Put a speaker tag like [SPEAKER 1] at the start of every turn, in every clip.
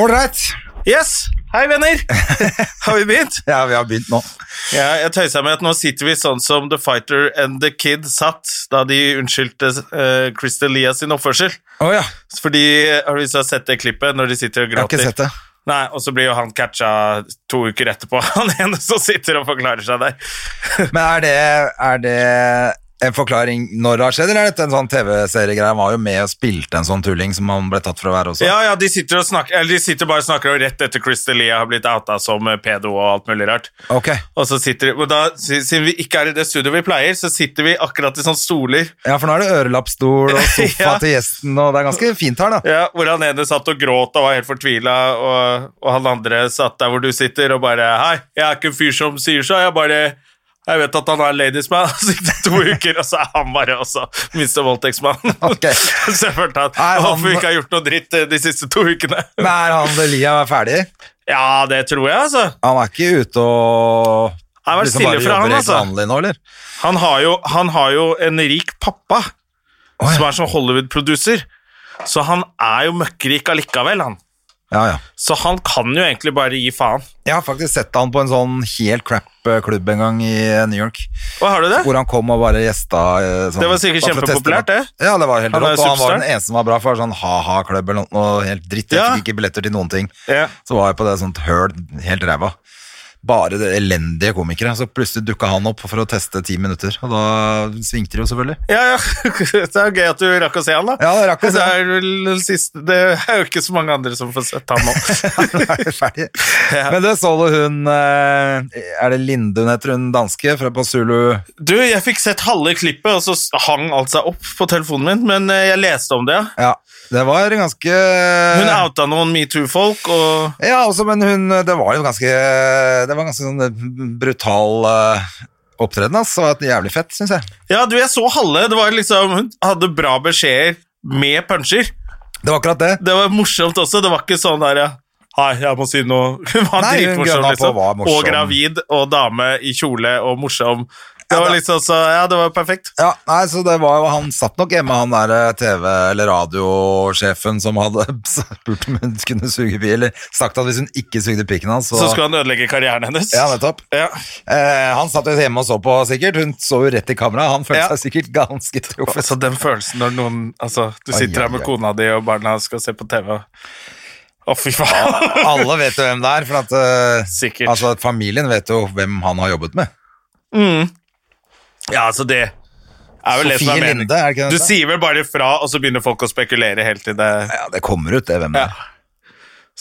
[SPEAKER 1] Ålreit.
[SPEAKER 2] Yes! Hei, venner! Har vi begynt?
[SPEAKER 1] Ja, vi har begynt nå.
[SPEAKER 2] Ja, jeg tøysa med at nå sitter vi sånn som The Fighter and The Kid satt da de unnskyldte uh, Crystal Lia sin oppførsel.
[SPEAKER 1] Å ja.
[SPEAKER 2] Fordi, eh, har du lyst til å sette det klippet når de sitter
[SPEAKER 1] Jeg
[SPEAKER 2] og
[SPEAKER 1] har
[SPEAKER 2] gråter?
[SPEAKER 1] ikke sett det.
[SPEAKER 2] Nei, og så blir jo han catcha to uker etterpå, han ene som sitter og forklarer seg der.
[SPEAKER 1] Men er det, er det en forklaring når det har skjedd, eller er dette en sånn TV-seriegreie? Han var jo med og spilte en sånn tulling som han ble tatt for å være også.
[SPEAKER 2] Ja, ja, de sitter, og snakker, eller de sitter bare og snakker om rett etter Crystal Lia har blitt outa som eh, pedo og alt mulig rart.
[SPEAKER 1] Ok.
[SPEAKER 2] Og så sitter de, og da, siden vi ikke er i det studioet vi pleier, så sitter vi akkurat i sånne stoler
[SPEAKER 1] Ja, for nå er det ørelappstol og sofa
[SPEAKER 2] Ja.
[SPEAKER 1] til gjesten, og det er ganske fint her, da.
[SPEAKER 2] Ja, hvor han ene satt og gråt og var helt fortvila, og, og han andre satt der hvor du sitter og bare Hei, jeg er ikke en fyr som sier så, jeg bare jeg vet at han er ladiesman, og så gikk det to uker, og så er han bare også minste voldtektsmann.
[SPEAKER 1] Ok.
[SPEAKER 2] så jeg følte at
[SPEAKER 1] Er han-
[SPEAKER 2] hvorfor vi ikke har gjort noe dritt eh, de siste to ukene.
[SPEAKER 1] Men er han Delia ferdig?
[SPEAKER 2] Ja, det tror jeg, altså.
[SPEAKER 1] Han er ikke ute og
[SPEAKER 2] Han har vært
[SPEAKER 1] Liksom
[SPEAKER 2] stille fra han,
[SPEAKER 1] helt
[SPEAKER 2] altså.
[SPEAKER 1] vanlig nå, eller?
[SPEAKER 2] Han har jo, han har jo en rik pappa
[SPEAKER 1] Å, ja.
[SPEAKER 2] som er som Hollywood-producer, så han er jo møkkrik allikevel, han.
[SPEAKER 1] Ja, ja.
[SPEAKER 2] Så han kan jo egentlig bare gi faen.
[SPEAKER 1] Jeg har faktisk sett han på en sånn helt crap eh, klubb en gang i eh, New York.
[SPEAKER 2] Hva har du det?
[SPEAKER 1] Hvor han kom og bare gjesta eh, sånn,
[SPEAKER 2] Det var sikkert
[SPEAKER 1] bare for å teste
[SPEAKER 2] kjempepopulært,
[SPEAKER 1] det.
[SPEAKER 2] det.
[SPEAKER 1] Ja, det var helt
[SPEAKER 2] Han er
[SPEAKER 1] rått.
[SPEAKER 2] jo
[SPEAKER 1] Og han var
[SPEAKER 2] superstar.
[SPEAKER 1] den eneste som var bra for sånn ha-ha-klubb eller noe helt dritt. Jeg
[SPEAKER 2] Ja.
[SPEAKER 1] fikk ikke billetter til noen ting.
[SPEAKER 2] Ja.
[SPEAKER 1] Så var jeg på det sånt høl, helt ræva. Bare det elendige komikere. Så plutselig dukka han opp for å teste ti minutter, og da svingte det jo selvfølgelig.
[SPEAKER 2] Ja, ja. Det er jo gøy at du rakk å se han, da.
[SPEAKER 1] Ja, jeg rakk å se
[SPEAKER 2] det
[SPEAKER 1] han.
[SPEAKER 2] er vel siste Det er jo ikke så mange andre som får sett han nå.
[SPEAKER 1] Da er vi ferdig. Men det så du hun eh, Er det Linde hun heter, hun danske fra på Zulu?
[SPEAKER 2] Du, jeg fikk sett halve klippet, og så hang alt seg opp på telefonen min, men eh, jeg leste om det. ja.
[SPEAKER 1] Ja. Det var ganske
[SPEAKER 2] Hun
[SPEAKER 1] Eh.
[SPEAKER 2] outa noen metoo-folk, og
[SPEAKER 1] Ja, også, men hun Det var jo ganske Det var ganske sånn brutal eh, opptreden, altså. Og jævlig fett, syns jeg.
[SPEAKER 2] Ja, du, jeg så halve. Det var liksom Hun hadde bra beskjeder med puncher.
[SPEAKER 1] Det var akkurat det.
[SPEAKER 2] Det var morsomt også. Det var ikke sånn der ja, Hei, jeg må si noe. Hun var
[SPEAKER 1] Nei, hun
[SPEAKER 2] dritmorsom,
[SPEAKER 1] gønna på
[SPEAKER 2] liksom.
[SPEAKER 1] var morsom.
[SPEAKER 2] Og gravid, og dame i kjole, og morsom. Det var
[SPEAKER 1] da-
[SPEAKER 2] liksom så Ja, det var perfekt.
[SPEAKER 1] Ja, nei, så det var jo Han satt nok hjemme, han der eh, TV- eller radiosjefen som hadde spurt om hun kunne suge pi, eller sagt at hvis hun ikke sugde pikken hans, så,
[SPEAKER 2] Så skulle han ødelegge karrieren hennes.
[SPEAKER 1] Ja, nettopp.
[SPEAKER 2] Ja.
[SPEAKER 1] Eh, han satt jo hjemme og så på, sikkert. Hun så jo rett i kamera. Han følte
[SPEAKER 2] Ja.
[SPEAKER 1] seg sikkert ganske truffet.
[SPEAKER 2] Altså, den følelsen når noen Altså, du sitter
[SPEAKER 1] Ai,
[SPEAKER 2] her med
[SPEAKER 1] ai, ai.
[SPEAKER 2] kona di, og barna skal se på TV. og- Å, fy faen.
[SPEAKER 1] Alle vet jo hvem det er, for at eh,
[SPEAKER 2] Sikkert.
[SPEAKER 1] Altså, familien vet jo hvem han har jobbet med.
[SPEAKER 2] Ja, altså, det er vel det som
[SPEAKER 1] Sofie
[SPEAKER 2] er meningen.
[SPEAKER 1] Linde, er det ikke
[SPEAKER 2] Du
[SPEAKER 1] det?
[SPEAKER 2] sier vel bare fra, og så begynner folk å spekulere helt til det
[SPEAKER 1] Ja, det kommer ut, det, hvem det
[SPEAKER 2] Ja.
[SPEAKER 1] er.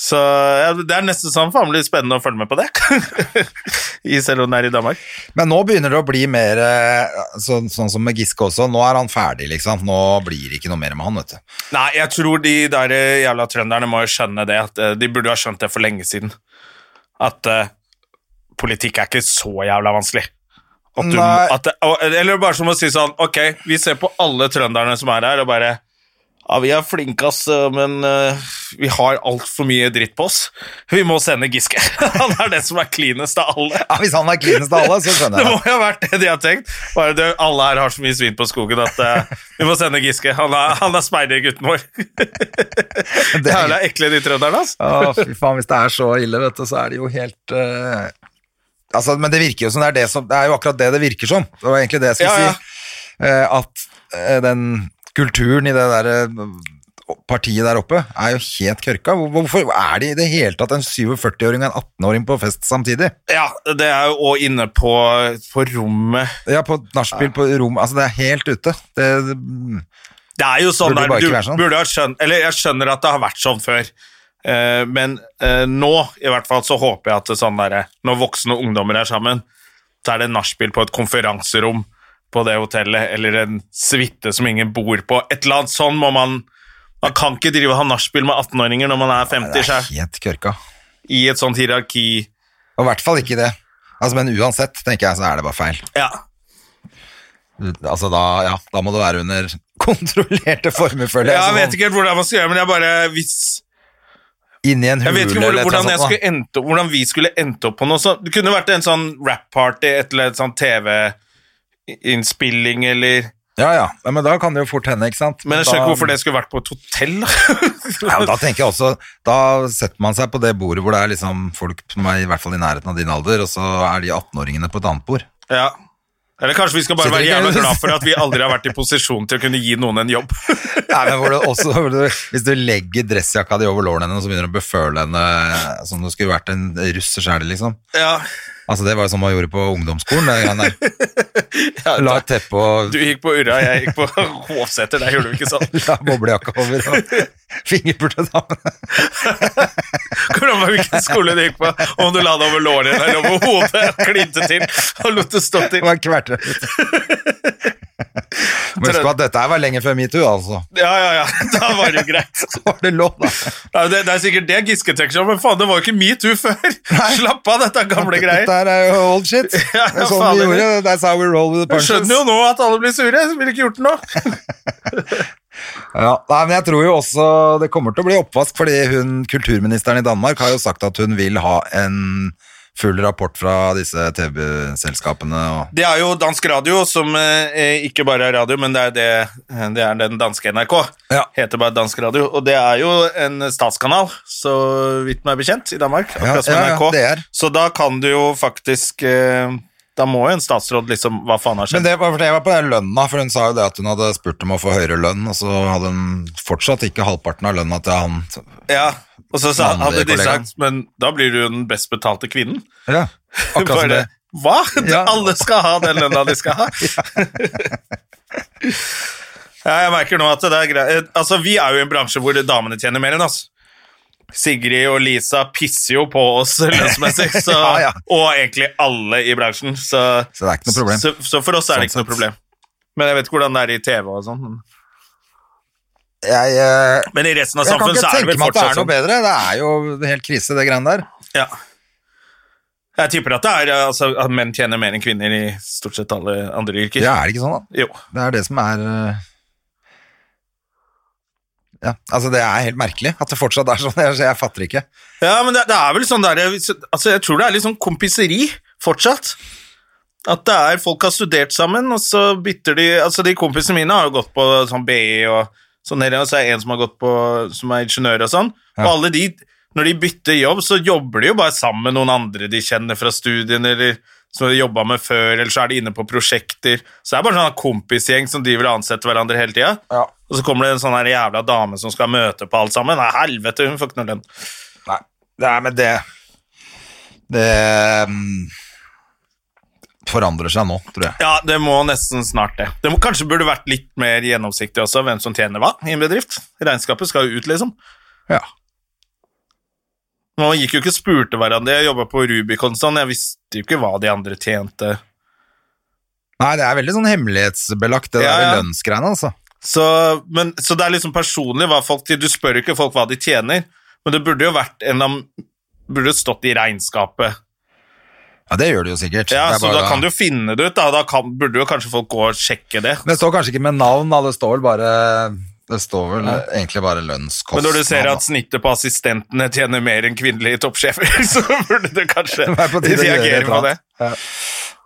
[SPEAKER 2] Så ja, det er nesten sånn faen blir spennende å følge med på det. I selv om den er i Danmark.
[SPEAKER 1] Men nå begynner det å bli mer eh, sånn- sånn som med Giske også. Nå er han ferdig, liksom. Nå blir det ikke noe mer med han, vet du.
[SPEAKER 2] Nei, jeg tror de der eh, jævla trønderne må jo skjønne det. At eh, de burde ha skjønt det for lenge siden. At eh, politikk er ikke så jævla vanskelig. At du,
[SPEAKER 1] Nei.
[SPEAKER 2] at det, og- eller bare som å si sånn Ok, vi ser på alle trønderne som er her, og bare Ja, vi er flinke, ass, men eh, vi har altfor mye dritt på oss. Vi må sende Giske. Han er den som er cleanest av alle.
[SPEAKER 1] Ja, hvis han er klinest av alle, så skjønner
[SPEAKER 2] Det må
[SPEAKER 1] jeg det.
[SPEAKER 2] jo ha vært det de har tenkt. Bare det, alle her har så mye svin på skogen at eh, vi må sende Giske. Han er, han er speidergutten vår.
[SPEAKER 1] Det er-
[SPEAKER 2] Jævla ekle de trønderne, altså.
[SPEAKER 1] Å, fy faen, hvis det er så ille, vet du, så er det jo helt eh, Altså, men det virker jo som det er det som Det er jo akkurat det det virker som. Det var egentlig det jeg skulle
[SPEAKER 2] Ja, ja.
[SPEAKER 1] si. Eh, at eh, den kulturen i det derre partiet der oppe er jo helt kørka. Hvor- Hvorfor er det i det hele tatt en 47-åring og en 18-åring på fest samtidig?
[SPEAKER 2] Ja, det er jo òg inne på, på rommet.
[SPEAKER 1] Ja, på nachspiel på rom Altså, det er helt ute. Det, det,
[SPEAKER 2] Det er jo sånn
[SPEAKER 1] Burde det bare
[SPEAKER 2] der, du
[SPEAKER 1] ikke være sånn?
[SPEAKER 2] burde ha skjønt Eller jeg skjønner at det har vært sånn før. Eh, men eh, nå, i hvert fall, så håper jeg at det sånn derre Når voksne og ungdommer er sammen, så er det nachspiel på et konferanserom på det hotellet, eller en suite som ingen bor på. Et eller annet sånn må man Man kan ikke drive og ha nachspiel med 18-åringer når man er 50
[SPEAKER 1] Det er
[SPEAKER 2] sjøl,
[SPEAKER 1] helt kørka.
[SPEAKER 2] i et sånt hierarki.
[SPEAKER 1] Og i hvert fall ikke det. Altså, men uansett, tenker jeg, så er det bare feil.
[SPEAKER 2] Ja.
[SPEAKER 1] Altså, da, ja, da må det være under kontrollerte former, føler jeg.
[SPEAKER 2] Jeg
[SPEAKER 1] sånn
[SPEAKER 2] vet ikke helt hvordan man skal gjøre men jeg bare hvis,
[SPEAKER 1] Inni en hule
[SPEAKER 2] Jeg vet ikke
[SPEAKER 1] eller et
[SPEAKER 2] hvordan,
[SPEAKER 1] eller
[SPEAKER 2] hvordan,
[SPEAKER 1] annet
[SPEAKER 2] jeg
[SPEAKER 1] sånt, da.
[SPEAKER 2] skulle endte, opp- hvordan vi skulle endt opp på noe sånt. Det kunne vært en sånn rap-party, et eller annet sånn TV-innspilling eller
[SPEAKER 1] Ja, ja. ja, men da kan det jo fort hende, ikke sant?
[SPEAKER 2] Men jeg skjønner
[SPEAKER 1] Da-
[SPEAKER 2] ikke hvorfor det skulle vært på et hotell. da.
[SPEAKER 1] Ja, men da tenker jeg også, da setter man seg på det bordet hvor det er liksom folk som er i hvert fall i nærheten av din alder, og så er de 18-åringene på et annet bord.
[SPEAKER 2] Ja. Eller kanskje vi skal bare
[SPEAKER 1] Sitter
[SPEAKER 2] være
[SPEAKER 1] ikke-
[SPEAKER 2] jævla glad for at vi aldri har vært i posisjon til å kunne gi noen en jobb.
[SPEAKER 1] Nei, men hvor du også, hvor du, hvis du legger dressjakka di over lårene henne, så begynner du å beføle henne eh, som om du skulle vært en russer sjæl, liksom.
[SPEAKER 2] Ja,
[SPEAKER 1] Altså, det var jo sånn man gjorde på ungdomsskolen, det greiene der. La et teppe og
[SPEAKER 2] Du gikk på Urra, jeg gikk på Hovseter. Der gjorde du ikke sånn.
[SPEAKER 1] la boblejakka over og fingerpurte sammen.
[SPEAKER 2] Hvordan var hvilken skole du gikk på? Om du la det over lårene eller over hodet, klinte til og lot det stå
[SPEAKER 1] Det
[SPEAKER 2] til.
[SPEAKER 1] var kvertere. Men husk på at dette her var lenge før metoo, altså.
[SPEAKER 2] Ja, ja, ja. Da var det jo greit.
[SPEAKER 1] Så var det lov, da.
[SPEAKER 2] Ja, det, det er sikkert det Giske tenker seg om, men faen, det var jo ikke metoo før. Slapp av, dette er gamle greier.
[SPEAKER 1] Dette her er jo old shit.
[SPEAKER 2] Ja,
[SPEAKER 1] det er sånn
[SPEAKER 2] faen,
[SPEAKER 1] vi
[SPEAKER 2] det-
[SPEAKER 1] gjorde. That's how we roll with the
[SPEAKER 2] Jeg
[SPEAKER 1] punches.
[SPEAKER 2] skjønner jo nå at alle blir sure. Jeg ville ikke gjort det nå.
[SPEAKER 1] Ja, nei, men jeg tror jo også det kommer til å bli oppvask, fordi hun, kulturministeren i Danmark har jo sagt at hun vil ha en full rapport fra disse TV-selskapene. Og...
[SPEAKER 2] Det er jo dansk radio, som eh, ikke bare er radio, men det er, det, det er den danske NRK.
[SPEAKER 1] Ja.
[SPEAKER 2] Heter bare dansk radio. Og det er jo en statskanal, så vidt meg bekjent, i Danmark. Akkurat som
[SPEAKER 1] ja, ja,
[SPEAKER 2] NRK.
[SPEAKER 1] det er.
[SPEAKER 2] Så da kan du jo faktisk eh, Da må jo en statsråd liksom Hva faen har
[SPEAKER 1] Men
[SPEAKER 2] skjedd?
[SPEAKER 1] det var, for det var på den lønna, for hun sa jo det at hun hadde spurt om å få høyere lønn, og så hadde hun fortsatt ikke halvparten av lønna til han.
[SPEAKER 2] ja. Og så sa,
[SPEAKER 1] Mannlige
[SPEAKER 2] hadde de
[SPEAKER 1] kollegaen.
[SPEAKER 2] sagt Men da blir du jo den best betalte kvinnen.
[SPEAKER 1] Ja, akkurat som det.
[SPEAKER 2] Bare, Hva?!
[SPEAKER 1] Ja.
[SPEAKER 2] Alle skal ha den lønna de skal ha! ja, jeg merker nå at det er greit. Altså, vi er jo i en bransje hvor damene tjener mer enn oss. Sigrid og Lisa pisser jo på oss lønnsmessig, så,
[SPEAKER 1] Ja, ja.
[SPEAKER 2] og egentlig alle i bransjen. Så,
[SPEAKER 1] Så det er ikke noe problem.
[SPEAKER 2] så, så for oss er det ikke
[SPEAKER 1] Sånn
[SPEAKER 2] noe problem. Men jeg vet ikke hvordan det er i TV og sånn. men-
[SPEAKER 1] Jeg, eh,
[SPEAKER 2] Men i resten av
[SPEAKER 1] jeg kan
[SPEAKER 2] samfunnet
[SPEAKER 1] ikke
[SPEAKER 2] så er det
[SPEAKER 1] tenke
[SPEAKER 2] vel
[SPEAKER 1] meg at det er
[SPEAKER 2] Altså, fortsatt
[SPEAKER 1] noe
[SPEAKER 2] sånn.
[SPEAKER 1] bedre. Det er jo helt krise, det greiene der.
[SPEAKER 2] Ja. Jeg tipper at det er altså, at menn tjener mer enn kvinner i stort sett alle andre yrker.
[SPEAKER 1] Ja, er det ikke sånn, da?
[SPEAKER 2] Jo.
[SPEAKER 1] Det er det som er eh, Ja, altså det er helt merkelig at det fortsatt er sånn. Jeg, jeg fatter ikke.
[SPEAKER 2] Ja, men det, det er vel sånn der altså Jeg tror det er litt sånn kompiseri fortsatt. At det er folk har studert sammen, og så bytter de Altså, de kompisene mine har jo gått på sånn BI og sånn, her, og så er det en som har gått på som er ingeniør og sånn. Og alle de, når de bytter jobb, så jobber de jo bare sammen med noen andre de kjenner fra studien, eller som de jobba med før, eller så er de inne på prosjekter. Så det er bare sånn kompisgjeng som driver og ansetter hverandre hele tida.
[SPEAKER 1] Ja.
[SPEAKER 2] Og så kommer det en sånn her jævla dame som skal møte på alt sammen. Nei, helvete, hun får ikke noe lønn.
[SPEAKER 1] Nei, det er med det Det mm, forandrer seg nå, tror jeg.
[SPEAKER 2] Ja, det må nesten snart det. Det må, kanskje burde vært litt mer gjennomsiktig også, hvem som tjener hva i en bedrift. Regnskapet skal jo ut, liksom.
[SPEAKER 1] Ja.
[SPEAKER 2] Man gikk jo ikke og spurte hverandre. Jeg jobba på Rubicon sånn, jeg visste jo ikke hva de andre tjente.
[SPEAKER 1] Nei, det er veldig sånn hemmelighetsbelagt, det
[SPEAKER 2] Ja,
[SPEAKER 1] der
[SPEAKER 2] ja.
[SPEAKER 1] lønnsgreiene, altså.
[SPEAKER 2] Så, men, så det er liksom personlig hva folk Du spør jo ikke folk hva de tjener, men det burde jo vært en av Burde stått i regnskapet.
[SPEAKER 1] Ja, det gjør det jo sikkert.
[SPEAKER 2] Ja,
[SPEAKER 1] det er
[SPEAKER 2] Så
[SPEAKER 1] bare
[SPEAKER 2] da kan du jo finne det ut, da. Da kan, burde jo kanskje folk gå og sjekke det.
[SPEAKER 1] Men det står kanskje ikke med navn, da. Det står vel bare Det står vel egentlig bare lønnskostnad.
[SPEAKER 2] Men når du ser
[SPEAKER 1] da.
[SPEAKER 2] at snittet på assistentene tjener mer enn kvinnelige toppsjefer, så burde du kanskje
[SPEAKER 1] Det er på tide å gjøre et
[SPEAKER 2] reagere
[SPEAKER 1] eller
[SPEAKER 2] på det.
[SPEAKER 1] annet.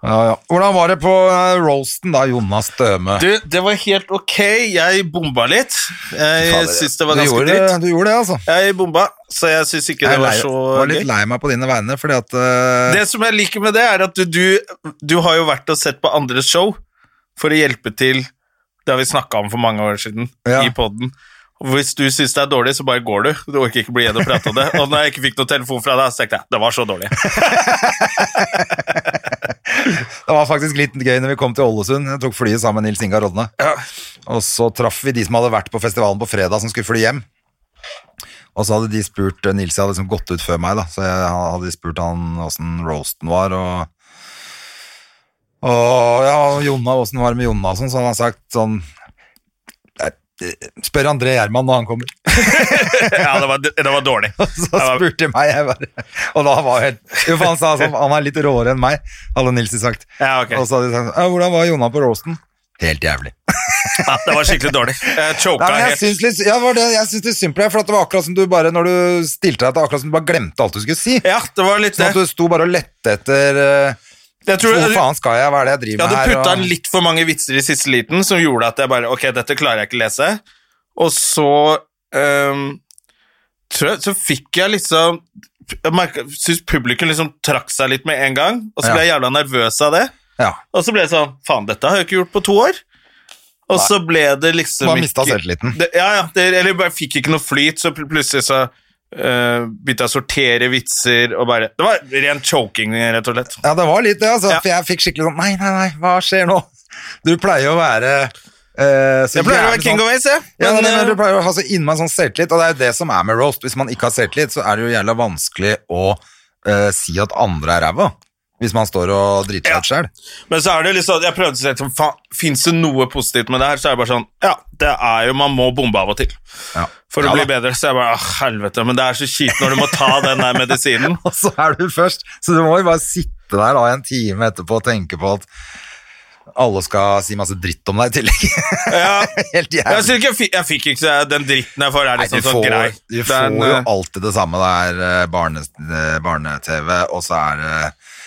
[SPEAKER 1] ja, ja. Hvordan var det på eh, roasten, da, Jonas Døme?
[SPEAKER 2] Du, det var helt ok. Jeg bomba litt. Jeg
[SPEAKER 1] Fader,
[SPEAKER 2] syns det var
[SPEAKER 1] du
[SPEAKER 2] ganske
[SPEAKER 1] gjorde,
[SPEAKER 2] dritt.
[SPEAKER 1] Du gjorde det, altså.
[SPEAKER 2] Jeg bomba, så jeg syns ikke
[SPEAKER 1] Jeg
[SPEAKER 2] det
[SPEAKER 1] er
[SPEAKER 2] var
[SPEAKER 1] lei-
[SPEAKER 2] så
[SPEAKER 1] var
[SPEAKER 2] gøy.
[SPEAKER 1] litt lei meg på dine vegne, fordi at eh,
[SPEAKER 2] Det som jeg liker med det, er at du, du, du har jo vært og sett på andres show for å hjelpe til Det har vi snakka om for mange år siden
[SPEAKER 1] Ja.
[SPEAKER 2] i poden. Hvis du syns det er dårlig, så bare går du. Du orker ikke bli igjen og prate om det. Og når jeg ikke fikk noen telefon fra deg, så tenkte jeg det var så dårlig.
[SPEAKER 1] Det var faktisk litt gøy når vi kom til Ålesund. Jeg tok flyet sammen med Nils Ingar Rodne. Og så traff vi de som hadde vært på festivalen på fredag, som skulle fly hjem. Og så hadde de spurt Nils hadde liksom gått ut før meg, da. Så jeg hadde spurt han åssen roasten var, og og ja, Jonna, åssen var det med Jonna og sånn, så hadde han sagt sånn Spør André Gjerman når han kommer.
[SPEAKER 2] Ja, det var, det var dårlig.
[SPEAKER 1] Så spurte meg, jeg bare Og da var jeg helt Jo, for han sa sånn Han er litt råere enn meg, hadde Nilsen sagt.
[SPEAKER 2] Ja, ok.
[SPEAKER 1] Og så hadde de sagt «Ja, Hvordan var Jonna på roasten? Helt jævlig.
[SPEAKER 2] Ja, det var skikkelig dårlig. Jeg choka
[SPEAKER 1] Nei, men jeg
[SPEAKER 2] helt.
[SPEAKER 1] syns litt, ja, det var det, jeg syns litt synd på deg, for at det var akkurat som du bare Når du stilte deg til akkurat som du bare glemte alt du skulle si.
[SPEAKER 2] Ja, det var litt
[SPEAKER 1] Sånn at
[SPEAKER 2] det.
[SPEAKER 1] du sto bare og lette etter eh,
[SPEAKER 2] Jeg tror
[SPEAKER 1] Hvor
[SPEAKER 2] jeg
[SPEAKER 1] faen skal jeg, hva er det jeg driver
[SPEAKER 2] hadde
[SPEAKER 1] med her?
[SPEAKER 2] putta
[SPEAKER 1] og-
[SPEAKER 2] inn litt for mange vitser i siste liten som gjorde at jeg bare Ok, dette klarer jeg ikke lese. Og så ehm, tror jeg, Så fikk jeg liksom Jeg syns publikum liksom trakk seg litt med en gang, og så ble jeg jævla nervøs av det.
[SPEAKER 1] Ja,
[SPEAKER 2] Og så ble jeg sånn Faen, dette har jeg ikke gjort på to år. Og så ble det liksom
[SPEAKER 1] Bare mistet
[SPEAKER 2] ikke-
[SPEAKER 1] selvtilliten.
[SPEAKER 2] Det, ja, ja. Det, eller jeg bare fikk ikke noe flyt, så pl- plutselig så eh, begynte jeg å sortere vitser og bare Det var ren choking, rett og slett.
[SPEAKER 1] ja, det var litt det, altså.
[SPEAKER 2] Ja.
[SPEAKER 1] For jeg fikk skikkelig sånn Nei, nei, nei, hva skjer nå? Du pleier å være eh, så
[SPEAKER 2] Jeg pleier å
[SPEAKER 1] jævlig
[SPEAKER 2] være king
[SPEAKER 1] sånn-
[SPEAKER 2] of ace, jeg.
[SPEAKER 1] Ja,
[SPEAKER 2] Men,
[SPEAKER 1] men,
[SPEAKER 2] eh,
[SPEAKER 1] men du pleier å ha så innmari sånn selvtillit, og det er jo det som er med roast. Hvis man ikke har selvtillit, så er det jo jævla vanskelig å eh, si at andre er ræva. Hvis man står og driter seg ut sjøl.
[SPEAKER 2] men så er det liksom Jeg prøvde å si liksom, faen, fins det noe positivt med det her? Så er det bare sånn Ja, det er jo Man må bombe av og til
[SPEAKER 1] Ja.
[SPEAKER 2] for å
[SPEAKER 1] Ja
[SPEAKER 2] bli
[SPEAKER 1] da.
[SPEAKER 2] bedre. Så jeg bare ah, helvete. Men det er så kjipt når du må ta den der medisinen.
[SPEAKER 1] Og så er du først, så du må jo bare sitte der da en time etterpå og tenke på at alle skal si masse dritt om deg i tillegg.
[SPEAKER 2] Ja.
[SPEAKER 1] Helt
[SPEAKER 2] Jeg,
[SPEAKER 1] jævlig.
[SPEAKER 2] synes ikke jeg, fikk, jeg fikk ikke så jeg- Den dritten jeg får, er
[SPEAKER 1] Nei,
[SPEAKER 2] liksom
[SPEAKER 1] du
[SPEAKER 2] sånn
[SPEAKER 1] får,
[SPEAKER 2] grei.
[SPEAKER 1] du
[SPEAKER 2] Det er
[SPEAKER 1] får
[SPEAKER 2] en,
[SPEAKER 1] jo
[SPEAKER 2] eh,
[SPEAKER 1] alltid det samme. Det er eh, barne- eh, barne-TV, og så er det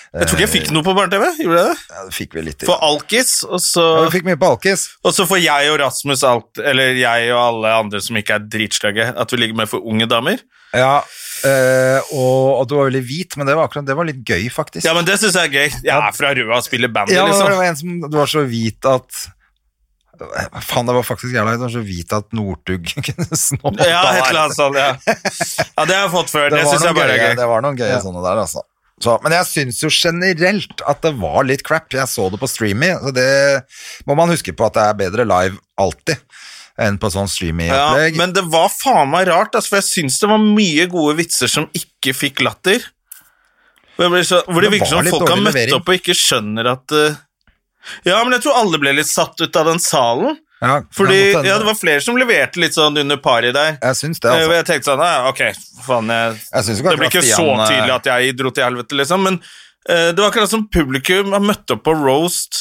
[SPEAKER 2] jeg tror ikke jeg fikk noe på barne-TV. Gjorde jeg det?
[SPEAKER 1] ja, Du fikk vel litt
[SPEAKER 2] For Alkis,
[SPEAKER 1] Ja,
[SPEAKER 2] og så,
[SPEAKER 1] Du fikk mye på Alkis.
[SPEAKER 2] og så får jeg og Rasmus alt Eller jeg og alle andre som ikke er dritslagge, at vi ligger med for unge damer.
[SPEAKER 1] Ja, eh, og at du var veldig hvit, men det var akkurat Det var litt gøy, faktisk.
[SPEAKER 2] Ja, men det syns jeg er gøy. Jeg er fra Røa og spiller bandy,
[SPEAKER 1] Ja, men det
[SPEAKER 2] liksom.
[SPEAKER 1] var en som du var så hvit at Faen, det var faktisk jævla Du var så hvit at Northug kunne snoppe
[SPEAKER 2] Ja,
[SPEAKER 1] av
[SPEAKER 2] et
[SPEAKER 1] deg.
[SPEAKER 2] eller annet sånt. Ja, ja det har jeg fått før.
[SPEAKER 1] Det var
[SPEAKER 2] Det, synes syns jeg
[SPEAKER 1] noen
[SPEAKER 2] bare
[SPEAKER 1] gøye,
[SPEAKER 2] er gøy.
[SPEAKER 1] det var noen gøye sånne der, altså. Så, men jeg syns jo generelt at det var litt crap. Jeg så det på streamy, så det må man huske på at det er bedre live alltid enn på sånn
[SPEAKER 2] Ja,
[SPEAKER 1] streamy-opplegg.
[SPEAKER 2] men det var faen meg rart, altså, for jeg syns det var mye gode vitser som ikke fikk latter. Hvor, jeg ble så, hvor det,
[SPEAKER 1] Det
[SPEAKER 2] virker
[SPEAKER 1] var
[SPEAKER 2] som
[SPEAKER 1] litt
[SPEAKER 2] folk har
[SPEAKER 1] dårlig
[SPEAKER 2] møtt
[SPEAKER 1] levering.
[SPEAKER 2] opp og ikke skjønner at eh, Ja, men jeg tror alle ble litt satt ut av den salen.
[SPEAKER 1] Ja,
[SPEAKER 2] Fordi
[SPEAKER 1] jeg måtte-
[SPEAKER 2] ja, det var flere som leverte litt sånn under pari der.
[SPEAKER 1] Jeg syns det,
[SPEAKER 2] Eh, Og
[SPEAKER 1] altså.
[SPEAKER 2] jeg tenkte sånn, «Nei, ok, faen jeg,
[SPEAKER 1] Jeg synes jo
[SPEAKER 2] Det blir
[SPEAKER 1] akkurat
[SPEAKER 2] ikke så
[SPEAKER 1] Stian, eh,
[SPEAKER 2] tydelig at jeg dro til helvete, liksom. Men eh, det var akkurat som publikum har møtt opp på roast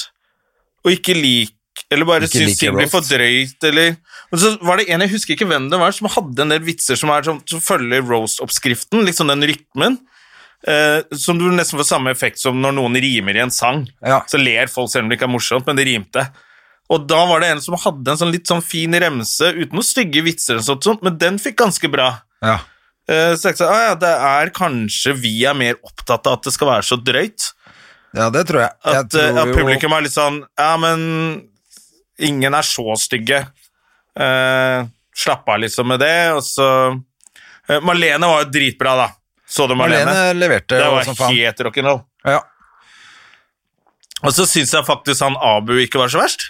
[SPEAKER 2] og ikke lik eller bare
[SPEAKER 1] Ikke
[SPEAKER 2] syns
[SPEAKER 1] liker
[SPEAKER 2] ting blir for
[SPEAKER 1] roast.
[SPEAKER 2] drøyt, eller Men så var det en, jeg husker ikke hvem det var, som hadde en del vitser som, er, som, som følger roast-oppskriften, liksom den rytmen, eh, som du nesten får samme effekt som når noen rimer i en sang.
[SPEAKER 1] Ja.
[SPEAKER 2] Så ler folk selv om det ikke er morsomt, men det rimte. Og da var det en som hadde en sånn litt sånn fin remse, uten noen stygge vitser, og sånt, sånt, men den fikk ganske bra.
[SPEAKER 1] ja.
[SPEAKER 2] Eh, Så jeg sa, ah, ja, det er kanskje vi er mer opptatt av at det skal være så drøyt.
[SPEAKER 1] ja, det tror jeg. jeg
[SPEAKER 2] At, eh,
[SPEAKER 1] tror
[SPEAKER 2] at
[SPEAKER 1] jo-
[SPEAKER 2] publikum er litt sånn Ja, men ingen er så stygge. Eh, slapp av liksom med det, og så eh, Marlene var jo dritbra, da. Så du Marlene?
[SPEAKER 1] Marlene leverte
[SPEAKER 2] det
[SPEAKER 1] jo
[SPEAKER 2] var
[SPEAKER 1] som faen.
[SPEAKER 2] helt rock'n'roll.
[SPEAKER 1] Ja.
[SPEAKER 2] Og så syns jeg faktisk han Abu ikke var så verst.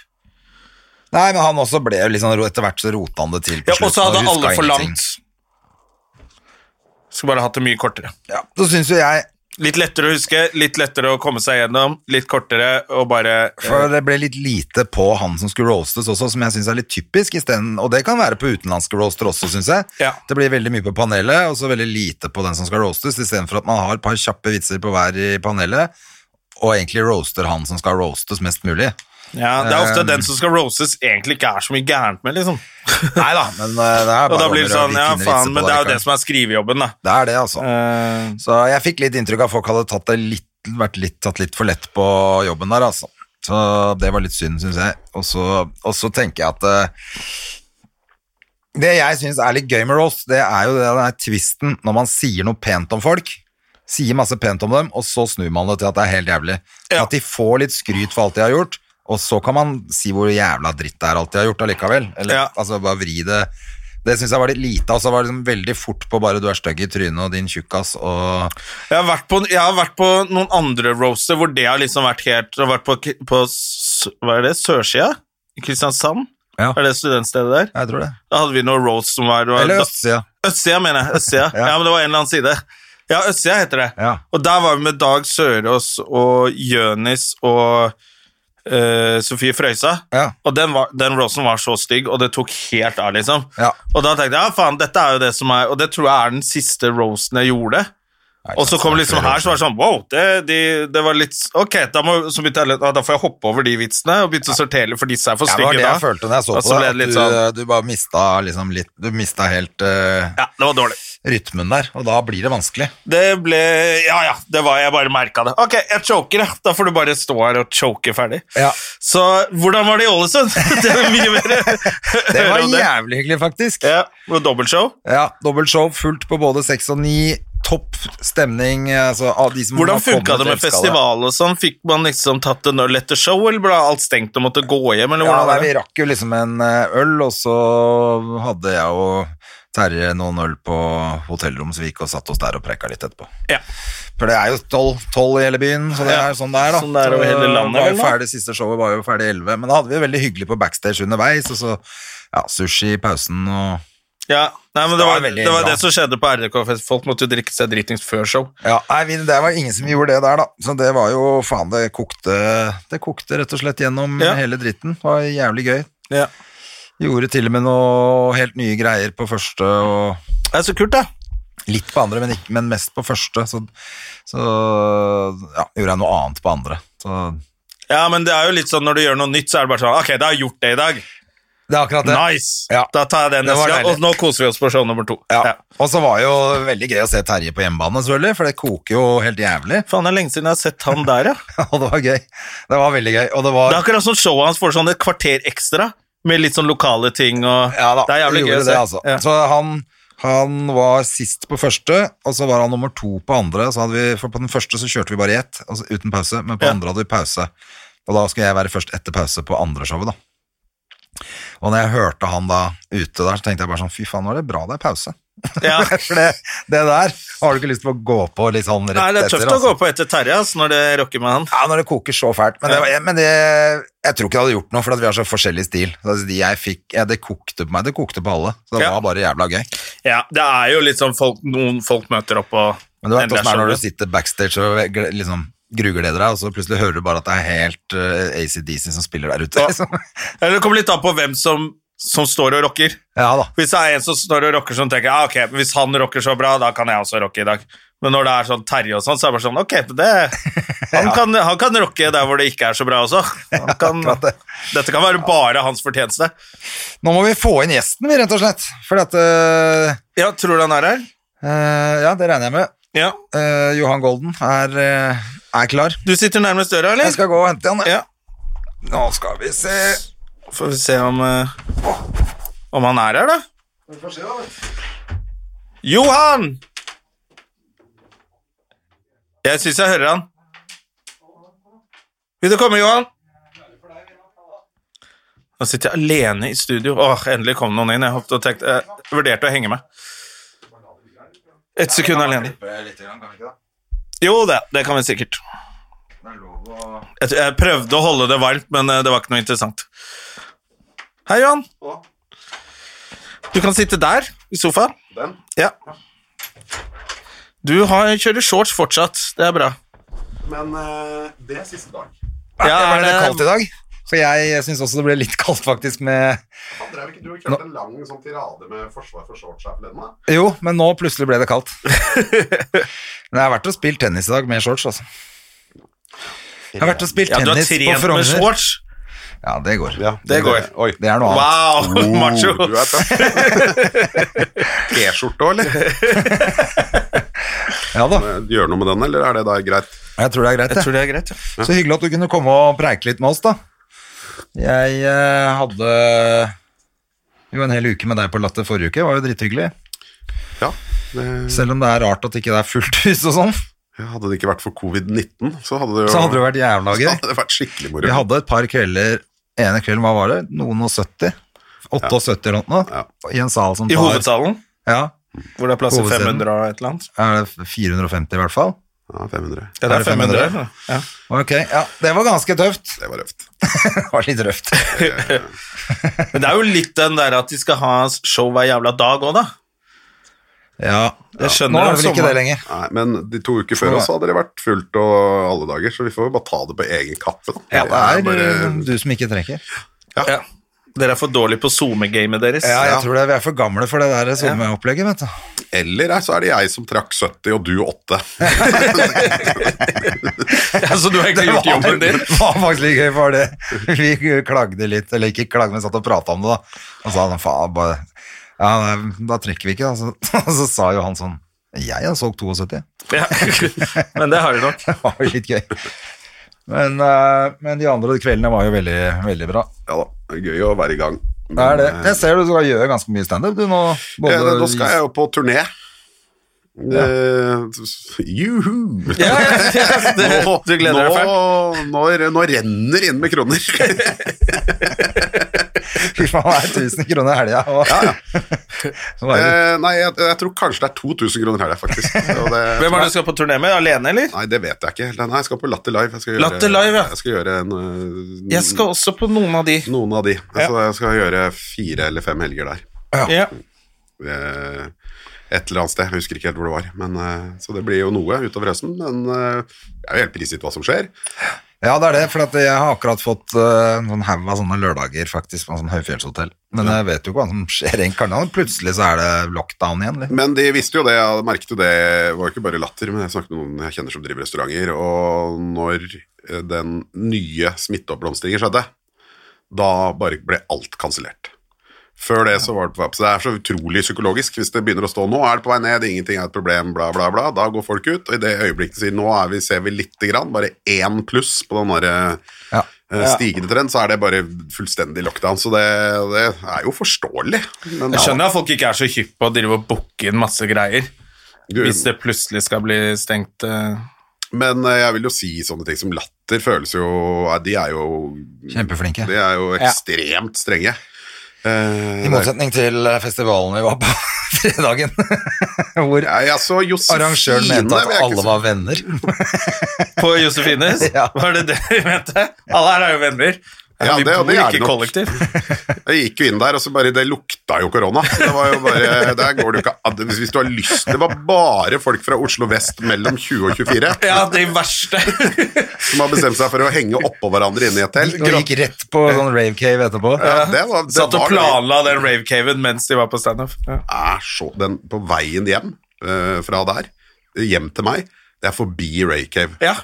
[SPEAKER 1] Nei, men han også ble jo litt sånn ro- Etter hvert så rota han det til på
[SPEAKER 2] Ja, og
[SPEAKER 1] slutten,
[SPEAKER 2] så hadde
[SPEAKER 1] huska
[SPEAKER 2] alle for
[SPEAKER 1] ingenting.
[SPEAKER 2] langt. Skulle bare hatt det mye kortere.
[SPEAKER 1] Ja, så syns jo jeg
[SPEAKER 2] Litt lettere å huske, litt lettere å komme seg gjennom, litt kortere og bare
[SPEAKER 1] For det ble litt lite på han som skulle roastes også, som jeg syns er litt typisk isteden. Og det kan være på utenlandske roaster også, syns jeg.
[SPEAKER 2] Ja.
[SPEAKER 1] Det blir veldig mye på panelet, og så veldig lite på den som skal roastes, istedenfor at man har et par kjappe vitser på hver i panelet, og egentlig roaster han som skal roastes mest mulig.
[SPEAKER 2] Ja, det er ofte
[SPEAKER 1] Ehm.
[SPEAKER 2] den som skal roses egentlig ikke er så mye gærent med, liksom.
[SPEAKER 1] Nei da, men eh, det er
[SPEAKER 2] Og
[SPEAKER 1] bare
[SPEAKER 2] da blir det sånn, ja faen, men det er jo det
[SPEAKER 1] som
[SPEAKER 2] som er skrivejobben, da.
[SPEAKER 1] Det er det, altså.
[SPEAKER 2] Eh,
[SPEAKER 1] Så jeg fikk litt inntrykk av at folk hadde tatt det litt, vært litt, tatt litt for lett på jobben der, altså. Så det var litt synd, syns jeg. Og så, og så tenker jeg at eh, Det jeg syns er litt gøy med roast, det er jo det der tvisten når man sier noe pent om folk. Sier masse pent om dem, og så snur man det til at det er helt jævlig.
[SPEAKER 2] Ja.
[SPEAKER 1] At de får litt skryt for alt de har gjort, og så kan man si hvor jævla dritt det er alt de har gjort allikevel. Eller,
[SPEAKER 2] Ja.
[SPEAKER 1] Altså bare vri det Det syns jeg var litt lite. Altså det var liksom veldig fort på bare 'du er stygg i trynet' og 'din tjukkas' og
[SPEAKER 2] jeg, har vært på, jeg har vært på noen andre roaster hvor det har liksom vært helt Jeg har vært på, på s- hva er det, sørsida? I Kristiansand?
[SPEAKER 1] Ja.
[SPEAKER 2] Er det studentstedet der?
[SPEAKER 1] Jeg tror det.
[SPEAKER 2] Da hadde vi noe roast som var, det var
[SPEAKER 1] Eller
[SPEAKER 2] da-
[SPEAKER 1] østsida.
[SPEAKER 2] Østsida, mener jeg. Østsida. ja.
[SPEAKER 1] Ja.
[SPEAKER 2] men det var en eller annen side. Ja, Østsida heter det.
[SPEAKER 1] Ja.
[SPEAKER 2] Og der var vi med Dag Sørås og Jønis og eh, Sofie Frøysa.
[SPEAKER 1] Ja.
[SPEAKER 2] Og den, var, den rosen var så stygg, og det tok helt av, liksom.
[SPEAKER 1] Ja.
[SPEAKER 2] Og da tenkte jeg ja, faen, dette er jo det som er Og det tror jeg er den siste rosen jeg gjorde. Og så kom liksom her, så var det sånn Wow, det, de, det var litt Ok, da, må, så begynte jeg, litt- ah, da får jeg hoppe over de vitsene og begynte å sortere, litt, for disse er for
[SPEAKER 1] Ja, det
[SPEAKER 2] stygge.
[SPEAKER 1] var det
[SPEAKER 2] da.
[SPEAKER 1] jeg følte når jeg så
[SPEAKER 2] Og
[SPEAKER 1] på
[SPEAKER 2] ble
[SPEAKER 1] det.
[SPEAKER 2] det
[SPEAKER 1] At
[SPEAKER 2] litt
[SPEAKER 1] du,
[SPEAKER 2] sånn
[SPEAKER 1] du bare mista liksom litt Du mista helt eh,
[SPEAKER 2] Ja, det var dårlig.
[SPEAKER 1] rytmen der, og da blir det vanskelig.
[SPEAKER 2] Det ble Ja, ja, det var jeg bare merka det. Ok, jeg choker, da. Da får du bare stå her og choke ferdig.
[SPEAKER 1] Ja.
[SPEAKER 2] Så hvordan var det i Ålesund? Det er mye mer
[SPEAKER 1] Det var
[SPEAKER 2] høre om
[SPEAKER 1] jævlig hyggelig, faktisk.
[SPEAKER 2] Ja, med dobbeltshow.
[SPEAKER 1] Ja, dobbelt show, fullt på både seks og ni. Topp stemning. Altså, av de som
[SPEAKER 2] Hvordan
[SPEAKER 1] har kommet,
[SPEAKER 2] funka det med
[SPEAKER 1] elsker
[SPEAKER 2] festival og sånn? Fikk man liksom tatt en øl etter show, eller ble alt stengt og måtte gå hjem, eller
[SPEAKER 1] Ja,
[SPEAKER 2] hvordan
[SPEAKER 1] nei,
[SPEAKER 2] var
[SPEAKER 1] Vi
[SPEAKER 2] det?
[SPEAKER 1] rakk jo liksom en eh, øl, og så hadde jeg og Terje noen øl på hotellrommet, så vi gikk og satt oss der og preka litt etterpå.
[SPEAKER 2] Ja.
[SPEAKER 1] For det er jo tolv, tolv i hele byen, så det
[SPEAKER 2] Ja.
[SPEAKER 1] er jo sånn det er, da.
[SPEAKER 2] Sånn det er over hele landet,
[SPEAKER 1] var
[SPEAKER 2] vel,
[SPEAKER 1] jo
[SPEAKER 2] da?
[SPEAKER 1] ferdig, siste showet var jo ferdig elleve, men da hadde vi det veldig hyggelig på backstage underveis, og så ja, sushi i pausen og
[SPEAKER 2] Ja, nei, men det
[SPEAKER 1] Det var
[SPEAKER 2] var,
[SPEAKER 1] veldig
[SPEAKER 2] det var
[SPEAKER 1] bra.
[SPEAKER 2] det som skjedde på RDK-fest. Folk måtte jo drikke seg dritings før show.
[SPEAKER 1] Ja, nei, vi- det var ingen som gjorde det der, da. Så det var jo faen, det kokte Det kokte rett og slett gjennom
[SPEAKER 2] Ja.
[SPEAKER 1] hele dritten. Det var jævlig gøy.
[SPEAKER 2] Ja.
[SPEAKER 1] Gjorde til og med noe helt nye greier på første og
[SPEAKER 2] Det er så kult, da.
[SPEAKER 1] Litt på andre, men, ikke, men mest på første. Så, så ja, gjorde jeg noe annet på andre. Så,
[SPEAKER 2] Ja, men det er jo litt sånn når du gjør noe nytt, så er det bare sånn Ok, da har jeg gjort det i dag.
[SPEAKER 1] det er akkurat det.
[SPEAKER 2] Nice!
[SPEAKER 1] Ja.
[SPEAKER 2] Da tar jeg det
[SPEAKER 1] Det var
[SPEAKER 2] neste gang.
[SPEAKER 1] deilig.
[SPEAKER 2] Og nå koser vi oss på show nummer to.
[SPEAKER 1] Ja.
[SPEAKER 2] Ja.
[SPEAKER 1] Og så var jo veldig gøy å se Terje på hjemmebane, selvfølgelig, for det koker jo helt jævlig.
[SPEAKER 2] Faen, det er lenge siden jeg har sett han der, ja.
[SPEAKER 1] Og det var gøy. Det var veldig gøy. Og det
[SPEAKER 2] Det
[SPEAKER 1] var
[SPEAKER 2] er akkurat som showet hans får sånn et kvarter ekstra, med litt sånn lokale ting og
[SPEAKER 1] Ja da,
[SPEAKER 2] Det er jævlig
[SPEAKER 1] vi
[SPEAKER 2] gøy
[SPEAKER 1] gjorde
[SPEAKER 2] å se.
[SPEAKER 1] det, altså.
[SPEAKER 2] Ja.
[SPEAKER 1] Så han, han var sist på første, og så var han nummer to på andre. Så hadde vi, for på den første så kjørte vi bare i ett, altså uten pause, men på
[SPEAKER 2] Ja.
[SPEAKER 1] andre hadde vi pause. Og da skulle jeg være først etter pause på andre showet, da. Og når jeg hørte han da ute der, så tenkte jeg bare sånn, fy faen, nå er det bra det er pause.
[SPEAKER 2] Ja.
[SPEAKER 1] For det, det der har du ikke lyst til å gå på litt sånn rett
[SPEAKER 2] Nei, det er
[SPEAKER 1] etter.
[SPEAKER 2] tøft å gå på etter Terje ass, når det rocker med han.
[SPEAKER 1] Ja, når det koker så fælt. Men, det, var- men det, jeg tror ikke det hadde gjort noe, for at vi har så forskjellig stil. Så altså, de jeg fikk, ja, det kokte på meg, det kokte på alle. Så det
[SPEAKER 2] Ja.
[SPEAKER 1] var bare jævla gøy.
[SPEAKER 2] Ja, det er jo litt sånn folk, noen folk møter opp og
[SPEAKER 1] Men du vet
[SPEAKER 2] endrer
[SPEAKER 1] hvordan det er når du
[SPEAKER 2] showet.
[SPEAKER 1] sitter backstage og gle- liksom grugleder deg, og så plutselig hører du bare at det er helt eh, ACDC som spiller der ute.
[SPEAKER 2] Ja.
[SPEAKER 1] Liksom.
[SPEAKER 2] Eller det kommer litt an på hvem som, som står og rocker.
[SPEAKER 1] Ja da.
[SPEAKER 2] Hvis det er en som står og rocker som tenker ah, ok, men hvis han rocker så bra, da kan jeg også rocke i dag. Men når det er sånn Terje og sånn, så er det bare sånn ok, men det, han, kan, han kan rocke der hvor det ikke er så bra også. Han kan,
[SPEAKER 1] akkurat det.
[SPEAKER 2] dette kan være bare hans fortjeneste.
[SPEAKER 1] Nå må vi få inn gjesten, vi, rett og slett. For at eh,
[SPEAKER 2] Ja, tror du han er her?
[SPEAKER 1] eh, Ja, det regner jeg med.
[SPEAKER 2] Ja.
[SPEAKER 1] Eh, Johan Golden er, eh, er klar.
[SPEAKER 2] Du sitter nærmest døra, eller?
[SPEAKER 1] Jeg skal gå og hente han. jeg.
[SPEAKER 2] Ja.
[SPEAKER 1] Nå skal vi se
[SPEAKER 2] Får vi se om eh, Om han er her, da. Johan! Jeg syns jeg hører han. Vil du komme, Johan? Nå sitter jeg alene i studio. Åh, endelig kom noen inn. Jeg, håpet og tenkte, jeg vurderte å henge meg. Ett sekund alene. Jo, det, det kan vi sikkert. Jeg, jeg prøvde å holde det varmt, men eh, det var ikke noe interessant. Hei, Johan. Du kan sitte der, i sofaen. Ja. Du har, kjører shorts fortsatt. Det er bra.
[SPEAKER 3] Men eh, det er siste dag.
[SPEAKER 2] Ja,
[SPEAKER 1] Det
[SPEAKER 2] er
[SPEAKER 1] ble kaldt
[SPEAKER 2] det,
[SPEAKER 1] i dag. For jeg syns også det ble litt kaldt, faktisk, med
[SPEAKER 3] Han drev ikke du og kjørte en lang sånn tirade med forsvar for shorts her forleden? da?
[SPEAKER 1] Jo, men nå plutselig ble det kaldt. Men jeg har vært og spilt tennis i dag med shorts, altså. Jeg har vært og spilt
[SPEAKER 2] ja, du har
[SPEAKER 1] tennis på
[SPEAKER 2] trent med
[SPEAKER 1] Frogner.
[SPEAKER 2] shorts.
[SPEAKER 1] Ja, det går.
[SPEAKER 3] Ja,
[SPEAKER 2] Det går.
[SPEAKER 3] Oi. Oh,
[SPEAKER 1] Det er noe annet.
[SPEAKER 2] Wow, macho.
[SPEAKER 3] Du er tøff. T-skjorte òg, eller?
[SPEAKER 1] Ja da,
[SPEAKER 3] Gjør noe med den, eller er det da greit?
[SPEAKER 1] jeg tror det er greit.
[SPEAKER 2] Jeg
[SPEAKER 1] det.
[SPEAKER 2] tror det er greit. ja.
[SPEAKER 1] Så hyggelig at du kunne komme og preike litt med oss, da. Jeg eh, hadde jo en hel uke med deg på Latter forrige uke, det var jo drithyggelig.
[SPEAKER 3] Ja. Det,
[SPEAKER 1] Selv om det er rart at ikke det er fullt hus og sånn,
[SPEAKER 3] hadde det ikke vært for covid-19, så hadde det jo
[SPEAKER 1] så hadde det vært jævla
[SPEAKER 3] så
[SPEAKER 1] gøy.
[SPEAKER 3] hadde det vært skikkelig moro.
[SPEAKER 1] Vi hadde et par kvelder, ene kvelden, hva var det? Noen og 70? 78 eller noe?
[SPEAKER 3] Ja.
[SPEAKER 1] I en sal som
[SPEAKER 2] I hovedsalen,
[SPEAKER 1] Ja,
[SPEAKER 2] hvor det er plass til
[SPEAKER 1] Hovedscenen.
[SPEAKER 2] 500 og et eller annet.
[SPEAKER 1] er det 450 i hvert fall.
[SPEAKER 3] Ja, 500.
[SPEAKER 2] Ja, det er 500. Ja.
[SPEAKER 1] Ok, ja, det var ganske tøft.
[SPEAKER 3] Det var røft.
[SPEAKER 1] Det var litt røft.
[SPEAKER 2] Men det er jo litt den der at de skal ha show hver jævla dag òg, da.
[SPEAKER 1] Ja,
[SPEAKER 2] Jeg
[SPEAKER 1] Nå
[SPEAKER 2] skjønner
[SPEAKER 1] er
[SPEAKER 2] om
[SPEAKER 1] det vel ikke
[SPEAKER 2] sommeren.
[SPEAKER 1] det lenger.
[SPEAKER 3] Nei, men de to uker før oss hadde det vært fullt og alle dager, så vi får jo bare ta det på egen kappe. da.
[SPEAKER 1] Ja, det er
[SPEAKER 3] bare-
[SPEAKER 1] eh, du som ikke trekker.
[SPEAKER 2] Ja. Dere er for dårlige på SoMe-gamet deres.
[SPEAKER 1] Ja, jeg tror det, vi er for gamle for det der sommeropplegget, vet du.
[SPEAKER 3] Eller eh, så er det jeg som trakk 70 og du 8.
[SPEAKER 2] Så du har egentlig gjort jobben din?
[SPEAKER 1] Det var faktisk litt gøy, for det. Vi klagde litt, eller ikke klagde, men satt og prata om det, da. Og sa han faen, bare Ja, nei, da trekker vi ikke, da. Så, og så sa jo han sånn Jeg har solgt 72.
[SPEAKER 2] Ja. Men det har du nok.
[SPEAKER 1] Det var jo litt gøy. Men, eh, men de andre kveldene var jo veldig, veldig bra.
[SPEAKER 3] Ja da, det er gøy å være i gang.
[SPEAKER 1] Det er det. Jeg ser du skal gjøre ganske mye standup, du nå. både
[SPEAKER 3] eh, Ja, da skal
[SPEAKER 1] vis-
[SPEAKER 3] jeg jo på turné. Eh, Juhu!
[SPEAKER 2] Ja, ja, ja, det,
[SPEAKER 3] Nå-
[SPEAKER 2] du gleder deg fælt.
[SPEAKER 3] nå, nå, nå renner det inn med kroner.
[SPEAKER 1] Fy faen, det er 1000 kroner i helga. og- Så var det-
[SPEAKER 3] Eh, nei, jeg, jeg tror kanskje det er 2000 kroner her, faktisk. Og det-
[SPEAKER 2] Hvem er det du skal på turné med? Alene, eller?
[SPEAKER 3] Nei, det vet jeg ikke. helt. Nei, jeg skal på Latter Live. Jeg skal gjøre,
[SPEAKER 2] Latter Live, ja.
[SPEAKER 3] Jeg skal gjøre en, øh,
[SPEAKER 2] Jeg skal også på noen av de.
[SPEAKER 3] noen av de. Altså, jeg skal gjøre fire eller fem helger der.
[SPEAKER 2] Ja.
[SPEAKER 3] Eh, Et eller annet sted. Jeg husker ikke helt hvor det var. Men, eh, så det blir jo noe utover høsten. Men eh, jeg er jo helt prisgitt hva som skjer.
[SPEAKER 1] Ja, det er det, for at jeg har akkurat fått uh, en haug av sånne lørdager faktisk på en sånn høyfjellshotell. Men jeg vet jo ikke hva som skjer. egentlig. Kan- Plutselig så er det lockdown igjen. Eller?
[SPEAKER 3] Men de visste jo det, jeg merket jo det, det var jo ikke bare latter, men jeg snakket med noen jeg kjenner som driver restauranter, og når eh, den nye smitteoppblomstringen skjedde, da bare ble alt kansellert. Før det så var det på vei opp. Så det er så utrolig psykologisk. Hvis det begynner å stå 'nå er det på vei ned, ingenting er et problem', bla, bla, bla, da går folk ut. Og i det øyeblikket de sier 'nå er vi, ser vi lite grann', bare én pluss på den derre
[SPEAKER 1] Ja.
[SPEAKER 3] eh, stigende trend, så er det bare fullstendig lockdown. Så det, det er jo forståelig. Men
[SPEAKER 2] Jeg skjønner at folk ikke er så hypp på å drive og booke inn masse greier
[SPEAKER 3] Du-
[SPEAKER 2] hvis det plutselig skal bli stengt. eh.
[SPEAKER 3] Men eh, jeg vil jo si sånne ting som latter føles jo eh, De er jo,
[SPEAKER 1] Kjempeflinke.
[SPEAKER 3] de er jo ekstremt strenge. Eh,
[SPEAKER 1] I motsetning til eh, festivalen vi var på fredagen, hvor
[SPEAKER 3] Nei, jeg så Josefine
[SPEAKER 1] arrangøren mente
[SPEAKER 3] men jeg
[SPEAKER 1] at
[SPEAKER 3] er ikke
[SPEAKER 1] alle
[SPEAKER 3] så-
[SPEAKER 1] var venner.
[SPEAKER 2] På Josefines?
[SPEAKER 1] Ja.
[SPEAKER 2] Var det det du mente? Alle her er jo venner.
[SPEAKER 3] Ja,
[SPEAKER 2] vi
[SPEAKER 3] det-
[SPEAKER 2] bor
[SPEAKER 3] det er det
[SPEAKER 2] ikke
[SPEAKER 3] nok.
[SPEAKER 2] kollektiv.
[SPEAKER 3] Jeg gikk jo inn der, og så bare Det lukta jo korona. Det var jo bare Der går det jo ikke an. Hvis, hvis du har lyst Det var bare folk fra Oslo vest mellom 20 og 24
[SPEAKER 2] Ja, de verste.
[SPEAKER 3] som har bestemt seg for å henge oppå hverandre inne i et telt.
[SPEAKER 1] Og gikk rett på sånn rave cave etterpå.
[SPEAKER 3] Ja, det var, det
[SPEAKER 2] Satt og
[SPEAKER 3] var-
[SPEAKER 2] planla den ravecaven mens de var på standup. Ja.
[SPEAKER 3] er så den, På veien hjem eh, fra der, hjem til meg, det er forbi Ray Cave.
[SPEAKER 2] Ja.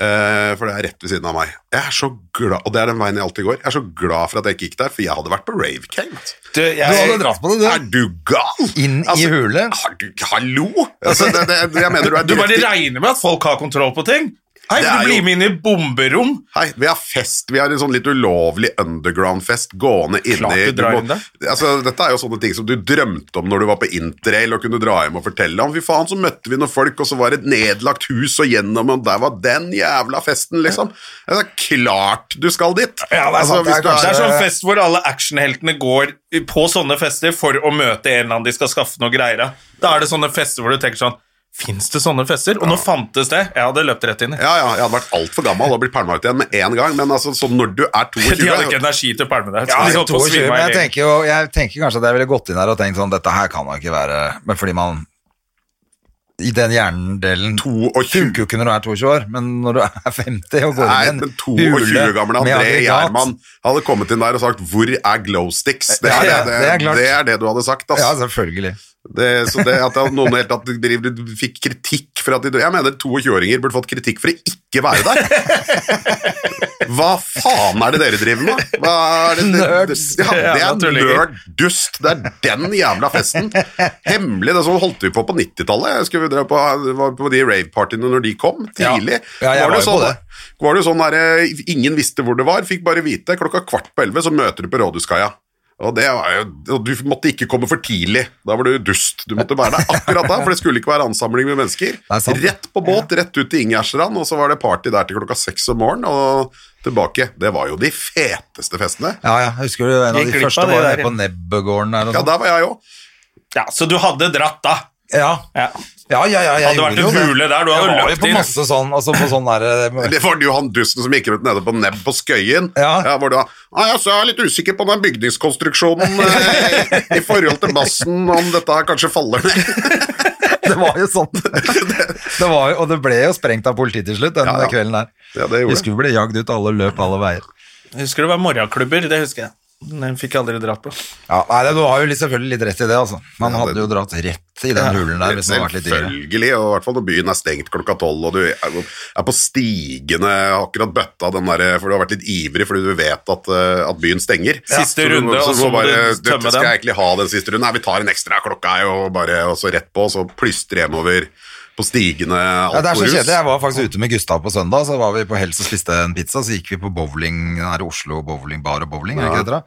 [SPEAKER 3] Eh, for det er rett ved siden av meg. Jeg er så glad, Og det er den veien jeg alltid går. Jeg er så glad for at jeg ikke gikk der, for jeg hadde vært på Rave Cave.
[SPEAKER 2] Du, jeg,
[SPEAKER 1] Du hadde dratt på det,
[SPEAKER 3] Er du gal? Altså,
[SPEAKER 1] Inn i hule.
[SPEAKER 3] Har du, hallo? Altså, det, det, jeg mener du er
[SPEAKER 2] du bare
[SPEAKER 3] direkte-
[SPEAKER 2] regner med at folk har kontroll på ting. Hei,
[SPEAKER 3] Det
[SPEAKER 2] vil
[SPEAKER 3] er
[SPEAKER 2] du bli
[SPEAKER 3] jo-
[SPEAKER 2] med inn i bomberom?
[SPEAKER 3] Hei, vi har fest. Vi har en sånn litt ulovlig underground-fest gående
[SPEAKER 2] Klart
[SPEAKER 3] inni
[SPEAKER 2] du drar
[SPEAKER 3] må-
[SPEAKER 2] inn det.
[SPEAKER 3] Altså, Dette er jo sånne ting som du drømte om når du var på interrail og kunne dra hjem og fortelle om. Fy faen, så møtte vi noen folk, og så var det et nedlagt hus, og gjennom, og der var den jævla festen, liksom. Altså, klart du skal dit! Altså,
[SPEAKER 1] Ja, det er sant,
[SPEAKER 3] hvis
[SPEAKER 1] det er
[SPEAKER 3] du
[SPEAKER 2] Det er
[SPEAKER 1] kanskje-
[SPEAKER 2] sånn fest hvor alle actionheltene går på sånne fester for å møte en eller annen de skal skaffe noe greier av. Da er det sånne fester hvor du tenker sånn Fins det sånne fester? Og nå fantes det. Jeg hadde løpt rett inn i.
[SPEAKER 3] Ja, ja, jeg hadde vært altfor gammel og blitt pælma ut igjen med en gang, men altså, så når du er 22
[SPEAKER 2] De hadde ikke energi til å pælme deg.
[SPEAKER 1] Ja,
[SPEAKER 2] så de holdt på å
[SPEAKER 1] 22,
[SPEAKER 2] svime
[SPEAKER 1] men
[SPEAKER 2] av
[SPEAKER 1] jeg
[SPEAKER 2] i legen.
[SPEAKER 1] tenker, jo, jeg tenker kanskje at jeg ville gått inn her og tenkt sånn, dette her kan da ikke være Men fordi man I den hjernedelen
[SPEAKER 3] 22
[SPEAKER 1] funker jo ikke når du er 22 år, men når du er 50 og går
[SPEAKER 3] Nei,
[SPEAKER 1] inn i
[SPEAKER 3] men
[SPEAKER 1] en
[SPEAKER 3] 22 gamle
[SPEAKER 1] med
[SPEAKER 3] André
[SPEAKER 1] aggregat.
[SPEAKER 3] Gjerman hadde kommet inn der og sagt 'Hvor er glow sticks?' Det er,
[SPEAKER 1] Ja, ja,
[SPEAKER 3] det,
[SPEAKER 1] det er
[SPEAKER 3] det,
[SPEAKER 1] klart.
[SPEAKER 3] det, er det du hadde sagt.
[SPEAKER 1] Ja,
[SPEAKER 3] Altså.
[SPEAKER 1] selvfølgelig.
[SPEAKER 3] Det, så det at noen helt tatt driver, fikk kritikk for at de Jeg mener 22-åringer burde fått kritikk for å ikke være der. Hva faen er det dere driver med? Hva er det, det, det,
[SPEAKER 1] Nerds.
[SPEAKER 3] ja, det
[SPEAKER 2] Jævla
[SPEAKER 3] er
[SPEAKER 2] tullinger.
[SPEAKER 3] nerd-dust. Det er den jævla festen. Hemmelig. Det er sånn holdt vi på på 90-tallet. Jeg skulle dra på, var på de rave-partyene når de kom, tidlig.
[SPEAKER 1] Ja, jeg
[SPEAKER 3] det
[SPEAKER 1] var jo på
[SPEAKER 3] sånn,
[SPEAKER 1] det.
[SPEAKER 3] var det jo sånn der, eh, Ingen visste hvor det var, fikk bare vite. Klokka kvart på elleve så møter du på Rådhuskaia. Og, det var jo, og du måtte ikke komme for tidlig. Da var du dust. Du måtte være der akkurat da, for det skulle ikke være ansamling med mennesker.
[SPEAKER 1] er sant.
[SPEAKER 3] Rett på båt, rett ut til Ingjerdstrand, og så var det party der til klokka seks om morgenen og tilbake. Det var jo de feteste festene.
[SPEAKER 1] Ja, ja, jeg husker du en av
[SPEAKER 2] Gikk
[SPEAKER 1] de
[SPEAKER 2] glipp
[SPEAKER 1] første
[SPEAKER 2] av det
[SPEAKER 1] var
[SPEAKER 2] der,
[SPEAKER 1] nede på Nebbegården der og
[SPEAKER 3] Ja,
[SPEAKER 1] sånn.
[SPEAKER 3] der var jeg òg.
[SPEAKER 2] Ja, så du hadde dratt, da.
[SPEAKER 1] Ja,
[SPEAKER 2] Ja.
[SPEAKER 1] ja, ja, ja, jeg
[SPEAKER 2] Hadde vært
[SPEAKER 1] gjorde jo
[SPEAKER 2] en
[SPEAKER 1] det.
[SPEAKER 2] hule der, du
[SPEAKER 1] Jeg
[SPEAKER 2] hadde
[SPEAKER 1] var jo
[SPEAKER 2] løpt
[SPEAKER 1] på
[SPEAKER 2] inn.
[SPEAKER 1] masse sånn, altså på sånn der
[SPEAKER 3] Det var jo han dusten som gikk rundt nede på nebb på Skøyen.
[SPEAKER 1] Ja.
[SPEAKER 3] hvor det var, ah, ja, så jeg er litt usikker på den bygningskonstruksjonen eh, i forhold til massen, om dette her kanskje faller ned.
[SPEAKER 1] Det var jo sånn. Det var jo, og det ble jo sprengt av politiet til slutt, den
[SPEAKER 3] Ja, ja.
[SPEAKER 1] kvelden der.
[SPEAKER 3] Ja, det gjorde
[SPEAKER 1] Vi skulle bli jagd ut, alle løp alle veier.
[SPEAKER 2] Jeg husker det var morgenklubber, det husker jeg. Den fikk jeg aldri dratt på.
[SPEAKER 1] Ja, nei, det- Du har jo litt- selvfølgelig litt rett i det, altså. Man
[SPEAKER 3] Ja, det-
[SPEAKER 1] hadde jo dratt rett i den hulen der hvis man hadde vært litt yngre.
[SPEAKER 3] Selvfølgelig, og i hvert fall når byen er stengt klokka tolv, og du er på stigene akkurat bøtta den der, for du har vært litt ivrig fordi du vet at, eh, at byen stenger.
[SPEAKER 2] Siste
[SPEAKER 3] du må-
[SPEAKER 2] runde, og så må
[SPEAKER 3] bare,
[SPEAKER 2] du tømme
[SPEAKER 3] Skal
[SPEAKER 2] den."
[SPEAKER 3] jeg egentlig ha den siste runden? Nei, vi tar en ekstra klokka, er jo bare og så rett på, og så plystre hjemover på stigene. alt
[SPEAKER 1] Ja, det er så
[SPEAKER 3] på rus.
[SPEAKER 1] kjedelig. Jeg var faktisk ute med Gustav på søndag, så var vi på Hels og spiste en pizza, så gikk vi på bowling, den her Oslo bowlingbar og bowling, er det ikke det dere?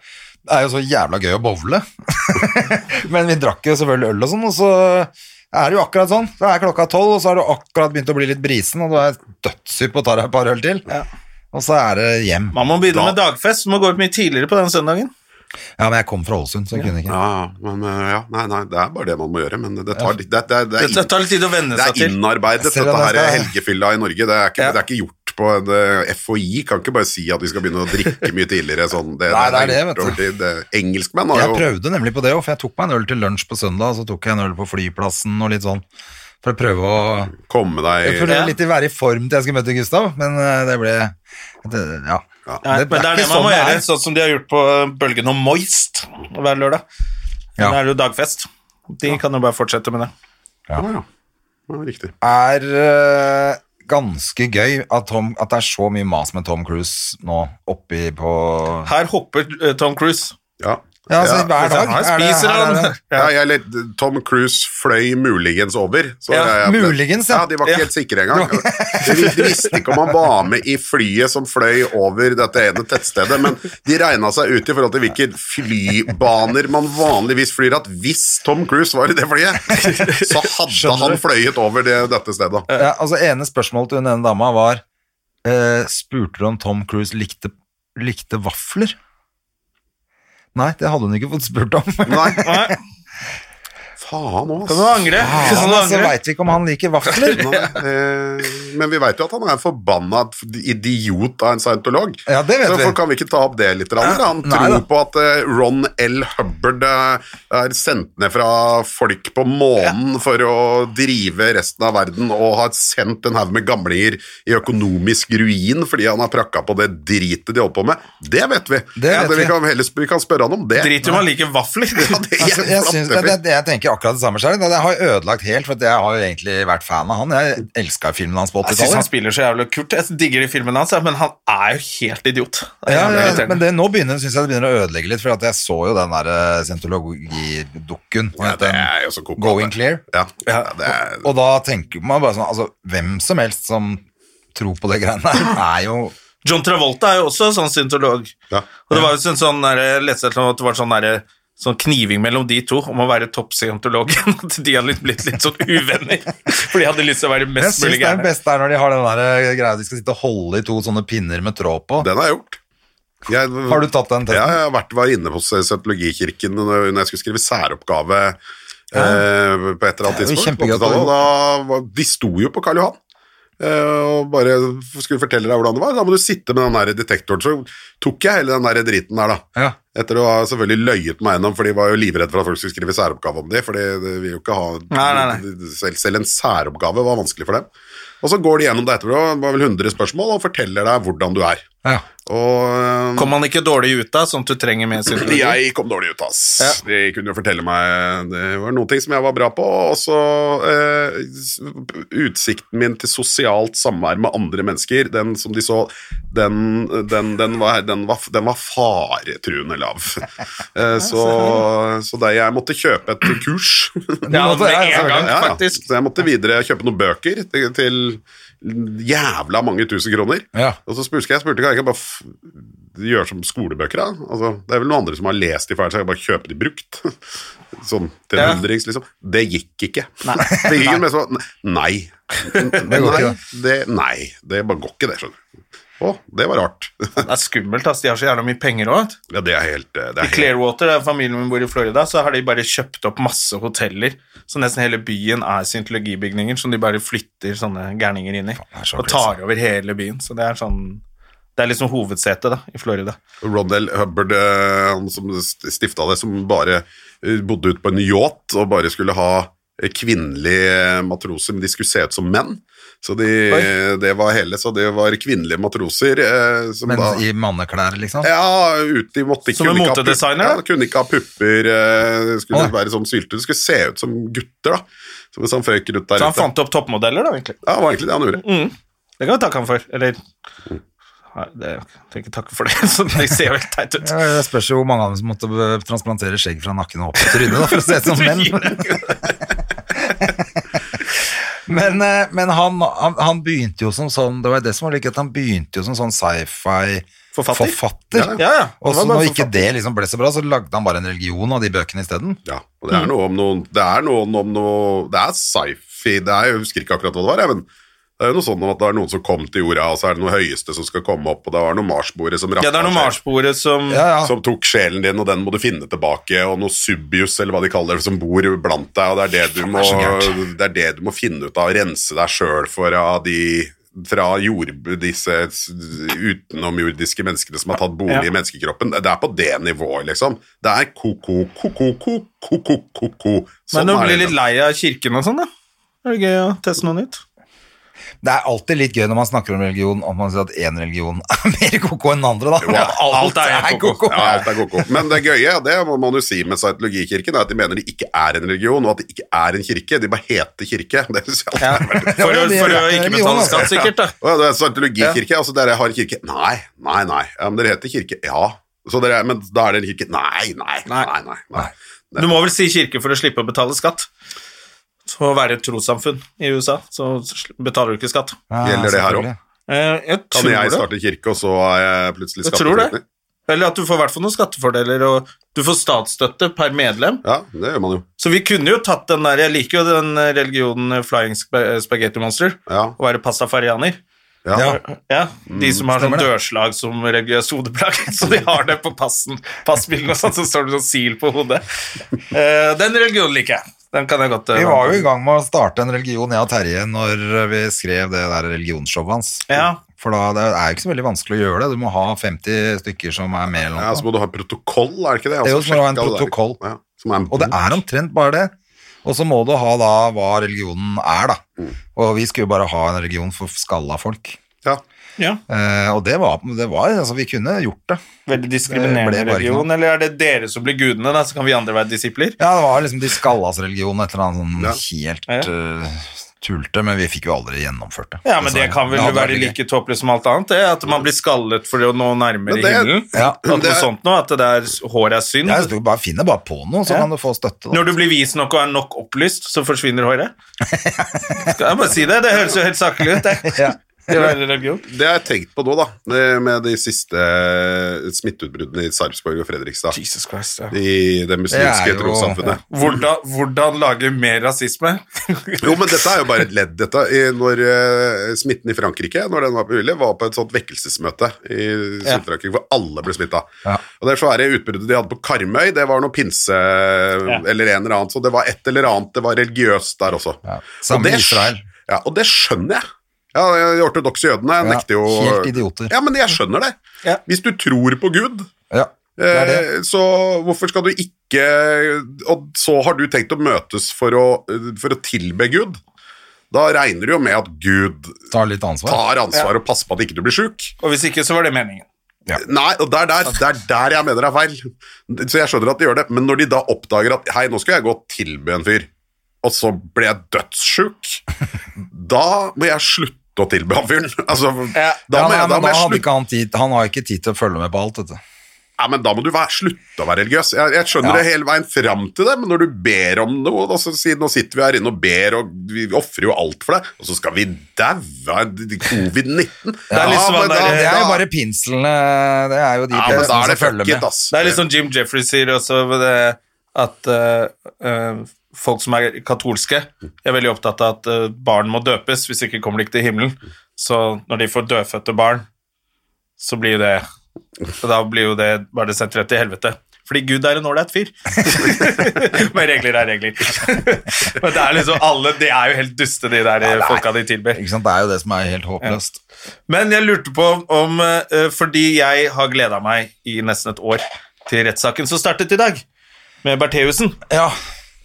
[SPEAKER 1] Det er jo så jævla gøy å bowle. Men vi drakk jo selvfølgelig øl og sånn, og så er det jo akkurat sånn. Så er klokka tolv, og så har du akkurat begynt å bli litt brisen, og du er dødshypp og tar deg et par øl til. Og så er det hjem.
[SPEAKER 2] Man må begynne med dagfest, man må gå ut mye tidligere på den søndagen.
[SPEAKER 1] Ja, men jeg kom fra Ålesund, så jeg kunne ikke.
[SPEAKER 3] Ja, men eh, ja, nei, nei, det er bare det man må gjøre, men det tar litt det, det, det,
[SPEAKER 2] Det tar litt tid å venne
[SPEAKER 3] Det
[SPEAKER 2] seg
[SPEAKER 3] er
[SPEAKER 2] til.
[SPEAKER 3] innarbeidet,
[SPEAKER 1] Selv om
[SPEAKER 3] dette her
[SPEAKER 1] det
[SPEAKER 3] er
[SPEAKER 1] skal-
[SPEAKER 3] helgefylla i Norge. Det er ikke,
[SPEAKER 2] Ja.
[SPEAKER 3] det er ikke gjort på en eh, FHI. Kan ikke bare si at vi skal begynne å drikke mye tidligere. Sånn. Det,
[SPEAKER 1] Nei, det er
[SPEAKER 3] gjort
[SPEAKER 1] det, vet du.
[SPEAKER 3] over tid. Det- Engelskmenn har
[SPEAKER 1] Jeg
[SPEAKER 3] jo
[SPEAKER 1] prøvde nemlig på det òg, for jeg tok meg en øl til lunsj på søndag, og så tok jeg en øl på flyplassen og litt sånn, for å prøve å
[SPEAKER 3] kommet
[SPEAKER 1] Jeg
[SPEAKER 3] deg
[SPEAKER 1] prøvde
[SPEAKER 2] Ja.
[SPEAKER 1] litt å være i form til jeg skulle møte Gustav, men eh, det ble det, Ja.
[SPEAKER 2] Nei, men det er det
[SPEAKER 1] ikke
[SPEAKER 2] man må
[SPEAKER 1] sånn
[SPEAKER 2] gjøre,
[SPEAKER 1] det er.
[SPEAKER 2] sånn som de har gjort på Bølgen og Moist hver lørdag.
[SPEAKER 1] Ja.
[SPEAKER 2] Da er det jo dagfest. De kan jo bare fortsette med det.
[SPEAKER 3] Ja, ja. Ja, Riktig.
[SPEAKER 1] Er eh, ganske gøy at, Tom, at det er så mye mas med Tom Cruise nå oppi på
[SPEAKER 2] Her hopper eh, Tom Cruise.
[SPEAKER 3] Ja.
[SPEAKER 1] Ja, altså
[SPEAKER 3] Ja.
[SPEAKER 1] hver dag.
[SPEAKER 2] Her
[SPEAKER 1] er det-
[SPEAKER 2] spiser
[SPEAKER 1] her er
[SPEAKER 2] han.
[SPEAKER 1] det-
[SPEAKER 3] Ja, jeg, eller Tom Cruise fløy muligens over. Så
[SPEAKER 2] Ja,
[SPEAKER 3] jeg- jeg-
[SPEAKER 1] muligens, ja.
[SPEAKER 3] ja. De var ikke
[SPEAKER 2] Ja.
[SPEAKER 3] helt sikre engang. De, vi- de visste ikke om han var med i flyet som fløy over dette ene tettstedet, men de regna seg ut i forhold til hvilke flybaner man vanligvis flyr, at hvis Tom Cruise var i det flyet, så hadde han fløyet over det, dette stedet.
[SPEAKER 1] Ja, altså Ene spørsmål til hun ene dama var eh, Spurte du om Tom Cruise likte, likte vafler? Nei, det hadde hun ikke fått spurt om.
[SPEAKER 3] Nei,
[SPEAKER 2] Nei,
[SPEAKER 3] faen òg,
[SPEAKER 2] kan du angre?
[SPEAKER 3] Ah.
[SPEAKER 2] Kan
[SPEAKER 1] Faen,
[SPEAKER 2] du
[SPEAKER 1] altså,
[SPEAKER 2] angre?
[SPEAKER 1] veit vi ikke om han liker vafler.
[SPEAKER 3] eh, Men vi veit jo at han er en forbanna idiot av en scientolog.
[SPEAKER 1] Ja, det vet
[SPEAKER 3] Så
[SPEAKER 1] vi.
[SPEAKER 3] Hvorfor kan vi ikke ta opp det litt? Ranne? Han
[SPEAKER 1] Nei,
[SPEAKER 3] tror
[SPEAKER 1] da.
[SPEAKER 3] på at eh, Ron L. Hubbard eh, er sendt ned fra folk på månen for å drive resten av verden, og har sendt en haug med gamlinger i økonomisk ruin fordi han har prakka på det dritet de holder på med. Det vet vi.
[SPEAKER 1] Det vet
[SPEAKER 3] vi.
[SPEAKER 1] vi.
[SPEAKER 3] Kan heller, sp- vi kan spørre han om det.
[SPEAKER 2] Drit i om han liker vafler.
[SPEAKER 3] Ja, det er
[SPEAKER 1] Altså, jeg,
[SPEAKER 3] jævla
[SPEAKER 1] syns,
[SPEAKER 3] tøffing.
[SPEAKER 1] jeg, jeg, jeg tenker akkurat det samme selv. Det har jeg ødelagt helt, for at jeg har jo egentlig vært fan av han. Jeg elska filmen hans på
[SPEAKER 2] Jeg syns han
[SPEAKER 1] 80-tallet.
[SPEAKER 2] spiller så jævlig kult. Jeg digger de filmene hans, men han er jo helt idiot. Det er
[SPEAKER 1] Ja,
[SPEAKER 2] jævlig
[SPEAKER 1] ja,
[SPEAKER 2] irriterende.
[SPEAKER 1] men det, nå begynner, synes jeg det begynner å ødelegge litt, for at jeg så jo den der eh, scientologidukken. hva
[SPEAKER 3] Ja,
[SPEAKER 1] heter
[SPEAKER 3] det
[SPEAKER 1] den?
[SPEAKER 3] er jo så koko.
[SPEAKER 1] Going Clear.
[SPEAKER 3] Ja, ja, det er,
[SPEAKER 1] Og da tenker man bare sånn Altså, hvem som helst som tror på det greiene der, er jo
[SPEAKER 2] John Travolta er jo også sånn syntolog.
[SPEAKER 3] Ja.
[SPEAKER 2] Og det var jo en sånn der, jeg leste et eller annet at det var sånn der, sånn kniving mellom de to om å være toppscientologen. At de hadde litt- blitt litt sånn uvenner. For de hadde lyst til å være
[SPEAKER 1] Jeg
[SPEAKER 2] mest
[SPEAKER 1] syns
[SPEAKER 2] mulig
[SPEAKER 1] det er
[SPEAKER 2] gærne.
[SPEAKER 1] beste er når de har den der eh, greia de skal sitte og holde i to sånne pinner med tråd på.
[SPEAKER 3] den har jeg gjort. Jeg,
[SPEAKER 1] Har du tatt den testen?
[SPEAKER 3] Ja, jeg har vært, var inne hos eh, Scientologikirken når når jeg skulle skrive særoppgave eh, på et eller annet
[SPEAKER 1] Det er jo
[SPEAKER 3] tidspunkt. på
[SPEAKER 1] kjempegøy at du-
[SPEAKER 3] 80-tallet, og da var- De sto jo på Karl Johan. eh, Og bare skulle fortelle deg hvordan det var. Da må du sitte med den der detektoren. Så tok jeg hele den der driten der, da.
[SPEAKER 1] Ja.
[SPEAKER 3] Etter å ha selvfølgelig løyet meg gjennom, for de var jo livredd for at folk skulle skrive særoppgave om det. For de de vil jo ikke ha
[SPEAKER 2] Nei, nei,
[SPEAKER 3] Selv, selv en særoppgave var vanskelig for dem. Og så går de gjennom det etterpå, det var vel 100 spørsmål, og forteller deg hvordan du er.
[SPEAKER 1] Ja.
[SPEAKER 3] Og eh,
[SPEAKER 2] Kom han ikke dårlig ut da, sånn at du trenger mer
[SPEAKER 3] Men
[SPEAKER 2] syntologi?
[SPEAKER 3] Jeg kom dårlig ut, ass. De kunne jo fortelle meg Det var noen ting som jeg var bra på, og så eh, s- Utsikten min til sosialt samvær med andre mennesker, den som de så, den, den, den, var, den, var, den var faretruende lav. Eh, så så det, jeg måtte kjøpe et kurs.
[SPEAKER 2] Ja,
[SPEAKER 1] Men altså,
[SPEAKER 2] med
[SPEAKER 1] jeg-
[SPEAKER 2] en gang,
[SPEAKER 3] Ja, ja.
[SPEAKER 2] faktisk.
[SPEAKER 3] Så jeg måtte videre kjøpe noen bøker til, til jævla mange tusen kroner.
[SPEAKER 1] Ja.
[SPEAKER 3] Og så spurte jeg, spurte jeg, kan jeg ikke bare f gjøre som skolebøker, da? Altså, det er vel noen andre som har lest de feil, så jeg kan bare kjøpe de brukt. Sånn til en
[SPEAKER 2] Ja.
[SPEAKER 3] hundrings, liksom. Det gikk ikke. Det gikk ikke men så, nei. Det
[SPEAKER 1] går
[SPEAKER 3] nei,
[SPEAKER 1] ikke,
[SPEAKER 3] det. Nei, det bare går ikke, det, skjønner du. Å, det var rart.
[SPEAKER 2] Det er skummelt, ass. De har så jævla mye penger òg.
[SPEAKER 3] Ja, det er helt eh, det
[SPEAKER 2] I
[SPEAKER 3] er helt-
[SPEAKER 2] Clearwater, der familien min bor i Florida, så har de bare kjøpt opp masse hoteller. Så nesten hele byen er syntologibygninger som de bare flytter sånne gærninger inn i.
[SPEAKER 1] er så
[SPEAKER 2] Og tar over hele byen. Så det er sånn Det er liksom hovedsetet da, i Florida.
[SPEAKER 3] Rondell Hubbard, eh, han som stifta det, som bare eh, bodde ute på en yacht og bare skulle ha eh, eh, kvinnelige eh, matroser, men de skulle se ut som menn. Så de,
[SPEAKER 1] Oi.
[SPEAKER 3] det var hele, så det var kvinnelige matroser eh, som
[SPEAKER 1] Men
[SPEAKER 3] da
[SPEAKER 1] i manneklær, liksom?
[SPEAKER 3] ja, ut, de måtte ikke
[SPEAKER 2] Som en
[SPEAKER 3] kunne ikke ha pup-
[SPEAKER 2] motedesigner, da?
[SPEAKER 3] Ja, kunne ikke ha pupper, eh, skulle
[SPEAKER 1] Å, nei.
[SPEAKER 3] være sånn sylte. Det skulle se ut som gutter, da. Som en sånn frøken ut der
[SPEAKER 2] Så han fant opp toppmodeller, da, egentlig.
[SPEAKER 3] Ja, det var egentlig det han gjorde.
[SPEAKER 2] Det kan vi takke ham for. Eller Nei, det trenger ikke takke for det. Så det ser jo helt teit ut.
[SPEAKER 1] Ja, Det spørs jo hvor mange av dem som måtte eh, transplantere skjegg fra nakken og opp til trynet, da, for å se ut som menn. Men, eh, men han, han, han begynte jo som sånn Det var jo det som var like, at han begynte jo som sånn
[SPEAKER 2] Forfatter?
[SPEAKER 1] sci-fi-forfatter.
[SPEAKER 2] Ja, ja. Han
[SPEAKER 1] Og
[SPEAKER 2] var
[SPEAKER 1] så
[SPEAKER 2] bare
[SPEAKER 1] når ikke
[SPEAKER 2] forfatter.
[SPEAKER 1] det liksom ble så bra, så lagde han bare en religion av de bøkene isteden.
[SPEAKER 3] Ja, og det er noe om noen Det er noen om noe Det er sci-fi det er, Jeg husker ikke akkurat hva det var, jeg, men det er jo noe sånn om at det er noen som kom til jorda, og så er det noe høyeste som skal komme opp, og det var noe marsboere som
[SPEAKER 2] Ja, det er noe
[SPEAKER 3] sjel-
[SPEAKER 2] marsboere som
[SPEAKER 1] Ja, ja.
[SPEAKER 3] Som tok sjelen din, og den må du finne tilbake, og noe subjus, eller hva de kaller det, som bor blant deg, og det er det du må, det er det du må finne ut av, rense deg sjøl for av de fra jord, disse s- utenomjordiske menneskene som har tatt bolig
[SPEAKER 2] Ja.
[SPEAKER 3] i menneskekroppen. Det er på det nivået, liksom. Det er ko-ko, ko-ko, ko-ko, ko-ko.
[SPEAKER 2] Men
[SPEAKER 3] Sånn
[SPEAKER 2] nå
[SPEAKER 3] er
[SPEAKER 2] blir
[SPEAKER 3] det.
[SPEAKER 2] litt lei av kirken og sånn, da. Er det gøy å teste noe nytt?
[SPEAKER 1] Det er alltid litt gøy når man snakker om religion, om man sier at én religion er mer koko enn den andre, da.
[SPEAKER 3] Ja,
[SPEAKER 2] alt er koko.
[SPEAKER 3] Ja, alt er koko. Men det gøye, det må man jo si med Scientologikirken, er at de mener de ikke er en religion, og at de ikke er en kirke. De bare heter kirke. Det synes jeg alltid er veldig
[SPEAKER 2] For å,
[SPEAKER 1] det er
[SPEAKER 2] for å
[SPEAKER 1] religion,
[SPEAKER 2] ikke betale
[SPEAKER 1] altså.
[SPEAKER 2] skatt, sikkert, da.
[SPEAKER 3] Å ja, det er Scientologikirke, altså dere har kirke Nei, nei, nei. Ja, men dere heter kirke, ja. Så dere, er- men da er dere en kirke Nei, nei, nei,
[SPEAKER 2] Nei.
[SPEAKER 3] nei. nei,
[SPEAKER 2] Du må vel si kirke for å slippe å betale skatt. For å være et trossamfunn i USA, så sl- betaler du ikke skatt.
[SPEAKER 3] Gjelder det her også?
[SPEAKER 2] Eh, Jeg
[SPEAKER 3] Kan jeg
[SPEAKER 2] tror det.
[SPEAKER 3] starte kirke, og så er jeg plutselig
[SPEAKER 2] Jeg tror det.
[SPEAKER 3] skatteflyktning?
[SPEAKER 2] Eller at du får i hvert fall noen skattefordeler, og du får statsstøtte per medlem.
[SPEAKER 3] Ja, det gjør man jo.
[SPEAKER 2] Så vi kunne jo tatt den der Jeg liker jo den eh, religionen eh, Flying Sp- Spaghetti Monster.
[SPEAKER 3] Ja,
[SPEAKER 2] Å være pastafarianer.
[SPEAKER 3] ja.
[SPEAKER 1] Ja.
[SPEAKER 2] Ja, De som har sånn
[SPEAKER 1] Mm, stemmer det.
[SPEAKER 2] dørslag som religiøst hodeplagg. Så de har det på passen, passbilen og sånn, så står det sånn sil på hodet. Eh, den religionen liker jeg. Den kan jeg godt eh,
[SPEAKER 1] Vi var jo i gang med å starte en religion, jeg og Terje, når vi skrev det der religionsshowet hans.
[SPEAKER 2] Ja.
[SPEAKER 1] For da det er jo ikke så veldig vanskelig å gjøre det. Du må ha 50 stykker som er med.
[SPEAKER 3] ja,
[SPEAKER 1] Eller
[SPEAKER 3] så
[SPEAKER 1] noe.
[SPEAKER 3] må du ha en protokoll, er det ikke det?
[SPEAKER 1] Det er jo som å ha en
[SPEAKER 3] sjekke alle der.
[SPEAKER 1] protokoll.
[SPEAKER 3] Ja, som er en
[SPEAKER 1] Og det er omtrent bare det. Og så må du ha da hva religionen er, da.
[SPEAKER 3] Mm.
[SPEAKER 1] Og vi skulle jo bare ha en religion for skalla folk.
[SPEAKER 3] Ja.
[SPEAKER 2] ja.
[SPEAKER 1] Eh, og det var, det var altså, Vi kunne gjort det.
[SPEAKER 2] Veldig
[SPEAKER 1] Det
[SPEAKER 2] diskriminerende
[SPEAKER 1] ble bare ikke
[SPEAKER 2] religion. Eller er det dere som blir gudene, da, så kan vi andre være disipler?
[SPEAKER 1] Ja, det var liksom de skallas religion, et eller annet sånn
[SPEAKER 3] Ja.
[SPEAKER 1] helt
[SPEAKER 2] Ja,
[SPEAKER 1] eh, tulte, men vi fikk jo aldri gjennomført Altså, det.
[SPEAKER 2] Ja, men det kan vel
[SPEAKER 1] hadde vært
[SPEAKER 2] være
[SPEAKER 1] gøy.
[SPEAKER 2] like tåpelig som alt annet, det. At man blir skallet for å nå nærmere
[SPEAKER 3] Men det-
[SPEAKER 2] himmelen.
[SPEAKER 1] Ja.
[SPEAKER 2] At noe
[SPEAKER 3] Det-
[SPEAKER 2] sånt nå, at det der håret er synd.
[SPEAKER 1] Ja, så du bare finner bare på noe, så
[SPEAKER 2] Ja.
[SPEAKER 1] kan du få støtte. Da.
[SPEAKER 2] Når du blir vis nok og er nok opplyst, så forsvinner håret. Skal jeg bare si det? Det høres jo helt saklig ut, det.
[SPEAKER 1] Ja.
[SPEAKER 2] Det er veldig religion.
[SPEAKER 3] Det har jeg tenkt på nå, da, med de siste eh, smitteutbruddene i Sarpsborg og Fredrikstad.
[SPEAKER 2] Jesus Christ, ja.
[SPEAKER 3] I det
[SPEAKER 1] Det
[SPEAKER 3] muslimske
[SPEAKER 1] er jo-
[SPEAKER 3] trossamfunnet.
[SPEAKER 2] Hvordan, hvordan lage mer rasisme?
[SPEAKER 3] Jo, men dette er jo bare et ledd, dette. I, når eh, smitten i Frankrike, når den var på Ulle, var på et sånt vekkelsesmøte i
[SPEAKER 2] Ja.
[SPEAKER 3] Sør-Frankrike, hvor alle ble smitta.
[SPEAKER 1] Ja.
[SPEAKER 3] Og det svære utbruddet de hadde på Karmøy, det var noe pinse eller en eller annen, så det var et eller annet, det var religiøst der også.
[SPEAKER 1] Ja. Samme
[SPEAKER 3] Og det-
[SPEAKER 1] i Israel.
[SPEAKER 3] Ja, og det skjønner jeg. Ja, de ortodokse jødene
[SPEAKER 1] Ja,
[SPEAKER 3] nekter jo
[SPEAKER 1] helt idioter.
[SPEAKER 3] Ja, men jeg skjønner det.
[SPEAKER 2] Ja.
[SPEAKER 3] Hvis du tror på Gud,
[SPEAKER 1] Ja. Det er det.
[SPEAKER 3] Eh, Så hvorfor skal du ikke Og så har du tenkt å møtes for å, for å tilbe Gud. Da regner du jo med at Gud
[SPEAKER 1] Ta litt ansvar.
[SPEAKER 3] tar ansvar og passer på at ikke du blir sjuk.
[SPEAKER 2] Og hvis ikke, så var det meningen.
[SPEAKER 3] Nei, og det er der, det er der jeg mener det er feil. Så jeg skjønner at de gjør det, men når de da oppdager at hei, nå skal jeg gå og tilbe en fyr, og så ble jeg dødssjuk, da må jeg slutte å tilbe han fyren. Altså,
[SPEAKER 2] Ja.
[SPEAKER 1] ja,
[SPEAKER 3] da må
[SPEAKER 1] nei,
[SPEAKER 3] jeg,
[SPEAKER 1] men da
[SPEAKER 3] da må jeg
[SPEAKER 1] hadde
[SPEAKER 3] slutte
[SPEAKER 1] ikke han tid Han har ikke tid til å følge med på alt, vet du.
[SPEAKER 3] Ja, men da må du være, slutte å være religiøs. Jeg, jeg skjønner
[SPEAKER 1] Ja.
[SPEAKER 3] det hele veien fram til det, men når du ber om noe, da, så sier, nå sitter vi her inne og ber, og vi ofrer jo alt for det, og så skal vi daue av covid-19.
[SPEAKER 2] Det er liksom han
[SPEAKER 3] men
[SPEAKER 2] der-
[SPEAKER 3] da-
[SPEAKER 1] Det er jo
[SPEAKER 3] da-
[SPEAKER 1] bare pinslene Det er jo de
[SPEAKER 3] ja, men da
[SPEAKER 1] pinslene
[SPEAKER 3] er det
[SPEAKER 1] som følger
[SPEAKER 3] fucket, altså.
[SPEAKER 1] med.
[SPEAKER 3] ass.
[SPEAKER 2] Det er litt sånn Jim Jeffrey sier også med det, at eh, eh, folk som er katolske, er veldig opptatt av at eh, barn må døpes, hvis ikke kommer de ikke til himmelen. Så når de får dødfødte barn, så blir jo det så Da blir jo det bare det sendt rett til helvete. Fordi Gud er en ålreit fyr. Men regler er regler. Men det er liksom alle De er jo helt duste, de der folka de tilber.
[SPEAKER 1] Ikke sant? Det er jo det som er helt håpløst.
[SPEAKER 2] Men jeg lurte på om eh, Fordi jeg har gleda meg i nesten et år til rettssaken som startet i dag, med Bertheussen.
[SPEAKER 1] Ja.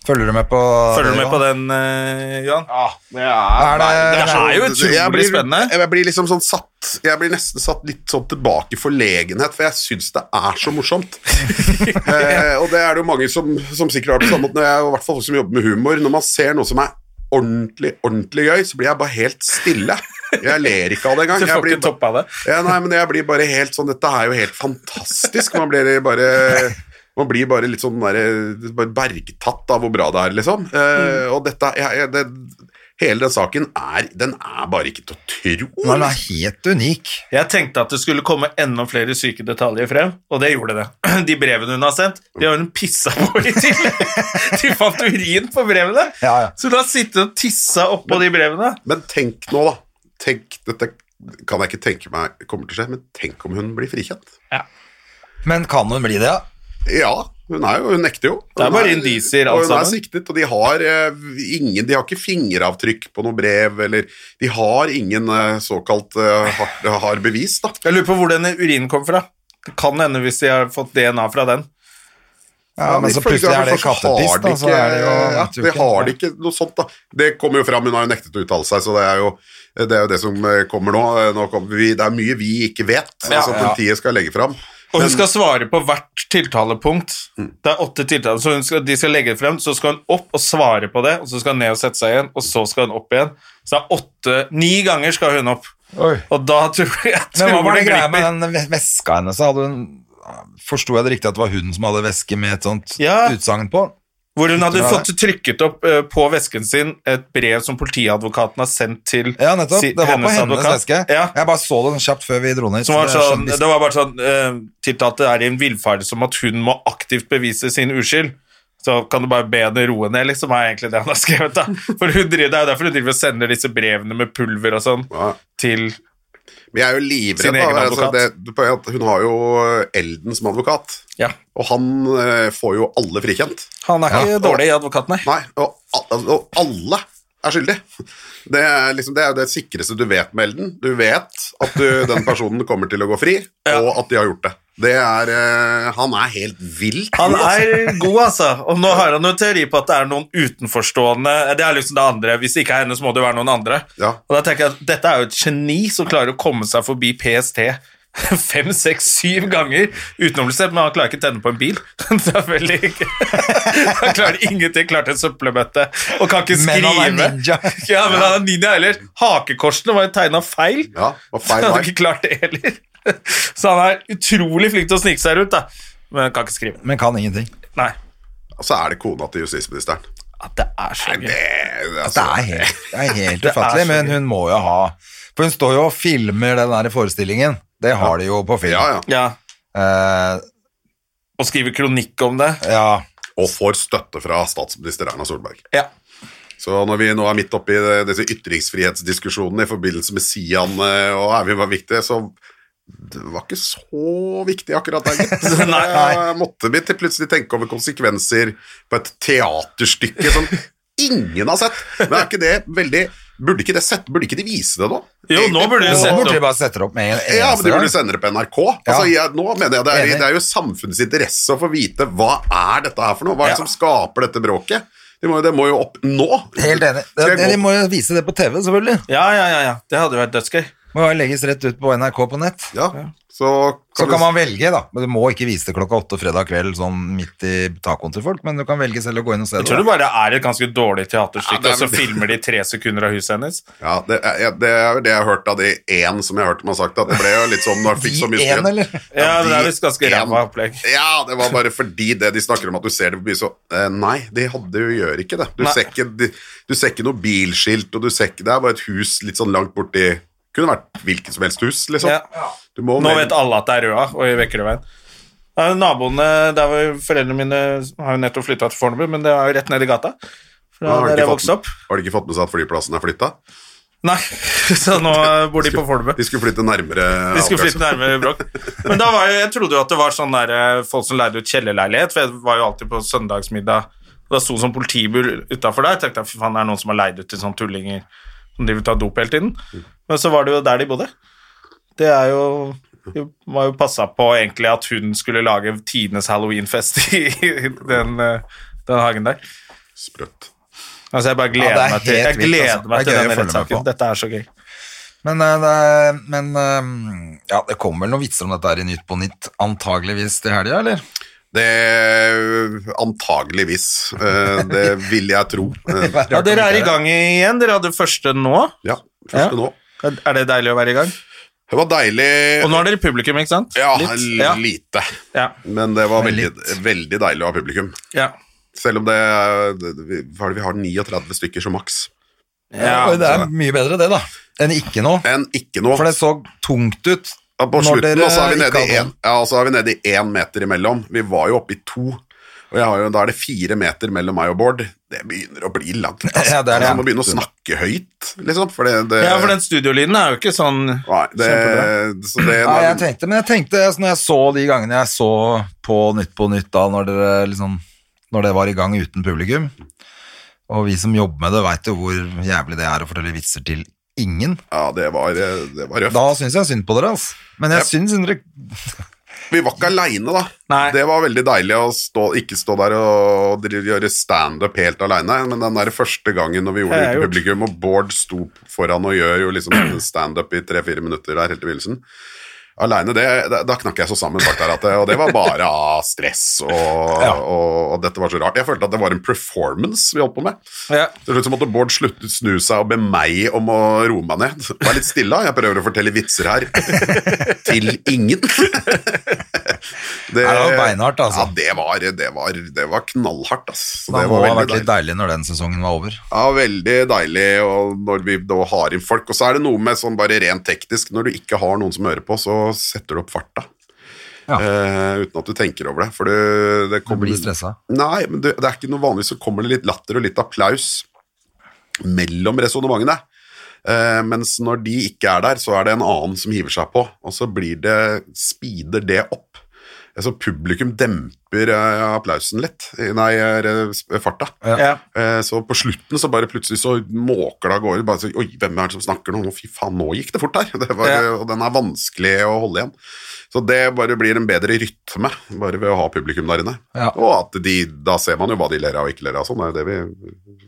[SPEAKER 1] Følger du med på
[SPEAKER 2] Følger
[SPEAKER 1] det,
[SPEAKER 2] du med på
[SPEAKER 1] Johan?
[SPEAKER 2] den, eh, Johan?
[SPEAKER 3] Ja, det er,
[SPEAKER 1] Er det-
[SPEAKER 3] Nei,
[SPEAKER 2] det er jo utrolig
[SPEAKER 3] jeg blir-
[SPEAKER 2] spennende.
[SPEAKER 3] Jeg blir liksom sånn satt Jeg blir nesten satt litt sånn tilbake i forlegenhet, for jeg syns det er så morsomt. eh, og det er det jo mange som, som sikkert har det på samme måte, når jeg, og i hvert fall folk som jobber med humor. Når man ser noe som er ordentlig, ordentlig gøy, så blir jeg bare helt stille. Jeg ler ikke av det engang.
[SPEAKER 2] Du
[SPEAKER 3] Jeg
[SPEAKER 2] får
[SPEAKER 3] blir
[SPEAKER 2] ikke
[SPEAKER 3] ba-
[SPEAKER 2] toppa det.
[SPEAKER 3] ja, nei, men jeg blir bare helt sånn Dette er jo helt fantastisk. Man blir bare man blir bare litt sånn der, bare bergtatt av hvor bra det er, liksom. Eh, Og dette jeg, jeg, det, Hele den saken er Den er bare ikke til å tro.
[SPEAKER 1] Nei, Den er helt unik.
[SPEAKER 2] Jeg tenkte at det skulle komme enda flere syke detaljer frem, og det gjorde det. De brevene hun har sendt, de har hun pissa på i tillegg. De fant urin på brevene.
[SPEAKER 1] Ja, ja.
[SPEAKER 2] Så hun har sittet og tissa oppå de brevene.
[SPEAKER 3] Men tenk nå, da. Tenk, dette kan jeg ikke tenke meg kommer til å skje, men tenk om hun blir frikjent.
[SPEAKER 1] Men kan hun bli det, ja?
[SPEAKER 3] Ja, hun er jo Hun nekter jo.
[SPEAKER 2] Det er
[SPEAKER 3] Hun
[SPEAKER 2] bare indisier, alt
[SPEAKER 3] Og hun er
[SPEAKER 2] sammen.
[SPEAKER 3] siktet, og de har eh, ingen De har ikke fingeravtrykk på noe brev, eller De har ingen eh, såkalt eh, har, har bevis, da.
[SPEAKER 2] Jeg lurer på hvor den urinen kom fra. Det kan hende hvis de har fått DNA fra den.
[SPEAKER 1] Ja, men så
[SPEAKER 3] ifølge
[SPEAKER 1] plutselig er det
[SPEAKER 3] hvert fall så
[SPEAKER 1] kattepiss,
[SPEAKER 3] har de
[SPEAKER 1] da. Så er det jo
[SPEAKER 3] ikke- ja,
[SPEAKER 1] naturlig.
[SPEAKER 3] det har de ikke noe sånt, da. Det kommer jo fram, hun har jo nektet å uttale seg, så det er jo det, er jo det som eh, kommer nå. Eh, nå kommer vi, det er mye vi ikke vet,
[SPEAKER 2] Ja.
[SPEAKER 3] som politiet skal legge fram.
[SPEAKER 2] Og hun skal svare på hvert tiltalepunkt.
[SPEAKER 1] Mm.
[SPEAKER 2] Det er åtte tiltaler, så hun skal, de skal legge det frem, så skal hun opp og svare på det, og så skal hun ned og sette seg igjen, og så skal hun opp igjen. Så det er åtte, ni ganger skal hun opp.
[SPEAKER 1] Oi.
[SPEAKER 2] Og da tror jeg, jeg
[SPEAKER 1] Men hva
[SPEAKER 2] tror
[SPEAKER 1] var det
[SPEAKER 2] det
[SPEAKER 1] greia
[SPEAKER 2] glipper.
[SPEAKER 1] med den veska hennes? da? Hadde hun Forsto jeg det riktig at det var hun som hadde veske med et sånt
[SPEAKER 2] Ja.
[SPEAKER 1] utsagn på?
[SPEAKER 2] Hvor hun hadde
[SPEAKER 1] Tror jeg
[SPEAKER 2] fått trykket opp eh, på vesken sin et brev som politiadvokaten har sendt til
[SPEAKER 1] Ja, nettopp.
[SPEAKER 2] si-
[SPEAKER 1] det var på hennes
[SPEAKER 2] advokat.
[SPEAKER 1] veske.
[SPEAKER 2] Ja.
[SPEAKER 1] Jeg bare så den kjapt før vi dro ned.
[SPEAKER 2] Som var
[SPEAKER 1] så
[SPEAKER 2] sånn,
[SPEAKER 1] det er
[SPEAKER 2] det var bare sånn eh, Tiltalte er i en villferd som at hun må aktivt bevise sin uskyld. Så kan du bare be henne roe ned, liksom, er egentlig det han har skrevet. da. For hun driver, Det er jo derfor hun driver og sender disse brevene med pulver og sånn
[SPEAKER 3] Ja.
[SPEAKER 2] til
[SPEAKER 3] Men jeg er jo
[SPEAKER 2] Sin
[SPEAKER 3] livredd.
[SPEAKER 2] egen
[SPEAKER 3] Da, altså,
[SPEAKER 2] advokat.
[SPEAKER 3] det, det, på en måte, hun har jo Elden som advokat,
[SPEAKER 2] Ja.
[SPEAKER 3] og han eh, får jo alle frikjent.
[SPEAKER 2] Han er ikke
[SPEAKER 3] Ja.
[SPEAKER 2] dårlig i advokat, nei.
[SPEAKER 3] Nei, og, al- og alle er skyldig. Det er, liksom, det er det sikreste du vet med Elden. Du vet at du, den personen kommer til å gå fri, og at de har gjort det. Det er eh, Han er helt vill.
[SPEAKER 2] Han er god, altså. Og nå har han jo en teori på at det er noen utenforstående Det er liksom det andre. Hvis det ikke er henne, så må det jo være noen andre.
[SPEAKER 3] Ja.
[SPEAKER 2] Og da tenker jeg at dette er jo et geni som klarer å komme seg forbi PST fem, seks, syv ganger utenomlisert, men han klarer ikke å tenne på en bil. Det er veldig Han klarer ingenting. Klarte en søppelbøtte og kan ikke skrive.
[SPEAKER 1] Men han er ninja.
[SPEAKER 2] Ja, men han er ninja heller. Hakekorsene var jo tegna feil.
[SPEAKER 3] Ja, og feil
[SPEAKER 2] Han
[SPEAKER 3] vei.
[SPEAKER 2] hadde ikke klart det heller. Så han er utrolig flink til å snike seg rundt, da. Men han kan ikke skrive.
[SPEAKER 1] skjønt. Men kan ingenting.
[SPEAKER 2] Nei.
[SPEAKER 3] Og så er det kona til justisministeren.
[SPEAKER 2] At det er så gøy.
[SPEAKER 3] Det,
[SPEAKER 1] Det
[SPEAKER 3] altså,
[SPEAKER 1] er helt, det er helt
[SPEAKER 2] Det er
[SPEAKER 1] ufattelig,
[SPEAKER 2] så
[SPEAKER 1] men
[SPEAKER 2] gøy.
[SPEAKER 1] hun må jo ha For hun står jo og filmer den der forestillingen. Det har de jo på film.
[SPEAKER 3] ja, ja.
[SPEAKER 2] Ja.
[SPEAKER 1] Eh,
[SPEAKER 2] Og skrive kronikk om det.
[SPEAKER 1] ja.
[SPEAKER 3] Og får støtte fra statsminister Erna Solberg.
[SPEAKER 2] Ja.
[SPEAKER 3] Så når vi nå er midt oppi det- disse ytringsfrihetsdiskusjonene i forbindelse med Sian eh, og er vi var viktige, så det var ikke så viktig akkurat der, gitt.
[SPEAKER 2] Nei, nei.
[SPEAKER 3] Jeg måtte vi til plutselig tenke over konsekvenser på et teaterstykke som ingen har sett. Men er ikke det veldig Burde ikke, det sett, burde ikke de vise det nå?
[SPEAKER 2] Jo, nå burde de
[SPEAKER 1] Og så
[SPEAKER 2] sette opp.
[SPEAKER 1] burde de bare sette det opp med en eneste
[SPEAKER 3] Ja, men de burde
[SPEAKER 1] gang.
[SPEAKER 3] sende det på NRK. Altså, jeg, nå mener jeg det er,
[SPEAKER 1] Enig.
[SPEAKER 3] det er jo samfunnets interesse å få vite hva er dette her for noe? Hva er det
[SPEAKER 2] Ja.
[SPEAKER 3] som skaper dette bråket? Det må, jo- det må jo opp nå.
[SPEAKER 1] Helt enig.
[SPEAKER 3] Skal jeg
[SPEAKER 1] Det-
[SPEAKER 3] gå-
[SPEAKER 1] De må jo vise det på TV, selvfølgelig.
[SPEAKER 2] Ja, ja, ja, ja. Det hadde jo vært dødsgøy.
[SPEAKER 1] Må jo legges rett ut på NRK på nett.
[SPEAKER 3] Ja, så
[SPEAKER 1] Så
[SPEAKER 3] du-
[SPEAKER 1] kan man velge, da. Men Du må ikke vise det klokka åtte fredag kveld sånn midt i tacoen til folk, men du kan velge selv å gå inn og se
[SPEAKER 2] Jeg tror
[SPEAKER 1] det.
[SPEAKER 2] det bare er et ganske dårlig teaterstykke,
[SPEAKER 3] Ja, det er
[SPEAKER 2] og så
[SPEAKER 3] vel-
[SPEAKER 2] filmer de tre sekunder av huset hennes.
[SPEAKER 3] ja, det, er, ja, det er jo det jeg har hørt av de én som jeg har hørt man har sagt, at det ble jo litt sånn når jeg fikk så
[SPEAKER 1] I
[SPEAKER 3] mye
[SPEAKER 1] en,
[SPEAKER 3] skryt.
[SPEAKER 1] eller?
[SPEAKER 2] Ja, det
[SPEAKER 3] de-
[SPEAKER 2] er visst ganske ræva opplegg.
[SPEAKER 3] Ja, det var bare fordi det de snakker om at du ser det på byen, så eh, Nei, de hadde jo gjør ikke det. Du
[SPEAKER 2] Nei.
[SPEAKER 3] ser ikke, de, du ser ikke noe bilskilt, og du ser ikke Det er bare et hus litt sånn langt borti Kunne vært hvilket som helst hus, liksom.
[SPEAKER 2] Ja.
[SPEAKER 3] Du må
[SPEAKER 2] Nå vet alle at det er Røa og i Vekkerøveien. Ja, Naboene der hvor foreldrene mine har jo nettopp flytta til Fornebu, men det er jo rett ned i gata. Fra
[SPEAKER 3] Ja, har de
[SPEAKER 2] der
[SPEAKER 3] ikke
[SPEAKER 2] jeg
[SPEAKER 3] fått-
[SPEAKER 2] vokste opp.
[SPEAKER 3] Har de ikke fått med seg at flyplassen er flytta?
[SPEAKER 2] Nei, så nå bor de på Fornebu.
[SPEAKER 3] De skulle flytte nærmere.
[SPEAKER 2] Vi skulle
[SPEAKER 3] avgangsen.
[SPEAKER 2] flytte nærmere Brokk. Men da var jeg, jeg trodde jo at det var sånn der, eh, folk som leide ut kjellerleilighet, for jeg var jo alltid på søndagsmiddag. Og Da sto det sånn politibur utafor der. Jeg tenkte fy faen, det er noen som har leid ut til sånne tullinger som driver og tar dop hele tiden.
[SPEAKER 1] Mm.
[SPEAKER 2] Men så var det jo der de bodde. Det er jo de var jo passa på egentlig at hun skulle lage tidenes halloweenfest i den, eh, den hagen der.
[SPEAKER 3] Sprøtt.
[SPEAKER 2] Altså, jeg bare
[SPEAKER 1] Ja,
[SPEAKER 2] gleder
[SPEAKER 1] det er
[SPEAKER 2] meg til,
[SPEAKER 1] helt vilt,
[SPEAKER 2] jeg
[SPEAKER 1] altså.
[SPEAKER 2] gleder
[SPEAKER 1] Det
[SPEAKER 2] meg
[SPEAKER 1] er gøy å
[SPEAKER 2] til denne
[SPEAKER 1] følge med
[SPEAKER 2] rettssaken.
[SPEAKER 1] på.
[SPEAKER 2] Dette er så gøy.
[SPEAKER 1] Men, eh, det, er- men eh, ja, det kommer vel noen vitser om dette her i Nytt på Nytt, antageligvis til helga, eller?
[SPEAKER 3] Det Antageligvis. Eh, Det vil jeg tro. Eh,
[SPEAKER 2] Ja, dere er i gang igjen. Dere hadde første nå.
[SPEAKER 3] Ja, første nå.
[SPEAKER 2] Er det deilig å være i gang?
[SPEAKER 3] Det var deilig.
[SPEAKER 2] Og nå er dere publikum, ikke sant?
[SPEAKER 3] Ja,
[SPEAKER 2] Ja.
[SPEAKER 3] lite.
[SPEAKER 2] Ja.
[SPEAKER 3] Men det var
[SPEAKER 1] Men
[SPEAKER 3] veldig,
[SPEAKER 1] litt.
[SPEAKER 3] veldig deilig å ha publikum.
[SPEAKER 2] Ja.
[SPEAKER 3] Selv om det, er- det vi, hva er det vi har 39 stykker som maks.
[SPEAKER 2] Ja.
[SPEAKER 1] Oi, det
[SPEAKER 3] altså.
[SPEAKER 1] er mye bedre det, da, enn ikke nå.
[SPEAKER 3] Men ikke noe.
[SPEAKER 1] For det så tungt ut.
[SPEAKER 3] Ja, På
[SPEAKER 1] når
[SPEAKER 3] slutten
[SPEAKER 1] dere
[SPEAKER 3] og så er vi nede
[SPEAKER 1] ikke
[SPEAKER 3] i
[SPEAKER 1] hadde
[SPEAKER 3] en- ja, og så er vi nede i én meter imellom. Vi var jo oppe i to. Og jeg har jo, da er det fire meter mellom meg og Bård. Det begynner å bli langt. Altså.
[SPEAKER 1] Ja, det er det.
[SPEAKER 3] Altså, man må begynne å snakke høyt, liksom. For det, det,
[SPEAKER 2] ja, for den studiolyden er jo ikke sånn
[SPEAKER 3] Nei, det, så det
[SPEAKER 1] Nei, jeg tenkte, men jeg tenkte altså, når jeg så de gangene jeg så på Nytt på Nytt da, når, dere, liksom, når det var i gang uten publikum, og vi som jobber med det vet jo hvor jævlig det er å fortelle vitser til ingen,
[SPEAKER 3] Ja, det var, eh, det var røft.
[SPEAKER 1] da synes jeg synd på dere, altså. Men jeg synes dere...
[SPEAKER 3] Vi var ikke aleine, da.
[SPEAKER 2] Nei.
[SPEAKER 3] Det var veldig deilig å stå, ikke stå der og dri- gjøre standup helt aleine. Men den der første gangen når vi gjorde
[SPEAKER 2] Det
[SPEAKER 3] det
[SPEAKER 2] er
[SPEAKER 3] uten
[SPEAKER 2] gjort.
[SPEAKER 3] publikum, og Bård sto foran og gjør jo liksom standup i tre-fire minutter der helt i begynnelsen Aleine, da da knakk jeg så sammen bak der, at det, og det var bare av stress og, og, og dette var så rart. Jeg følte at det var en performance vi holdt på med.
[SPEAKER 2] ja.
[SPEAKER 3] Til slutt så måtte Bård slutte snu seg og be meg om å roe meg ned. Vær litt stille, da. Jeg prøver å fortelle vitser her. Til ingen. Det,
[SPEAKER 1] Nei, det var beinhardt, altså.
[SPEAKER 3] Ja, det var, det var, det var knallhardt, altså. Så
[SPEAKER 1] Det
[SPEAKER 3] det
[SPEAKER 1] må
[SPEAKER 3] var
[SPEAKER 1] ha
[SPEAKER 3] veldig
[SPEAKER 1] vært litt
[SPEAKER 3] deilig.
[SPEAKER 1] deilig når den sesongen var over.
[SPEAKER 3] Ja, veldig deilig og når vi da har inn folk. Og så er det noe med sånn bare rent teknisk, når du ikke har noen som hører på, så setter du opp farta.
[SPEAKER 1] Ja.
[SPEAKER 3] Eh, uten at du tenker over det. For du, det
[SPEAKER 1] Du
[SPEAKER 3] kommer
[SPEAKER 1] blir stresset.
[SPEAKER 3] Nei, men det, det er ikke noe vanlig, så kommer det litt latter og litt applaus mellom resonnementene. Eh, mens når de ikke er der, så er det en annen som hiver seg på, og så blir det, speeder det opp. Eh, Så publikum demper eh, applausen litt, eh, nei, eh, s- farta.
[SPEAKER 2] Ja.
[SPEAKER 3] Eh, Så på slutten så bare plutselig så måker det av gårde. Bare så, Oi, hvem er det som snakker nå? Nå, Fy faen, nå gikk det fort her. Det var,
[SPEAKER 2] Ja.
[SPEAKER 3] Og den er vanskelig å holde igjen. Så det bare blir en bedre rytme bare ved å ha publikum der inne.
[SPEAKER 1] Ja.
[SPEAKER 3] Og at de, da ser man jo hva de ler av og ikke ler av. Sånn Det er det vi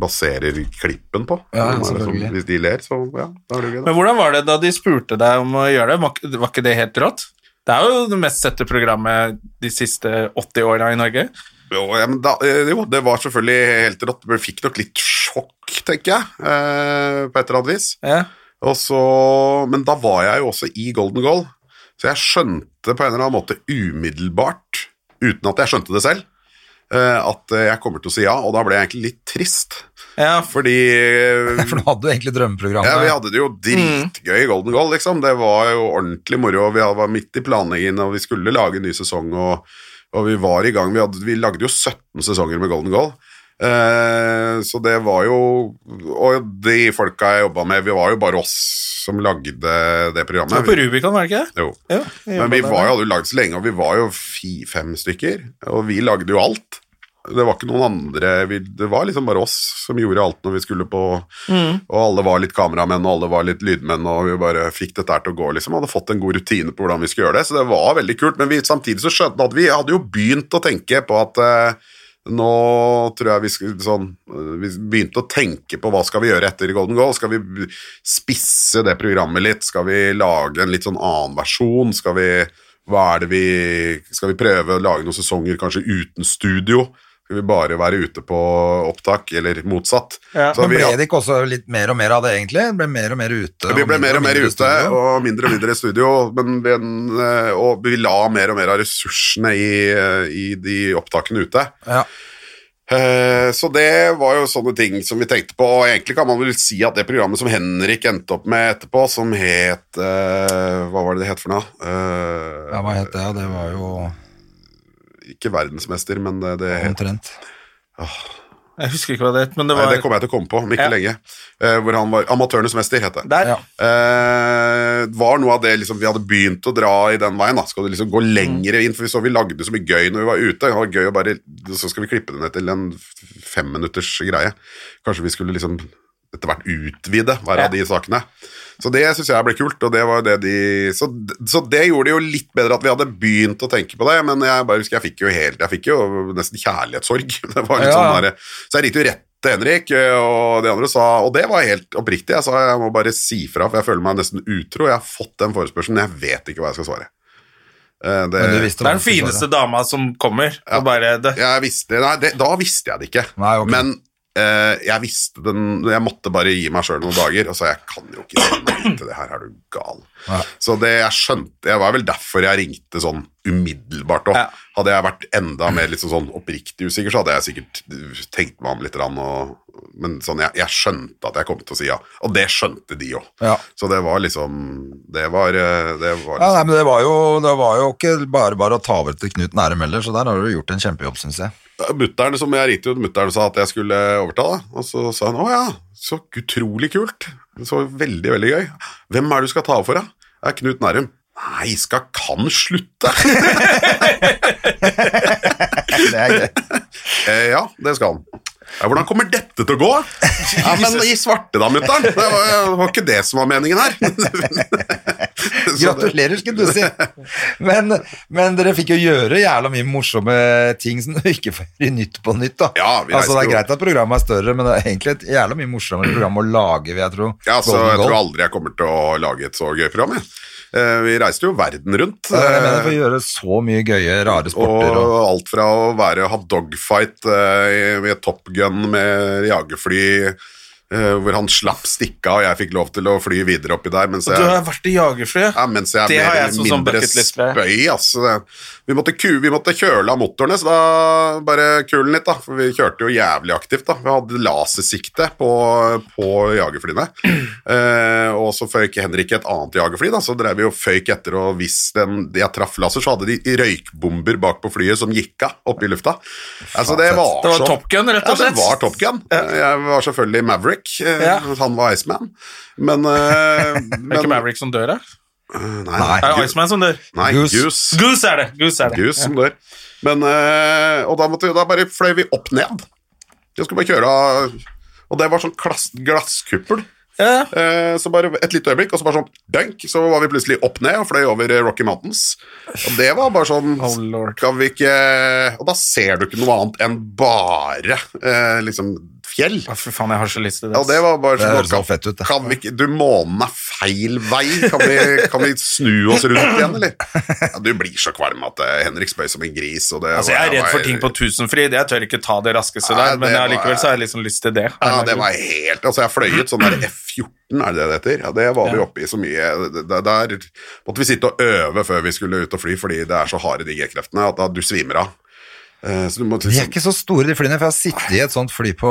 [SPEAKER 3] baserer klippen på.
[SPEAKER 1] Ja,
[SPEAKER 3] Hvem er det som-
[SPEAKER 1] selvfølgelig.
[SPEAKER 3] Hvis de ler, så ja, da er det jo gøy. da.
[SPEAKER 2] Men hvordan var det da de spurte deg om å gjøre det? Var ikke- Var ikke det helt rått? Det er jo det mest sette programmet de siste 80 åra i Norge.
[SPEAKER 3] Jo, ja, men da, eh, jo, det var selvfølgelig helt rått. Men fikk nok litt sjokk, tenker jeg, eh, på et eller annet vis.
[SPEAKER 2] Ja.
[SPEAKER 3] Og så, men da var jeg jo også i Golden Goal, så jeg skjønte på en eller annen måte umiddelbart, uten at jeg skjønte det selv, eh, at eh, jeg kommer til å si ja, og da ble jeg egentlig litt trist.
[SPEAKER 2] Ja, for
[SPEAKER 3] Fordi eh,
[SPEAKER 1] For du hadde jo egentlig drømmeprogrammet.
[SPEAKER 3] ja, vi hadde det jo
[SPEAKER 2] Mm.
[SPEAKER 3] dritgøy i Golden Goal, liksom. Det var jo ordentlig moro. Vi var midt i planleggingen, og vi skulle lage en ny sesong, og, og vi var i gang. Vi, hadde, vi lagde jo 17 sesonger med Golden Goal. Eh, så det var jo Og de folka jeg jobba med, vi var jo bare oss som lagde det
[SPEAKER 2] det var på
[SPEAKER 3] programmet.
[SPEAKER 2] Rubicon, var det ikke det?
[SPEAKER 3] Jo.
[SPEAKER 2] Ja,
[SPEAKER 3] Men vi var jo, hadde jo lagd så lenge, og vi var jo fi-fem stykker, og vi lagde jo alt. Det var ikke noen andre vi, Det var liksom bare oss som gjorde alt når vi skulle på Og alle var litt kameramenn, og alle var litt lydmenn, og vi bare fikk dette her til å gå, liksom. Hadde fått en god rutine på hvordan vi skulle gjøre det, så det var veldig kult. Men vi, samtidig så skjønte at vi hadde jo begynt å tenke på at eh, nå tror jeg vi skulle sånn eh, Vi begynte å tenke på hva skal vi gjøre etter Golden Goal. Skal vi b- spisse det programmet litt? Skal vi lage en litt sånn annen versjon? Skal vi, hva er det vi, skal vi prøve å lage noen sesonger kanskje uten studio? Skal vi bare være ute på opptak, eller motsatt?
[SPEAKER 2] Ja,
[SPEAKER 3] Så
[SPEAKER 1] Men
[SPEAKER 3] vi,
[SPEAKER 1] ble det ikke også litt mer og mer av det egentlig? Det ble mer og mer ute.
[SPEAKER 3] vi
[SPEAKER 1] og mindre
[SPEAKER 3] ble mer og mer
[SPEAKER 1] mindre
[SPEAKER 3] ute,
[SPEAKER 1] studio.
[SPEAKER 3] og mindre og mindre i studio, men vi, eh, og vi la mer og mer av ressursene i, eh, i de opptakene ute.
[SPEAKER 1] Ja.
[SPEAKER 3] Eh, Så det var jo sånne ting som vi tenkte på, og egentlig kan man vel si at det programmet som Henrik endte opp med etterpå, som het eh, Hva var det det het for noe? Eh,
[SPEAKER 1] Ja, hva het det? Det var jo
[SPEAKER 3] Ikke verdensmester, men det, det het
[SPEAKER 1] omtrent.
[SPEAKER 2] Jeg husker ikke hva det het, men det
[SPEAKER 3] Nei,
[SPEAKER 2] var
[SPEAKER 3] Eh, det kommer jeg til å komme på om ikke
[SPEAKER 2] Ja.
[SPEAKER 3] lenge. Eh, hvor han var Amatørenes mester, het det.
[SPEAKER 2] der.
[SPEAKER 1] Ja.
[SPEAKER 3] Eh, var noe av det liksom, vi hadde begynt å dra i den veien. Da. Skal du liksom gå lengre inn? For vi så vi lagde så mye gøy når vi var ute. Det var gøy å bare, Så skal vi klippe det ned til en femminutters greie. Kanskje vi skulle liksom etter hvert utvide hver av de sakene. Så det syns jeg ble kult, og det var det de så, så det gjorde det jo litt bedre at vi hadde begynt å tenke på det, men jeg bare husker jeg fikk jo helt Jeg fikk jo nesten kjærlighetssorg. Det var litt
[SPEAKER 1] Ja.
[SPEAKER 3] sånn der, så jeg ringte jo rett til Henrik, eh, og de andre sa Og det var helt oppriktig. Jeg sa jeg må bare si fra, for jeg føler meg nesten utro. Jeg har fått den forespørselen, jeg vet ikke hva jeg skal svare. Eh, Det,
[SPEAKER 1] Men du visste
[SPEAKER 2] Det er
[SPEAKER 1] hva du
[SPEAKER 2] den
[SPEAKER 1] skulle
[SPEAKER 2] fineste dama som kommer. Og bare det.
[SPEAKER 3] jeg visste, nei, det, da visste jeg det ikke.
[SPEAKER 1] Nei, ok.
[SPEAKER 3] Men eh, jeg visste den Jeg måtte bare gi meg sjøl noen dager, og så jeg kan jo ikke si nei til det her, er du gal.
[SPEAKER 1] Nei.
[SPEAKER 3] Så det jeg skjønte Det var vel derfor jeg ringte sånn umiddelbart òg.
[SPEAKER 2] Ja.
[SPEAKER 3] Hadde jeg vært enda mer liksom sånn oppriktig usikker, så hadde jeg sikkert uh, tenkt meg om litt. grann, Og, men sånn, jeg, jeg skjønte at jeg kom til å si ja, og det skjønte de òg.
[SPEAKER 1] Ja.
[SPEAKER 3] Så det var liksom Det var, eh, det var
[SPEAKER 1] Ja, nei, men det var, jo, det var jo ikke bare bare å ta over til Knut Nærum heller, så der har du gjort en kjempejobb, syns jeg.
[SPEAKER 3] Mutteren, som jeg ringte jo, mutteren sa at jeg skulle overta, da. og så sa han å ja, så utrolig kult. Så veldig, veldig gøy. Hvem er det du skal ta over for, da? Det er Knut Nærum. Nei, skal kan slutte?
[SPEAKER 1] Det er gøy.
[SPEAKER 3] eh, ja, det skal han. Ja, hvordan kommer dette til å gå? Ja, men i svarte da, mutter'n. Det var, var ikke det som var meningen her. Så det-
[SPEAKER 1] Gratulerer, skulle du si. Men, men dere fikk jo gjøre jævla mye morsomme ting som du ikke får gjøre i Nytt på Nytt, da.
[SPEAKER 3] Ja, vi
[SPEAKER 1] altså, det
[SPEAKER 3] reiste
[SPEAKER 1] er
[SPEAKER 3] jo.
[SPEAKER 1] greit at programmet er større, men det er egentlig et jævla mye morsommere program å lage, vil jeg tro.
[SPEAKER 3] Ja, så
[SPEAKER 1] Golden
[SPEAKER 3] jeg
[SPEAKER 1] Goal.
[SPEAKER 3] tror aldri jeg kommer til å lage et så gøy program, jeg. Eh, Vi reiste jo verden rundt.
[SPEAKER 1] Det er det jeg mener,
[SPEAKER 3] eh,
[SPEAKER 1] for å gjøre så mye gøye, rare sporter og
[SPEAKER 3] Og alt fra å være, ha dogfight eh, med Top Gun med jagerfly, eh, hvor han slapp stikka og jeg fikk lov til å fly videre oppi der, mens
[SPEAKER 2] Du har
[SPEAKER 3] jeg,
[SPEAKER 2] vært i jagerfly.
[SPEAKER 3] ja, mens jeg
[SPEAKER 2] Det
[SPEAKER 3] mer
[SPEAKER 2] har jeg
[SPEAKER 3] eller
[SPEAKER 2] som sånn
[SPEAKER 3] mindre
[SPEAKER 2] bucket list.
[SPEAKER 3] spøy. Altså, det, vi, måtte ku, vi måtte kjøle av motorene, så da bare kulen litt, da. For vi kjørte jo jævlig aktivt, da. Vi hadde lasersikte på, på jagerflyene. Eh, og så føyk Henrik et annet jagerfly, da, så drev vi og føyk etter, og hvis den, jeg traff laser, så hadde de røykbomber bak på flyet som gikk av oppe i lufta. Altså, det var,
[SPEAKER 2] Det var
[SPEAKER 3] så-
[SPEAKER 2] Top Gun, rett og
[SPEAKER 3] ja,
[SPEAKER 2] slett.
[SPEAKER 3] det var Top Gun. Jeg var selvfølgelig Maverick, eh,
[SPEAKER 2] Ja.
[SPEAKER 3] han var Iceman. Men, eh, men
[SPEAKER 2] Det er ikke Maverick som dør, da?
[SPEAKER 3] Nei,
[SPEAKER 1] Nei.
[SPEAKER 2] Er
[SPEAKER 3] Gu-
[SPEAKER 2] det Iceman som dør?
[SPEAKER 3] Nei,
[SPEAKER 1] Goose.
[SPEAKER 3] Goose.
[SPEAKER 2] Goose er det! Goose er det.
[SPEAKER 3] Goose som dør. Men, eh, og da, måtte vi, da bare fløy vi opp ned. Jeg skulle bare kjøre av Og det var sånn klass, glasskuppel.
[SPEAKER 2] Ja.
[SPEAKER 3] Eh, så bare et lite øyeblikk, og så bare sånn dunk, så var vi plutselig opp ned og fløy over eh, Rocky Mountains. Og det var bare sånn
[SPEAKER 2] Oh, lord.
[SPEAKER 3] Skal vi ikke Og da ser du ikke noe annet enn bare eh, liksom fjell.
[SPEAKER 2] Å, Fy faen, jeg har så lyst til det.
[SPEAKER 3] Ja, det var bare
[SPEAKER 1] Det
[SPEAKER 3] sånn
[SPEAKER 1] høres så fett ut, det.
[SPEAKER 3] Kan vi ikke Du, månen er feil vei. Kan vi, kan vi snu oss rundt igjen, eller? Ja, du blir så kvalm at eh, Henrik spøy som en gris, og det
[SPEAKER 2] Altså, jeg er redd for ting på tusenfryd. Jeg tør ikke ta det raskeste
[SPEAKER 3] Nei,
[SPEAKER 2] der, men
[SPEAKER 3] det
[SPEAKER 2] jeg-
[SPEAKER 3] var-
[SPEAKER 2] allikevel så har jeg liksom lyst til det.
[SPEAKER 3] Ja, det var helt Altså, jeg fløy ut sånn der F14, er det det det heter? Ja, det var vi oppe i så mye der, der måtte vi sitte og øve før vi skulle ut og fly, fordi det er så harde de G-kreftene at da du svimer av. Eh, Så du må
[SPEAKER 1] De er ikke så store, de flyene, for jeg har sittet i et sånt fly på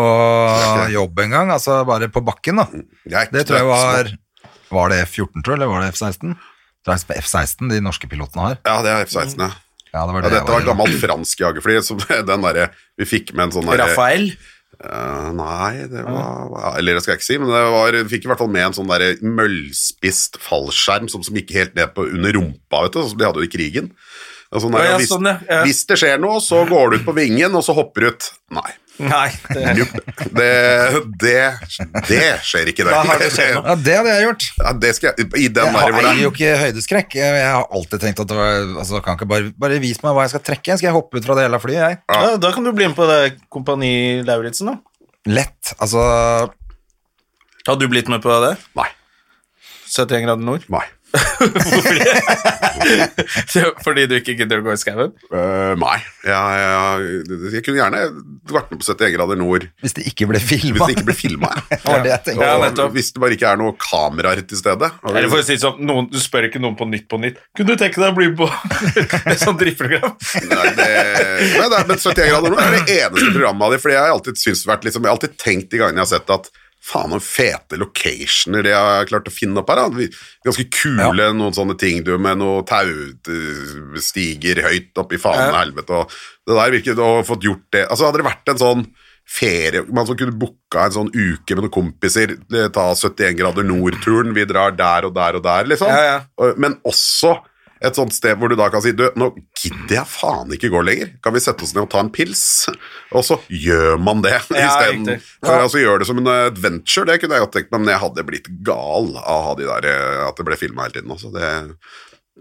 [SPEAKER 1] jobb en gang, altså bare på bakken, da.
[SPEAKER 3] Jeg er
[SPEAKER 1] Det tror jeg
[SPEAKER 3] knøttsmå.
[SPEAKER 1] var Var det F-14, tror jeg, eller var det F-16? Det er F-16 de norske pilotene har.
[SPEAKER 3] Ja, det er F-16, ja.
[SPEAKER 1] Ja, det var
[SPEAKER 3] ja.
[SPEAKER 1] det jeg
[SPEAKER 3] Dette var
[SPEAKER 1] i.
[SPEAKER 3] gammelt fransk jagerfly, som den derre Vi fikk med en sånn derre
[SPEAKER 2] Rafael.
[SPEAKER 3] Eh, nei, det var ja, Eller det skal jeg ikke si, men det var, vi fikk i hvert fall med en sånn der møllspist fallskjerm som, som gikk helt ned på under rumpa, vet du, sånn som de hadde jo i krigen. Og sånn der,
[SPEAKER 2] Ja, ja,
[SPEAKER 3] og hvis,
[SPEAKER 2] sånn, ja, ja.
[SPEAKER 3] hvis det skjer noe, så går du ut på vingen, og så hopper du ut. Nei.
[SPEAKER 2] Nei, det,
[SPEAKER 3] Jupp. Det, det, det skjer ikke, det.
[SPEAKER 2] Da har det skjedd noe.
[SPEAKER 1] Ja, det hadde jeg gjort.
[SPEAKER 3] Ja, det skal jeg, I den
[SPEAKER 1] Jeg
[SPEAKER 3] der hvor det
[SPEAKER 1] eier jo ikke høydeskrekk. Jeg jeg har alltid tenkt at det var, altså, kan ikke bare, bare vis meg hva jeg skal trekke. Skal jeg hoppe ut fra det hele flyet, jeg?
[SPEAKER 2] ja, da kan du bli med på det Kompani Lauritzen, da.
[SPEAKER 1] Lett. Altså,
[SPEAKER 2] Har du blitt med på det?
[SPEAKER 3] Nei.
[SPEAKER 2] 71 grader nord?
[SPEAKER 3] Nei.
[SPEAKER 2] Fordi du ikke gidder å gå i skauen?
[SPEAKER 3] Eh, nei. Jeg, jeg, jeg kunne gjerne vært med på 71 grader nord
[SPEAKER 1] hvis det ikke ble
[SPEAKER 3] hvis
[SPEAKER 1] filma.
[SPEAKER 3] det ikke ble filma.
[SPEAKER 1] Det var det jeg tenkte.
[SPEAKER 2] Ja,
[SPEAKER 3] Og
[SPEAKER 2] nettopp.
[SPEAKER 3] hvis det bare ikke er noen kameraer til stede.
[SPEAKER 2] Eller for å si det sånn, noen, du spør ikke noen på Nytt på Nytt. Kunne du tenke deg å bli med på et sånt drittprogram?
[SPEAKER 3] Nei, det, men, det er, men 71 grader nord er det eneste programmet av de, fordi jeg har alltid syntes det har vært liksom, Jeg har alltid tenkt de gangene jeg har sett det, at faen noen fete locationer de har klart å finne opp her. Da. Vi- Ganske kule noen sånne ting du med noe taustiger høyt opp i faen og helvete og det der virket å ha fått gjort det. Altså hadde det vært en sånn ferie, man som kunne booka en sånn uke med noen kompiser, eh, ta 71 grader nord-turen, vi drar der og der og der, liksom.
[SPEAKER 2] Ja, ja.
[SPEAKER 3] Og- Men også Et sånt sted hvor du da kan si Du, nå gidder jeg faen ikke gå lenger. Kan vi sette oss ned og ta en pils? Og så gjør man det
[SPEAKER 2] Ja,
[SPEAKER 3] isteden.
[SPEAKER 2] riktig.
[SPEAKER 3] For altså gjør det som en adventure, det kunne jeg godt tenkt meg, men jeg hadde blitt gal av å ha de der eh, At det ble filma hele tiden også. Det,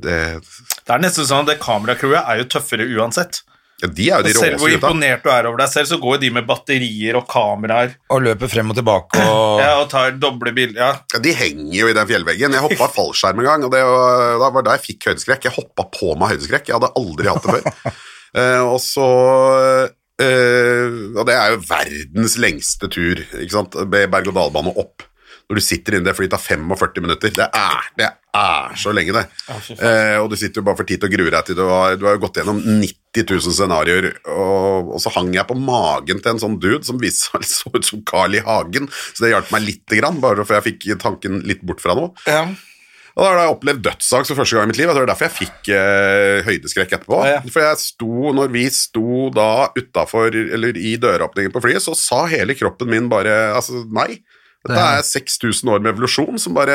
[SPEAKER 3] det
[SPEAKER 2] Det er nesten sånn at det kameracrewet er jo tøffere uansett.
[SPEAKER 3] ja, De er jo de
[SPEAKER 2] Og selv hvor
[SPEAKER 3] råeste gutta.
[SPEAKER 2] imponert du er over deg selv, så går jo de med batterier og kameraer
[SPEAKER 1] Og løper frem og tilbake og
[SPEAKER 2] ja, og tar doble bilder. Ja.
[SPEAKER 3] Ja, de henger jo i den fjellveggen. Jeg hoppa fallskjerm en gang, og det var, da var da jeg fikk høydeskrekk. Jeg hoppa på meg høydeskrekk. Jeg hadde aldri hatt det før. Eh, og så eh, Og det er jo verdens lengste tur, ikke sant. Med Berg-og-dal-bane opp. Når du sitter inne i det, for det tar 45 minutter. Det er, det er så lenge, det. Eh, og du sitter jo bare for tid til å grue deg til du har, du har jo gått gjennom 90 000 scenarioer. Og, og så hang jeg på magen til en sånn dude som viste seg så ut som Carl I. Hagen, så det hjalp meg lite grann, bare for jeg fikk tanken litt bort fra noe. Og da har jeg opplevd dødsangst for første gang i mitt liv. Jeg tror det er derfor jeg fikk eh, høydeskrekk etterpå.
[SPEAKER 2] Ja, ja.
[SPEAKER 3] For jeg sto, når vi sto da utafor, eller i døråpningen på flyet, så sa hele kroppen min bare altså, nei. Dette er 6000 år med evolusjon som bare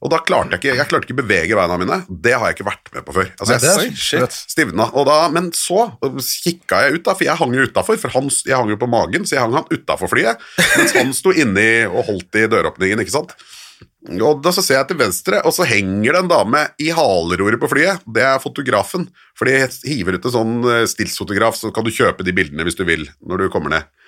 [SPEAKER 3] Og da klarte jeg ikke jeg klarte ikke å bevege beina mine. Det har jeg ikke vært med på før. Altså,
[SPEAKER 1] Nei, det er
[SPEAKER 3] jeg
[SPEAKER 1] så sprøtt.
[SPEAKER 3] stivna. Og da, men så kikka jeg ut, da, for jeg hang jo utafor. For han, jeg hang jo på magen, så jeg hang han utafor flyet. Mens han sto inni og holdt i døråpningen, ikke sant. Og da så ser jeg til venstre, og så henger det en dame i haleroret på flyet. Det er fotografen, for de hiver ut en sånn eh, stillsfotograf, så kan du kjøpe de bildene hvis du vil, når du kommer ned.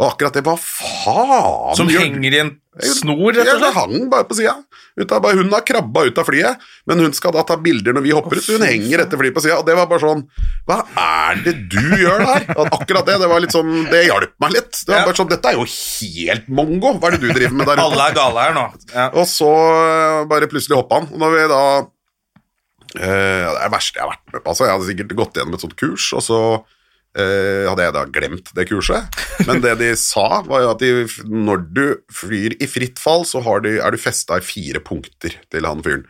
[SPEAKER 3] Og akkurat det, hva faen
[SPEAKER 2] Som
[SPEAKER 3] gjør-
[SPEAKER 2] henger i en snor, rett
[SPEAKER 3] Ja, det
[SPEAKER 2] og slett.
[SPEAKER 3] hang bare på sida. Hun har krabba ut av flyet, men hun skal da ta bilder når vi hopper ut, så hun henger etter flyet på sida. Og det var bare sånn Hva er det du gjør der? Og akkurat det, det var litt sånn Det hjalp meg litt. Det var
[SPEAKER 2] Ja.
[SPEAKER 3] bare sånn Dette er jo helt mongo. Hva er det du driver med der
[SPEAKER 2] Alle er gale her nå. Ja.
[SPEAKER 3] og så eh, bare plutselig hoppa han. Og da vi da eh, Det er det verste jeg har vært med på. Altså. Jeg hadde sikkert gått gjennom et sånt kurs, og så eh, hadde jeg da glemt det kurset. Men det de sa, var jo at de, når du flyr i fritt fall, så har du, er du festa i fire punkter til han fyren.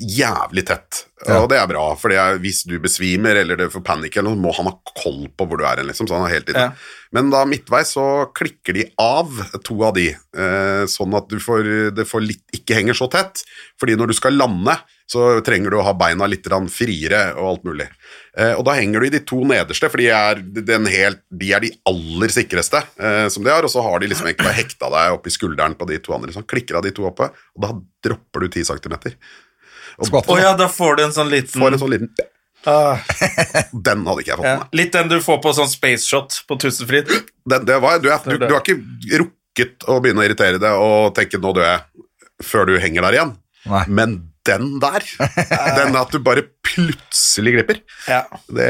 [SPEAKER 3] Jævlig tett. Og det er bra, for det er- hvis du besvimer eller du får panikk, eller noe, så må han ha koll på hvor du er hen, liksom. Så han har hele tiden
[SPEAKER 2] Ja.
[SPEAKER 3] men da midtveis så klikker de av to av de, eh, sånn at du får, det får litt, ikke henger så tett. Fordi når du skal lande, så trenger du å ha beina litt grann friere og alt mulig. Eh, og da henger du i de to nederste, for de er, den helt, de, er de aller sikreste eh, som de har. Og så har de liksom egentlig bare hekta deg opp i skulderen på de to andre. Så han klikker av de to oppe, og da dropper du 10 centimeter.
[SPEAKER 2] Å ja, da får du en sånn liten
[SPEAKER 3] Får en sånn liten Den hadde ikke jeg fått med
[SPEAKER 2] ja.
[SPEAKER 3] meg.
[SPEAKER 2] Litt den du får på sånn space shot på Tusenfryd.
[SPEAKER 3] det, det var, du, er, du,
[SPEAKER 2] det.
[SPEAKER 3] du har ikke rukket å begynne å irritere deg og tenke 'nå dør jeg', før du henger der igjen.
[SPEAKER 1] Nei.
[SPEAKER 3] Men den der, den at du bare plutselig glipper,
[SPEAKER 2] Ja.
[SPEAKER 3] det,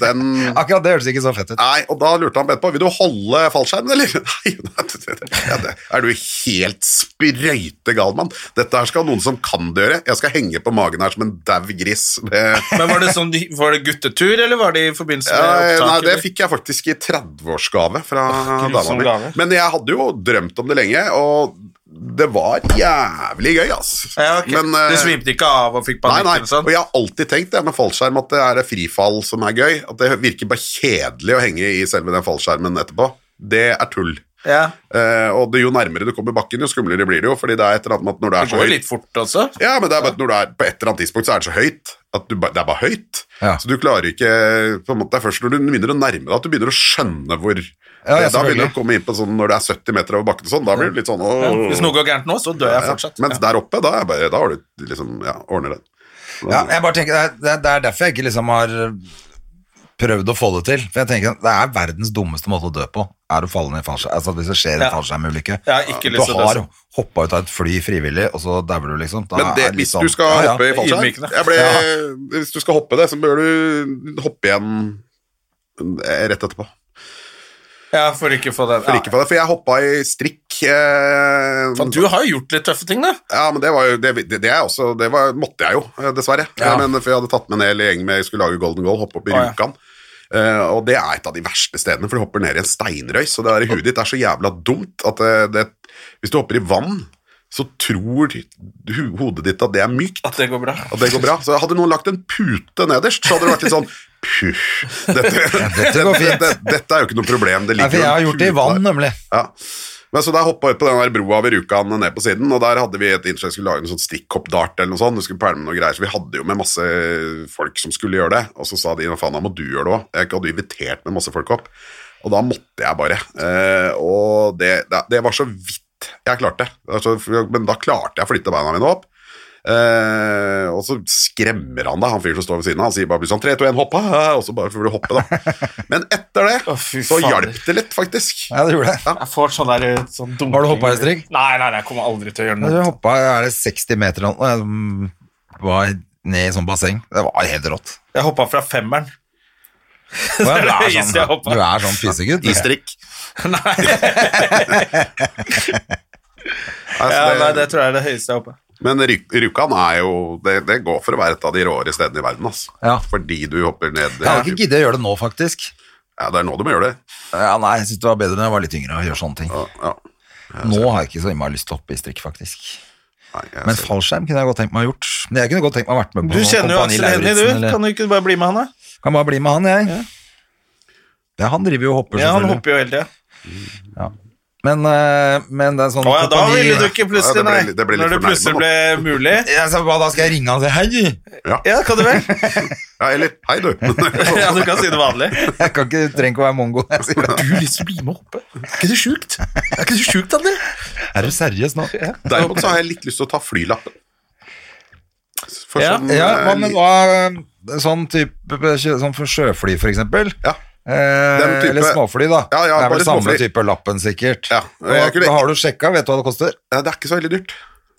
[SPEAKER 3] den
[SPEAKER 1] Akkurat det hørtes ikke så fett ut.
[SPEAKER 3] Nei, og da lurte han etterpå Vil du holde fallskjermen, eller? Nei, nei, det- det- ja, det- er du helt sprøyte gal, mann? Dette her skal noen som kan det gjøre. Jeg skal henge på magen her som en dau gris. Det,
[SPEAKER 2] Men var det, sånn, de- var det guttetur, eller var det i forbindelse med
[SPEAKER 3] Eh, Nei,
[SPEAKER 2] opptaket?
[SPEAKER 3] det fikk jeg faktisk i 30-årsgave fra
[SPEAKER 2] grusom
[SPEAKER 3] dama mi.
[SPEAKER 2] gave.
[SPEAKER 3] Men jeg hadde jo drømt om det lenge, og det var jævlig gøy, altså.
[SPEAKER 2] Ja, ok.
[SPEAKER 3] Men, eh,
[SPEAKER 2] Du svimte ikke av og fikk
[SPEAKER 3] Nei,
[SPEAKER 2] panikk?
[SPEAKER 3] nei,
[SPEAKER 2] eller sånn?
[SPEAKER 3] og jeg har alltid tenkt det med fallskjerm at det er det frifall som er gøy. At det virker bare kjedelig å henge i selve den fallskjermen etterpå. Det er tull.
[SPEAKER 2] ja.
[SPEAKER 3] Eh, og det, jo nærmere du kommer bakken, jo skumlere blir det jo. Fordi det er et eller annet med at når det
[SPEAKER 2] Det
[SPEAKER 3] er så
[SPEAKER 2] går jo
[SPEAKER 3] høyt
[SPEAKER 2] litt fort også.
[SPEAKER 3] ja, men det er bare at når du er på et eller annet tidspunkt, så er det så høyt. At du, ba- det er bare høyt.
[SPEAKER 1] Ja.
[SPEAKER 3] Så du klarer ikke på en måte, Det er først når du begynner å nærme deg at du begynner å skjønne hvor
[SPEAKER 1] Ja, ja,
[SPEAKER 3] Da
[SPEAKER 1] selvfølgelig.
[SPEAKER 3] begynner du å komme inn på sånn når det er 70 meter over bakken og sånn. Da blir du litt sånn åh.
[SPEAKER 2] Hvis noe går gærent nå, så dør jeg
[SPEAKER 3] Ja,
[SPEAKER 2] fortsatt.
[SPEAKER 3] Mens der oppe, da, er jeg bare, da har du liksom Ja, ordner det.
[SPEAKER 1] Ja, jeg bare tenker, det er- det er, det er derfor jeg ikke liksom har prøvd å få det til. For jeg tenker, at Det er verdens dummeste måte å dø på, er å falle ned i fallskjerm. Altså, hvis det skjer en
[SPEAKER 2] Ja.
[SPEAKER 1] fallskjermulykke
[SPEAKER 2] Jeg har ikke
[SPEAKER 1] Du
[SPEAKER 2] lyst til å dø
[SPEAKER 1] har
[SPEAKER 2] sånn.
[SPEAKER 1] hoppa ut av et fly frivillig, og så dauer du, liksom. Da
[SPEAKER 3] Men det,
[SPEAKER 1] er det litt
[SPEAKER 3] hvis
[SPEAKER 1] sånn-
[SPEAKER 3] du skal
[SPEAKER 1] Ja, ja.
[SPEAKER 3] hoppe i fallskjerm
[SPEAKER 2] Ydmykende.
[SPEAKER 3] jeg ble, Hvis du skal hoppe det, så bør du hoppe igjen eh, rett etterpå.
[SPEAKER 2] Ja, for ikke å få den.
[SPEAKER 3] For,
[SPEAKER 2] Ja.
[SPEAKER 3] ikke for, det, for jeg hoppa i strikk eh,
[SPEAKER 2] Faen, du har jo gjort litt tøffe ting, da.
[SPEAKER 3] Ja, men det var jo Det, det, det er også, det var, måtte jeg jo, eh, dessverre.
[SPEAKER 1] Ja.
[SPEAKER 3] Eh, Men For jeg hadde tatt med en hel gjeng med Jeg skulle lage Golden Goal, hoppe opp i
[SPEAKER 2] Å, Ah, ja.
[SPEAKER 3] Rjukan. Eh, og det er et av de verste stedene, for du hopper ned i en steinrøys, og det der i huet ditt er så jævla dumt at det, det Hvis du hopper i vann, så tror hu- hodet ditt at det er mykt.
[SPEAKER 2] At det går bra.
[SPEAKER 3] At det går bra. Så hadde noen lagt en pute nederst, så hadde det vært litt sånn Puh, dette,
[SPEAKER 1] dette går fint.
[SPEAKER 3] dette, dette er jo ikke noe problem. Det
[SPEAKER 1] Nei, for
[SPEAKER 3] ligger jo
[SPEAKER 1] jeg
[SPEAKER 3] en
[SPEAKER 1] har gjort det i
[SPEAKER 3] pute der.
[SPEAKER 1] vann, nemlig.
[SPEAKER 3] Ja. Men så der hoppa jeg ut på den der broa ved Rjukan ned på siden, og der hadde vi et innslag skulle lage en sånn stikkhopp-dart eller noe sånt. Du skulle pælme noe greier, så vi hadde jo med masse folk som skulle gjøre det. Og så sa de faen, da må du gjøre det òg. Jeg hadde jo invitert med masse folk opp. Og da måtte jeg bare. Eh, og det, det, det var så vidt jeg klarte. Det var så- Men da klarte jeg å flytte beina mine opp. Eh, og så skremmer han deg, han fyren som står ved siden av. Han sier bare plutselig sånn 3, 2, 1, hopp! ah», Og så bare får du hoppe, da. Men etter det
[SPEAKER 2] Å, fy
[SPEAKER 3] så
[SPEAKER 2] fader.
[SPEAKER 3] hjalp det litt, faktisk.
[SPEAKER 1] Ja, det gjorde det.
[SPEAKER 2] Jeg får sånn der sånn dunking.
[SPEAKER 1] Har du hoppet, Estrid?
[SPEAKER 2] Nei, nei, nei, jeg kommer aldri til å gjøre
[SPEAKER 1] Men
[SPEAKER 2] noe.
[SPEAKER 1] Du hoppa er det 60 meter eller noe, mm, var ned i sånn basseng. Det var helt rått.
[SPEAKER 2] Jeg hoppa fra femmeren.
[SPEAKER 1] Å, ja,
[SPEAKER 2] Det
[SPEAKER 1] Du
[SPEAKER 2] var
[SPEAKER 1] er
[SPEAKER 2] is jeg
[SPEAKER 1] sånn,
[SPEAKER 2] hoppet.
[SPEAKER 1] du er sånn pysegutt.
[SPEAKER 3] I strikk. Nei,
[SPEAKER 2] Ja,
[SPEAKER 3] så
[SPEAKER 2] nei, det tror jeg er det høyeste jeg hoppa.
[SPEAKER 3] Altså, Men Ry- Rjukan er jo det, det går for å være et av de råere stedene i verden, altså.
[SPEAKER 1] Ja.
[SPEAKER 3] Fordi du hopper ned
[SPEAKER 1] Jeg har ikke giddet å gjøre det nå, faktisk.
[SPEAKER 3] Ja, det er nå du må gjøre det.
[SPEAKER 1] Ja, nei, Jeg syns det var bedre da jeg var litt yngre å gjøre sånne ting.
[SPEAKER 3] Ja, ja.
[SPEAKER 1] Nå har jeg ikke så innmari lyst til å hoppe i strikk, faktisk.
[SPEAKER 3] Nei, jeg
[SPEAKER 1] Men
[SPEAKER 3] ser-
[SPEAKER 1] fallskjerm kunne jeg godt tenkt meg å ha gjort. Men jeg kunne godt tenkt meg å ha vært med på
[SPEAKER 2] Du kjenner jo
[SPEAKER 1] Kompani
[SPEAKER 2] Aksel Hennie, du.
[SPEAKER 1] Lauritsen, eller-
[SPEAKER 2] Kan du ikke bare bli med han, da?
[SPEAKER 1] Kan bare bli med han, jeg. Ja. han driver jo og hopper,
[SPEAKER 2] Ja, han
[SPEAKER 1] selvfølgelig.
[SPEAKER 2] hopper jo hele tida.
[SPEAKER 1] Men, eh, men det er sånn
[SPEAKER 2] Å ja, da
[SPEAKER 1] kompani-
[SPEAKER 2] ville du ikke plutselig,
[SPEAKER 3] Ja,
[SPEAKER 2] nei.
[SPEAKER 3] det ble- det ble litt
[SPEAKER 2] Når det plutselig ble
[SPEAKER 3] fornærmende,
[SPEAKER 2] mulig.
[SPEAKER 1] Jeg sa, hva, da skal jeg ringe han og si hei!
[SPEAKER 2] Ja, kan du vel?
[SPEAKER 3] ja, eller hei, du.
[SPEAKER 2] Ja, du kan si det vanlig.
[SPEAKER 1] Jeg kan ikke, trenger ikke å være mongo. når Jeg sier det.
[SPEAKER 2] Du har lyst til å bli med og hoppe? Er ikke det sjukt? Er ikke det sjukt, Ander?
[SPEAKER 1] Er du seriøs nå?
[SPEAKER 3] Derimot så har jeg litt lyst til å ta flylappen. For
[SPEAKER 2] Ja,
[SPEAKER 1] Ja,
[SPEAKER 3] eh,
[SPEAKER 1] hva med hva Sånn type sånn for sjøfly, for eksempel.
[SPEAKER 3] Ja.
[SPEAKER 1] Eh,
[SPEAKER 3] Den type-
[SPEAKER 1] eller småfly, da.
[SPEAKER 3] Ja, ja,
[SPEAKER 1] det er
[SPEAKER 3] bare
[SPEAKER 1] vel samme
[SPEAKER 3] småfly.
[SPEAKER 1] type lappen, sikkert.
[SPEAKER 3] Ja, og jeg
[SPEAKER 1] Og
[SPEAKER 3] kunne-
[SPEAKER 1] da har du sjekka, vet du hva det koster?
[SPEAKER 3] Ja, det er ikke så veldig dyrt.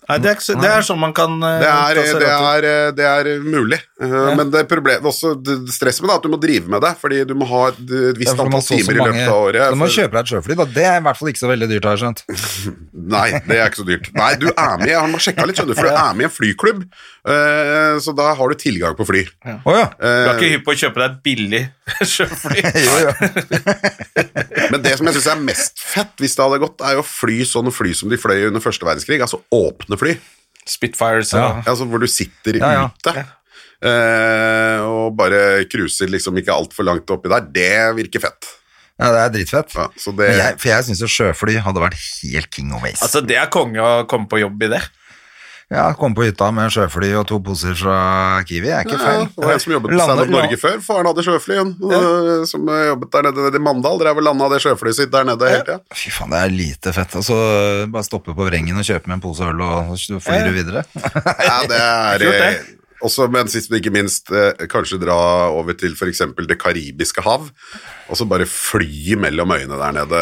[SPEAKER 2] Nei, det er, ikke så, det er sånn man kan eh,
[SPEAKER 3] Det er,
[SPEAKER 2] ta seg
[SPEAKER 3] det
[SPEAKER 2] råd til.
[SPEAKER 3] er, det er mulig, Eh, men det er problemet også det- stresset med det er at du må drive med det, fordi du må ha et et visst
[SPEAKER 1] for du må ha
[SPEAKER 3] antall
[SPEAKER 1] så og så
[SPEAKER 3] timer i løpet
[SPEAKER 1] mange-
[SPEAKER 3] av året.
[SPEAKER 1] Så Du må
[SPEAKER 3] for-
[SPEAKER 1] kjøpe deg et sjøfly, da. Det er i hvert fall ikke så veldig dyrt, har jeg skjønt.
[SPEAKER 3] Nei, det er ikke så dyrt. Nei, du er med, han må sjekke litt, skjønner du, for du er med i en flyklubb, eh, så da har du tilgang på fly.
[SPEAKER 1] Å ja.
[SPEAKER 2] Du er
[SPEAKER 3] Eh,
[SPEAKER 2] ikke hypp på å kjøpe deg et billig sjøfly.
[SPEAKER 1] Jo, jo.
[SPEAKER 3] Men det som jeg syns er mest fett, hvis det hadde gått, er jo å fly sånne fly som de fløy under første verdenskrig, altså åpne fly.
[SPEAKER 2] Spitfires
[SPEAKER 1] Ja.
[SPEAKER 2] og
[SPEAKER 3] Altså hvor du sitter
[SPEAKER 1] Ja, ja.
[SPEAKER 3] ute eh, og bare cruiser liksom ikke altfor langt oppi der. Det virker fett.
[SPEAKER 1] ja, det er dritfett.
[SPEAKER 3] Ja, så det-
[SPEAKER 1] Men jeg, for jeg syns jo sjøfly hadde vært helt king of waste.
[SPEAKER 2] Altså, det er konge å komme på jobb i det.
[SPEAKER 1] Ja, komme på hytta med sjøfly og to poser fra Kiwi er ikke feil.
[SPEAKER 3] Ja, det var en som jobbet på
[SPEAKER 1] Lande-
[SPEAKER 3] Standup Norge før. Faren hadde sjøfly, han, eh, som eh, jobbet der nede, nede i Mandal. Drev og landa det sjøflyet sitt der nede hele tida.
[SPEAKER 1] Fy faen, det er lite fett. Og så bare stoppe på vrengen og kjøpe med en pose øl, og så flyr du videre.
[SPEAKER 3] Ja, det er
[SPEAKER 2] Kult, det.
[SPEAKER 3] eh, også, men sist, men ikke minst, eh, kanskje dra over til f.eks. Det karibiske hav, og så bare fly mellom øyene der nede.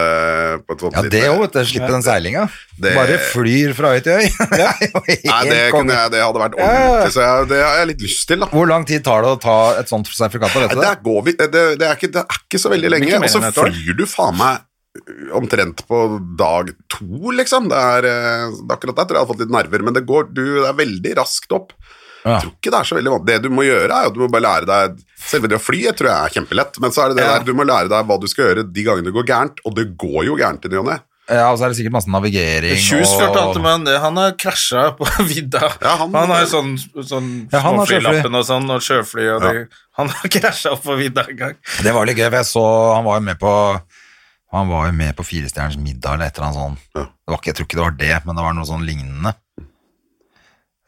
[SPEAKER 3] På et sånt
[SPEAKER 1] Ja, det
[SPEAKER 3] lite-
[SPEAKER 1] òg, vet du. Slippe den seilinga.
[SPEAKER 3] Det-
[SPEAKER 1] Bare flyr fra øy til øy. Det er jo
[SPEAKER 3] Nei, det,
[SPEAKER 1] helt konge.
[SPEAKER 3] kunne jeg, det hadde vært ordentlig, så jeg, det har jeg litt lyst til, da.
[SPEAKER 1] Hvor lang tid tar det å ta et sånt sertifikat? Vet du
[SPEAKER 3] Nei,
[SPEAKER 1] det?
[SPEAKER 3] der går vi, det, det, er ikke, det er ikke så veldig lenge,
[SPEAKER 2] ikke mer
[SPEAKER 3] og så
[SPEAKER 2] enn et år.
[SPEAKER 3] flyr du faen meg øh, omtrent på dag to, liksom. Det er, eh, det er akkurat der tror jeg jeg har fått litt nerver, men det går du, det er veldig raskt opp.
[SPEAKER 1] Ja.
[SPEAKER 3] Jeg tror ikke det er så veldig vanskelig. Det du må gjøre, er at du må bare lære deg Selve det å fly jeg tror jeg er kjempelett, men så er det det der du må lære deg hva du skal gjøre de gangene det går gærent, og det går jo gærent i ny og ne.
[SPEAKER 1] Ja, og så er det sikkert masse navigering
[SPEAKER 2] Kjus
[SPEAKER 1] og
[SPEAKER 2] fortalte meg om det. Han har krasja på vidda.
[SPEAKER 3] Ja, han-
[SPEAKER 2] han har jo sånn, sånn
[SPEAKER 1] Ja, han har
[SPEAKER 2] småflylappen og sånn, og sjøfly og
[SPEAKER 3] Ja.
[SPEAKER 2] det. Han har krasja på vidda en gang.
[SPEAKER 1] Det var litt gøy, for jeg så Han var jo med på Han var jo med på Firestjerners middag eller et eller annet sånt.
[SPEAKER 3] Ja.
[SPEAKER 1] Det var ikke, jeg tror ikke det var det, men det var noe sånn lignende.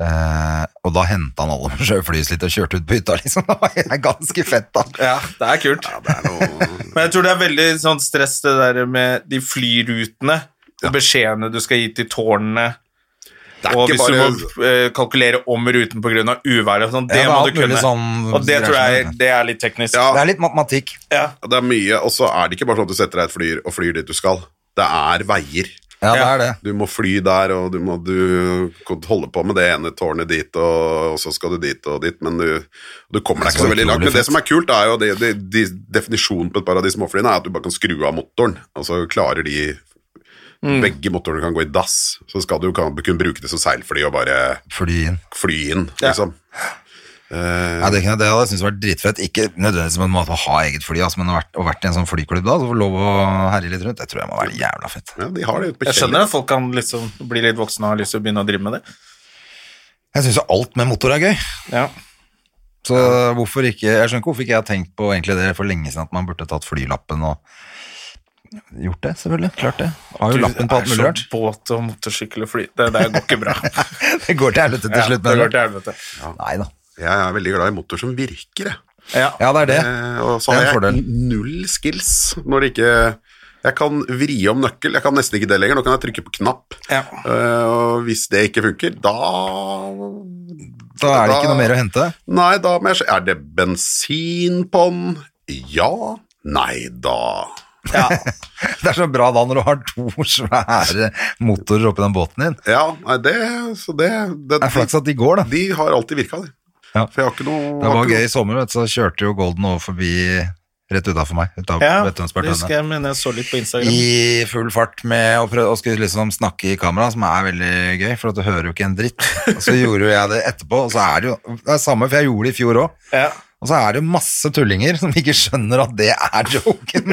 [SPEAKER 1] Eh, og da henta han alle med sjøflyet sitt og kjørte ut på hytta, liksom. Det var ganske fett, da.
[SPEAKER 2] Ja, det er kult.
[SPEAKER 3] Det er noe
[SPEAKER 2] Men jeg tror det er veldig sånn stress det der med de flyrutene og beskjedene du skal gi til tårnene.
[SPEAKER 3] er ikke
[SPEAKER 2] Og hvis
[SPEAKER 3] bare-
[SPEAKER 2] du må eh, kalkulere om ruten pga. uværet og sånn,
[SPEAKER 1] Ja,
[SPEAKER 2] det
[SPEAKER 1] det er
[SPEAKER 2] må
[SPEAKER 1] alt
[SPEAKER 2] du kunne.
[SPEAKER 1] mulig sånn-
[SPEAKER 2] og det tror jeg det er litt teknisk.
[SPEAKER 3] Ja.
[SPEAKER 1] Det er litt matematikk.
[SPEAKER 2] Ja.
[SPEAKER 3] Det er mye, og så er det ikke bare sånn at du setter deg et flyr og flyr dit du skal. Det er veier.
[SPEAKER 1] Ja, det
[SPEAKER 2] Ja.
[SPEAKER 1] er det.
[SPEAKER 3] Du må fly der, og du må du, kan holde på med det ene tårnet dit, og, og så skal du dit og dit, men du, du kommer deg ikke så veldig langt. Men det som er kult, er jo det, det, de, definisjonen på et par av de småflyene, er at du bare kan skru av motoren, og så klarer de Begge motorene kan gå i dass, så skal du kan, kunne bruke det som seilfly og bare
[SPEAKER 1] Fly inn.
[SPEAKER 3] fly inn, liksom. Eh,
[SPEAKER 1] Ja, det, kunne, det hadde jeg syntes vært dritfett. Ikke nødvendigvis på en måte å ha eget fly, altså, men å vært, å vært i en sånn flyklubb da, så få lov å herje litt rundt, det tror jeg må være jævla fett.
[SPEAKER 3] Ja, de har det ute på
[SPEAKER 2] Jeg skjønner
[SPEAKER 3] Kjeller.
[SPEAKER 2] at folk kan liksom bli litt voksne og har lyst til å begynne å drive med det.
[SPEAKER 1] Jeg syns jo alt med motor er gøy,
[SPEAKER 2] Ja.
[SPEAKER 1] så hvorfor ikke Jeg skjønner ikke hvorfor ikke jeg har tenkt på egentlig det for lenge siden, at man burde tatt flylappen og Gjort det, selvfølgelig. Klart det. Har jo lappen på alt mulig rart.
[SPEAKER 2] Båt og motorsykkel og fly. Det der går ikke bra.
[SPEAKER 1] Det går til helvete til
[SPEAKER 2] sånn. Ja,
[SPEAKER 1] slutt.
[SPEAKER 2] det
[SPEAKER 1] men-
[SPEAKER 2] går til helvete.
[SPEAKER 1] Nei da.
[SPEAKER 3] Jeg er veldig glad i motor som virker, jeg.
[SPEAKER 2] Ja.
[SPEAKER 1] Ja, det er det.
[SPEAKER 3] Eh, Og så
[SPEAKER 1] Det er
[SPEAKER 3] har
[SPEAKER 1] en
[SPEAKER 3] jeg
[SPEAKER 1] fordel.
[SPEAKER 3] null skills når det ikke Jeg kan vri om nøkkel, jeg kan nesten ikke det lenger. Nå kan jeg trykke på knapp.
[SPEAKER 2] Ja.
[SPEAKER 3] Eh, og hvis det ikke funker, da
[SPEAKER 1] Da er det ikke
[SPEAKER 3] da-
[SPEAKER 1] noe mer å hente.
[SPEAKER 3] Nei, da må jeg se Er det bensin på den? Ja. Nei da.
[SPEAKER 1] Det er så bra da når du har to svære motorer oppi den båten din.
[SPEAKER 3] Ja, nei, det Så det, det
[SPEAKER 1] Det er flaks at de går, da.
[SPEAKER 3] De har alltid virka, de.
[SPEAKER 1] Ja.
[SPEAKER 3] For jeg har ikke noe
[SPEAKER 1] Det
[SPEAKER 3] har
[SPEAKER 1] var
[SPEAKER 3] ikke
[SPEAKER 1] gøy i
[SPEAKER 3] noe-
[SPEAKER 1] sommer, vet du, så kjørte jo Golden over forbi rett utafor meg. Utav, vet
[SPEAKER 2] Ja,
[SPEAKER 1] du,
[SPEAKER 2] det
[SPEAKER 1] Tønsberg Tønne.
[SPEAKER 2] husker jeg, men jeg så litt på Instagram.
[SPEAKER 1] I full fart med å prøve å skulle liksom snakke i kamera, som er veldig gøy, for at du hører jo ikke en dritt. Og så gjorde jo jeg det etterpå, og så er det jo det er samme, for jeg gjorde det i fjor òg.
[SPEAKER 2] Ja.
[SPEAKER 1] Og så er det jo masse tullinger som ikke skjønner at det er joken.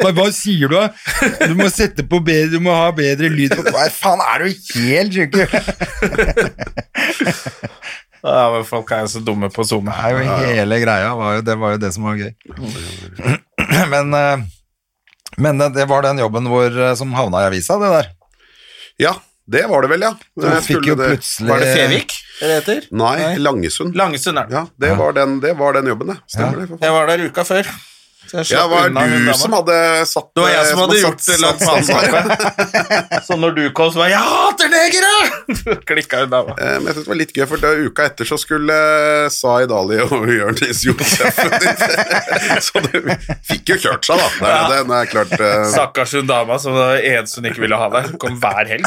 [SPEAKER 1] Men hva sier du? da? Du må sette på bedre, du må ha bedre lyd på Hva faen, er du helt sjuk? Det
[SPEAKER 2] Ja, men folk er jo så dumme på Zoom.
[SPEAKER 1] er jo hele greia, var jo, det var jo det som var gøy. Men, eh, men det- det var den jobben hvor, eh, som havna i avisa, det der.
[SPEAKER 3] Ja, det var det vel, ja.
[SPEAKER 1] Du
[SPEAKER 3] Jeg
[SPEAKER 1] fikk
[SPEAKER 3] skulle
[SPEAKER 1] jo
[SPEAKER 3] det-
[SPEAKER 1] plutselig
[SPEAKER 2] Var det Fevik det heter?
[SPEAKER 3] Nei, Langesund.
[SPEAKER 2] Langesund er det.
[SPEAKER 3] Ja, det, Var den, det var den jobben, det. Stemmer det. for faen.
[SPEAKER 2] Jeg var der uka før. Så jeg
[SPEAKER 3] Ja,
[SPEAKER 2] slapp
[SPEAKER 3] var
[SPEAKER 2] unna hun
[SPEAKER 3] du
[SPEAKER 2] dama.
[SPEAKER 3] som hadde satt eh,
[SPEAKER 2] Det var jeg som hadde
[SPEAKER 3] satt-
[SPEAKER 2] gjort det langt
[SPEAKER 3] satt- satt-
[SPEAKER 2] Så når du kom, så var jeg 'Jeg hater negere!' Klikka hun dama.
[SPEAKER 3] Eh, Men jeg synes det var litt gøy, for da uka etter så skulle Zaid Ali og Jonis Josef Så du fikk jo kjørt seg, da. Det er, den er klart eh,
[SPEAKER 2] Stakkars hun dama som var den eneste hun ikke ville ha der. Kom hver helg.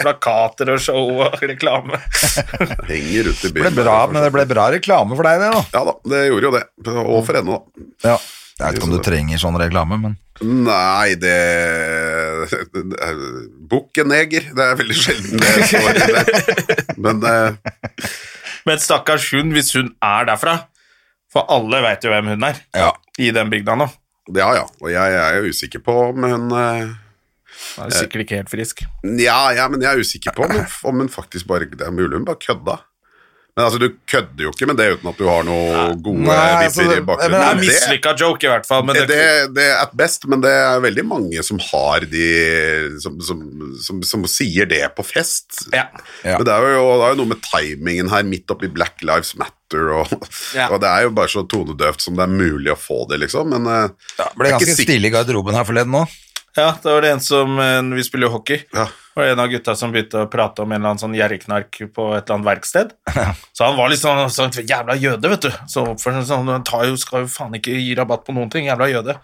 [SPEAKER 2] Plakater og show og reklame.
[SPEAKER 3] henger ut i
[SPEAKER 1] Det
[SPEAKER 3] byen.
[SPEAKER 1] ble bra, men det ble bra reklame for deg, det, da.
[SPEAKER 3] Ja da, det gjorde jo det. Og for henne, da.
[SPEAKER 1] Ja. Jeg vet ikke om du trenger sånn reklame, men
[SPEAKER 3] Nei, det, det er- Bukk en neger. Det er veldig sjelden det står i det. Men eh,
[SPEAKER 2] Men stakkars hun, hvis hun er derfra For alle veit jo hvem hun er
[SPEAKER 1] Ja.
[SPEAKER 2] i den bygda nå.
[SPEAKER 3] ja ja. Og jeg er jo usikker på om hun eh,
[SPEAKER 2] Hun er sikkert ikke helt frisk.
[SPEAKER 3] Ja, ja, men jeg er usikker på om hun, om hun faktisk bare Det er mulig hun bare kødda. Men altså, du kødder jo ikke med det uten at du har noen gode
[SPEAKER 1] Nei, altså,
[SPEAKER 3] vitser i
[SPEAKER 1] men
[SPEAKER 3] bakgrunnen.
[SPEAKER 1] det er
[SPEAKER 3] Men det,
[SPEAKER 2] Mislykka joke, i hvert fall. Men
[SPEAKER 3] det,
[SPEAKER 2] det,
[SPEAKER 3] det er best, men det er veldig mange som har de Som, som, som, som sier det på fest.
[SPEAKER 2] ja.
[SPEAKER 1] Ja.
[SPEAKER 3] Men det er, jo, det er jo noe med timingen her, midt oppi Black Lives Matter, og,
[SPEAKER 2] Ja.
[SPEAKER 3] og det er jo bare så tonedøvt som det er mulig å få det, liksom. Men eh,
[SPEAKER 1] Det ble
[SPEAKER 3] jeg er ikke
[SPEAKER 1] ganske
[SPEAKER 3] sikker-
[SPEAKER 1] stille i garderoben her forleden nå.
[SPEAKER 2] ja, da var det en som eh, Vi spiller jo hockey.
[SPEAKER 3] Ja.
[SPEAKER 2] Det var en av gutta som begynte å prate om en eller annen sånn gjerrigknark på et eller annet verksted. Så han var litt sånn, sånn jævla jøde, vet du. Så oppførte han seg sånn, han tar jo, skal jo faen ikke gi rabatt på noen ting, jævla jøde.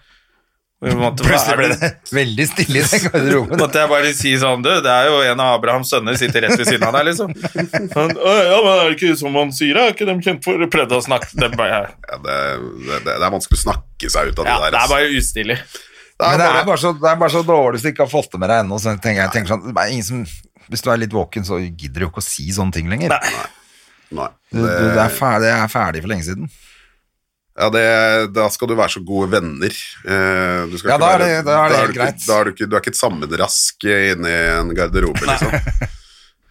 [SPEAKER 2] Og vi måtte-
[SPEAKER 1] Plutselig
[SPEAKER 2] hva
[SPEAKER 1] ble
[SPEAKER 2] er
[SPEAKER 1] det veldig stille i den garderoben.
[SPEAKER 2] Måtte jeg bare si sånn, du, det er jo en av Abrahams sønner sitter rett ved siden av deg, liksom. Men, «Å, ja, men er det ikke som han sier, er ikke de kjent for? Prøvde å snakke, det er bare,
[SPEAKER 3] ja, det, det, det er vanskelig å snakke seg ut av det
[SPEAKER 2] ja,
[SPEAKER 3] der.
[SPEAKER 2] det er
[SPEAKER 3] altså.
[SPEAKER 2] bare ustilig.
[SPEAKER 3] Det er
[SPEAKER 1] Men det er
[SPEAKER 3] bare-
[SPEAKER 1] bare så, det er bare så dårlig så du ikke har fått det med deg ennå. Så tenker jeg, jeg tenker sånn, det er ingen som, hvis du er litt våken, så gidder du jo ikke å si sånne ting lenger.
[SPEAKER 3] Nei,
[SPEAKER 1] Du, du, det, er ferdig, det er ferdig for lenge siden.
[SPEAKER 3] Ja, det, da skal du være så gode venner. Eh, du skal
[SPEAKER 1] Ja,
[SPEAKER 3] ikke
[SPEAKER 1] da er
[SPEAKER 3] være-
[SPEAKER 1] det- da er det
[SPEAKER 3] du
[SPEAKER 1] helt
[SPEAKER 3] ikke-
[SPEAKER 1] greit.
[SPEAKER 3] Da er du, ikke, du er ikke et sammenrask inni en garderobe, liksom.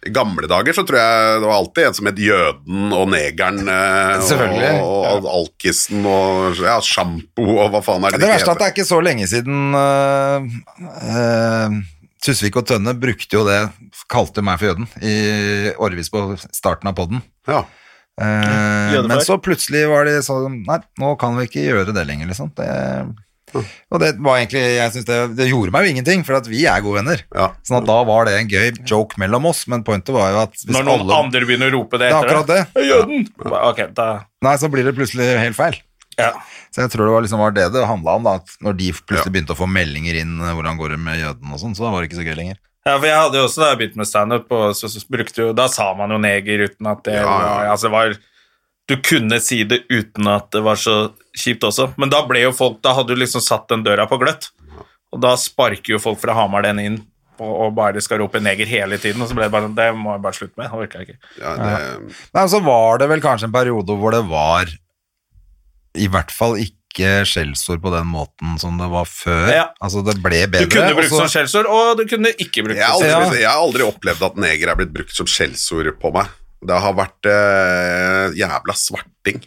[SPEAKER 3] I gamle dager så tror jeg det var alltid en som het Jøden og Negeren eh,
[SPEAKER 1] Selvfølgelig,
[SPEAKER 3] og, og Alkisen og ja, Sjampo og hva faen er det
[SPEAKER 1] Det verste er at
[SPEAKER 3] heter?
[SPEAKER 1] det er ikke så lenge siden øh, øh, Tusvik og Tønne brukte jo det, kalte meg for jøden, i årevis på starten av podden.
[SPEAKER 3] Ja.
[SPEAKER 1] Eh,
[SPEAKER 2] Jødefløy.
[SPEAKER 1] men så plutselig var de sånn Nei, nå kan vi ikke gjøre det lenger, liksom. Det, og det var egentlig jeg synes det, det gjorde meg jo ingenting, for at vi er gode venner.
[SPEAKER 3] Ja.
[SPEAKER 1] Sånn at da var det en gøy joke mellom oss, men pointet var jo at hvis
[SPEAKER 2] Når noen
[SPEAKER 1] alle
[SPEAKER 2] andre begynner å rope det
[SPEAKER 1] Det er
[SPEAKER 2] etter
[SPEAKER 1] akkurat det.
[SPEAKER 2] «Å, Jøden! Ba- Ok, da,
[SPEAKER 1] Nei, så blir det plutselig helt feil.
[SPEAKER 2] ja.
[SPEAKER 1] Så jeg tror det var, liksom, var det det handla om, da. At når de plutselig begynte å få meldinger inn eh, hvordan går det med jøden og sånn, så da var det ikke så gøy lenger.
[SPEAKER 2] Ja, for jeg hadde jo også da jeg begynte med stand-up, og så, så brukte jo, da sa man jo neger uten at det
[SPEAKER 3] Ja, ja.
[SPEAKER 2] var, altså det var, du kunne si det uten at det var så kjipt også. Men da ble jo folk, da hadde du liksom satt den døra på gløtt, og da sparker jo folk fra Hamar den inn, og, og bare skal rope neger hele tiden, og så ble det bare, sånn, det må jeg bare slutte med, det orker jeg ikke.
[SPEAKER 3] Ja, det,
[SPEAKER 1] Nei, men så var det vel kanskje en periode hvor det var i hvert fall ikke skjellsord på den måten som det var før.
[SPEAKER 2] Ja.
[SPEAKER 1] Altså, det ble bedre.
[SPEAKER 2] Du kunne brukt
[SPEAKER 1] og så-
[SPEAKER 3] altså.
[SPEAKER 2] sånn skjellsord, og du kunne ikke brukt
[SPEAKER 3] jeg, har aldri,
[SPEAKER 2] det.
[SPEAKER 1] Ja.
[SPEAKER 3] blitt- jeg har aldri opplevd at neger er blitt brukt som skjellsord på meg. Det har vært eh, jævla svarting,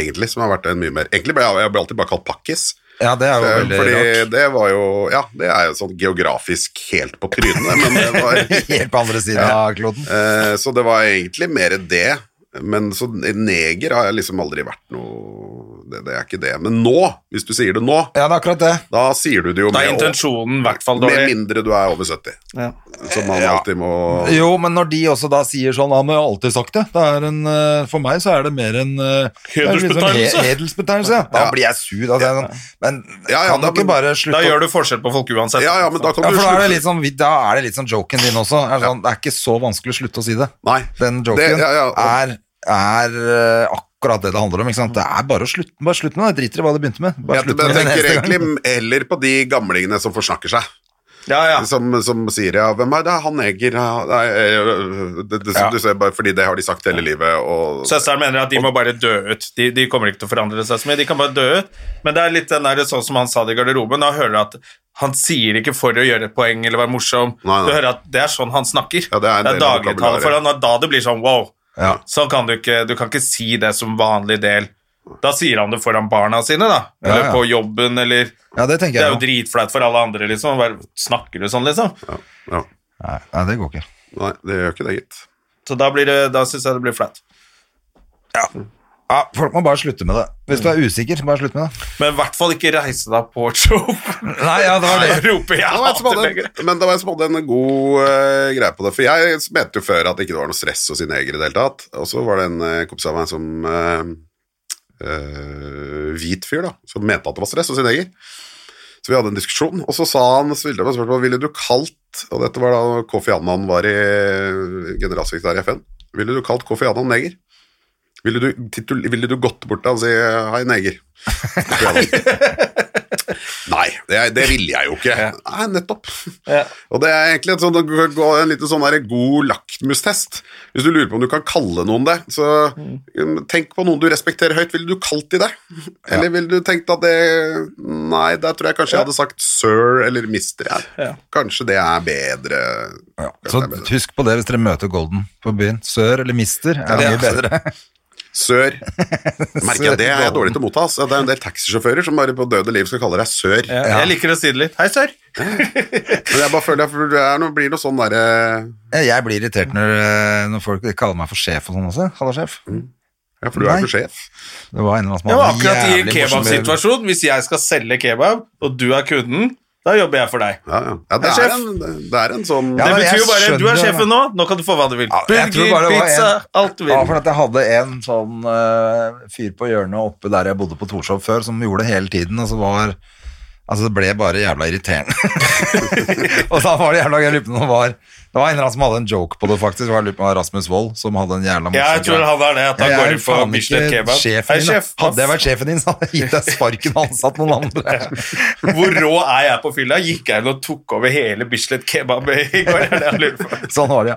[SPEAKER 3] egentlig, som har vært en mye mer Egentlig ble jeg, jeg ble alltid bare kalt pakkis.
[SPEAKER 1] Ja, det er jo
[SPEAKER 3] Eh,
[SPEAKER 1] veldig
[SPEAKER 3] Fordi
[SPEAKER 1] rart.
[SPEAKER 3] det var jo Ja, det er jo sånn geografisk helt på trynet, men det var
[SPEAKER 1] Helt på andre siden
[SPEAKER 3] Ja.
[SPEAKER 1] av kloden.
[SPEAKER 3] Eh, Så det var egentlig mer det. Men så neger har jeg liksom aldri vært noe det, det er ikke det. Men nå, hvis du sier det nå,
[SPEAKER 1] Ja, det er akkurat det.
[SPEAKER 3] da sier du det jo
[SPEAKER 2] Da er
[SPEAKER 3] med,
[SPEAKER 2] intensjonen i hvert fall
[SPEAKER 3] med
[SPEAKER 2] dårlig.
[SPEAKER 3] mindre du er over 70. Som man
[SPEAKER 1] Ja.
[SPEAKER 3] alltid må
[SPEAKER 1] Jo, men når de også da sier sånn, han har jo alltid sagt det. det er en, eh, for meg så er det mer en eh, det er liksom
[SPEAKER 2] Hedersbetegnelse.
[SPEAKER 1] he- Hedersbetegnelse, ja. Da
[SPEAKER 3] Ja.
[SPEAKER 1] blir jeg sur. Da, sier jeg sånn, men
[SPEAKER 3] Ja, ja,
[SPEAKER 1] kan du
[SPEAKER 3] da-
[SPEAKER 1] ikke bare
[SPEAKER 2] Da
[SPEAKER 1] slutte å
[SPEAKER 2] gjør du forskjell på folk uansett.
[SPEAKER 3] Ja, ja, men da kan
[SPEAKER 1] Ja,
[SPEAKER 3] du
[SPEAKER 1] for da er det
[SPEAKER 3] slutte.
[SPEAKER 1] litt sånn, da er det litt sånn joken din også. Er sånn, det er ikke så vanskelig å slutte å si det.
[SPEAKER 3] Nei.
[SPEAKER 1] Den joken
[SPEAKER 3] Det- ja, ja, og-
[SPEAKER 1] er, er eh, akkurat det det handler om. Ikke sant? Det er bare å slutte, bare slutt med det. Driter i hva du begynte med. Bare
[SPEAKER 3] Jeg
[SPEAKER 1] slutt med det
[SPEAKER 3] tenker
[SPEAKER 1] neste gang.
[SPEAKER 3] egentlig heller på de gamlingene som forsnakker seg.
[SPEAKER 2] Ja, ja.
[SPEAKER 3] Som, som sier ja, hvem er det? Han neger ja, nei, eh, det, det,
[SPEAKER 1] Ja.
[SPEAKER 3] Du ser bare fordi det har de sagt hele livet, og
[SPEAKER 2] Søsteren mener at de må bare dø ut. De, de kommer ikke til å forandre seg så mye. De kan bare dø ut. Men det er litt den der, sånn som han sa det i garderoben. Da hører du at han sier ikke for å gjøre et poeng eller være morsom.
[SPEAKER 3] Nei, nei.
[SPEAKER 2] Du hører at det er sånn han snakker.
[SPEAKER 3] Ja, det er en del av
[SPEAKER 2] dagligtale for
[SPEAKER 3] vokabularet.
[SPEAKER 2] han, og da det blir sånn wow.
[SPEAKER 1] Ja.
[SPEAKER 2] Så kan du ikke Du kan ikke si det som vanlig del. Da sier han det foran barna sine, da.
[SPEAKER 1] Ja,
[SPEAKER 2] Eller
[SPEAKER 1] ja.
[SPEAKER 2] på jobben, eller
[SPEAKER 1] Ja, det tenker
[SPEAKER 2] Det er
[SPEAKER 1] jeg.
[SPEAKER 2] jo
[SPEAKER 1] jo.
[SPEAKER 2] dritflaut for alle andre, liksom. Bare, snakker du sånn, liksom?
[SPEAKER 3] ja.
[SPEAKER 1] Nei, nei, det går ikke.
[SPEAKER 3] Nei, det gjør ikke det, gitt.
[SPEAKER 2] Så da, blir det- da syns jeg det blir flaut.
[SPEAKER 1] Ja, folk må bare slutte med det. Hvis du er usikker, bare slutt med det.
[SPEAKER 2] Men i hvert fall ikke reise deg på et show.
[SPEAKER 1] Nei, ja, det var
[SPEAKER 2] Da
[SPEAKER 1] det.
[SPEAKER 2] roper jeg
[SPEAKER 3] Det var jeg som
[SPEAKER 2] hater lenger.
[SPEAKER 3] hadde, men det var jeg som hadde en god eh, greie på det. For jeg mente jo før at det ikke var noe stress hos sine negere i det hele tatt. Og så var det en eh, kompis av meg som eh, eh, Hvit fyr, da. Som mente at det var stress hos sin neger. Så vi hadde en diskusjon, og så sa han så ville jeg meg spørsmål, ville du kalt Og dette var da Kofi Annan var i generalsekretær i FN. Ville du kalt Kofi Annan neger? Ville du, titul, ville du gått bort til han og si 'hei, neger'? Kofi Annan. Nei, det, det ville jeg jo ikke. Nei, nettopp. Og det er egentlig et sånt, en liten sånn der god lakmustest. Hvis du lurer på om du kan kalle noen det, så um, tenk på noen du respekterer høyt. Ville du kalt de det? Eller ville du tenkt at det Nei, der tror jeg kanskje jeg hadde sagt sir eller mister. Jeg. Kanskje det er bedre.
[SPEAKER 1] Ja, så husk på det hvis dere møter Golden på byen. Sør eller mister er
[SPEAKER 3] det
[SPEAKER 1] mye
[SPEAKER 3] er-
[SPEAKER 1] bedre.
[SPEAKER 3] Sør. Merker jeg det er jeg dårlig til å motta. ass. Det er en del taxisjåfører som bare på døde liv skal kalle deg sør.
[SPEAKER 2] Ja, Jeg liker å si det litt. Hei, sør.
[SPEAKER 3] Men jeg bare føler at det er noe, blir noe sånn derre
[SPEAKER 1] Jeg blir irritert når, eh, når folk kaller meg for sjef og sånn også. Halla, sjef.
[SPEAKER 3] Ja, for du er
[SPEAKER 1] Nei.
[SPEAKER 3] jo ikke sjef.
[SPEAKER 1] Det var en eller annen som
[SPEAKER 2] Det var
[SPEAKER 1] hadde en
[SPEAKER 2] akkurat i en
[SPEAKER 1] jævlig morsom-
[SPEAKER 2] kebabsituasjon. Hvis jeg skal selge kebab, og du er kunden, da jobber jeg for deg.
[SPEAKER 3] Ja, ja. ja det,
[SPEAKER 2] Jeg
[SPEAKER 3] er
[SPEAKER 2] er sjef.
[SPEAKER 3] en, det er en sånn
[SPEAKER 1] Ja,
[SPEAKER 2] Det
[SPEAKER 1] men
[SPEAKER 2] betyr
[SPEAKER 1] jeg
[SPEAKER 2] jo bare du er
[SPEAKER 1] skjønner det.
[SPEAKER 2] sjefen nå, nå kan du få hva du vil.
[SPEAKER 1] Ja, jeg tror
[SPEAKER 2] Burger,
[SPEAKER 1] bare det var
[SPEAKER 2] pizza,
[SPEAKER 1] en-
[SPEAKER 2] alt du
[SPEAKER 1] Ja, for
[SPEAKER 2] vil.
[SPEAKER 1] at jeg hadde en sånn eh, fyr på hjørnet oppe der jeg bodde på Torshov før, som gjorde det hele tiden, og så var Altså, det ble bare jævla irriterende. og så var det jævla jeg lurer på om det var Det var en eller annen som hadde en joke på det, faktisk. Det var jeg lurer på om det var Rasmus Wold, som hadde en jævla morsom
[SPEAKER 2] Jeg tror
[SPEAKER 1] greie.
[SPEAKER 2] han er det, at han
[SPEAKER 1] Jeg
[SPEAKER 2] går
[SPEAKER 1] er
[SPEAKER 2] inn for
[SPEAKER 1] faen
[SPEAKER 2] Bislett
[SPEAKER 1] ikke
[SPEAKER 2] kebab.
[SPEAKER 1] sjefen
[SPEAKER 2] Hei,
[SPEAKER 1] din, da.
[SPEAKER 2] sjef.
[SPEAKER 1] Hadde jeg vært sjefen din, så hadde jeg gitt deg sparken og ansatt noen andre.
[SPEAKER 2] Hvor rå er jeg på fylla? Gikk jeg inn og tok over hele Bislett kebab i går? Er det jeg lurer på.
[SPEAKER 1] Sånn var det,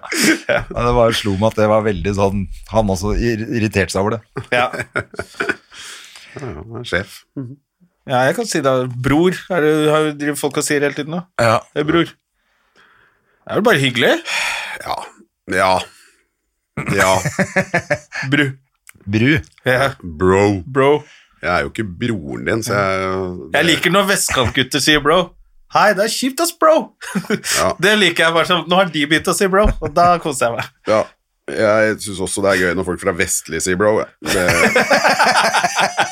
[SPEAKER 1] ja. Men det bare slo meg at det var veldig sånn Han også ir- irriterte seg over det.
[SPEAKER 2] Ja.
[SPEAKER 3] Ja, han er sjef.
[SPEAKER 2] ja, jeg kan si det. Bror, er det, har jo- driver folk og sier hele tiden nå.
[SPEAKER 1] Ja.
[SPEAKER 2] Det er bror. Det er vel bare hyggelig?
[SPEAKER 3] Ja. Ja. ja.
[SPEAKER 2] Bru.
[SPEAKER 1] Bru.
[SPEAKER 2] Ja,
[SPEAKER 3] Bro.
[SPEAKER 2] bro.
[SPEAKER 3] Jeg er jo ikke broren din, så jeg
[SPEAKER 2] Jeg liker når vestkantgutter sier bro. Hei, det er kjipt, ass, bro.
[SPEAKER 3] Ja.
[SPEAKER 2] Det liker jeg bare som Nå har de begynt å si bro, og da koser jeg meg.
[SPEAKER 3] Ja. Jeg syns også det er gøy når folk fra Vestli sier bro. jeg. Det...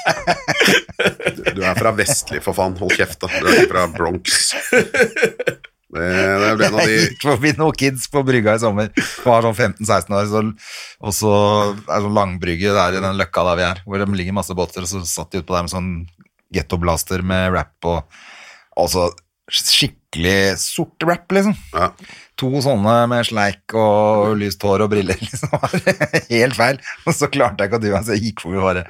[SPEAKER 3] Du er fra Vestli, for faen. Hold kjeft, da. Du er ikke fra Bronx. Det, det er en av de
[SPEAKER 1] Jeg gikk forbi noen kids på brygga i sommer. De var sånn 15-16 år, så, og så er det sånn langbrygge der i den løkka der vi er, hvor det ligger masse båter, og så satt de utpå der med sånn gettoblaster med rap og og så skikkelig sort rap, liksom.
[SPEAKER 3] ja.
[SPEAKER 1] To sånne med sleik og lyst hår og briller, liksom. var Helt feil. Og så klarte jeg ikke å dy meg, så jeg gikk forbi og bare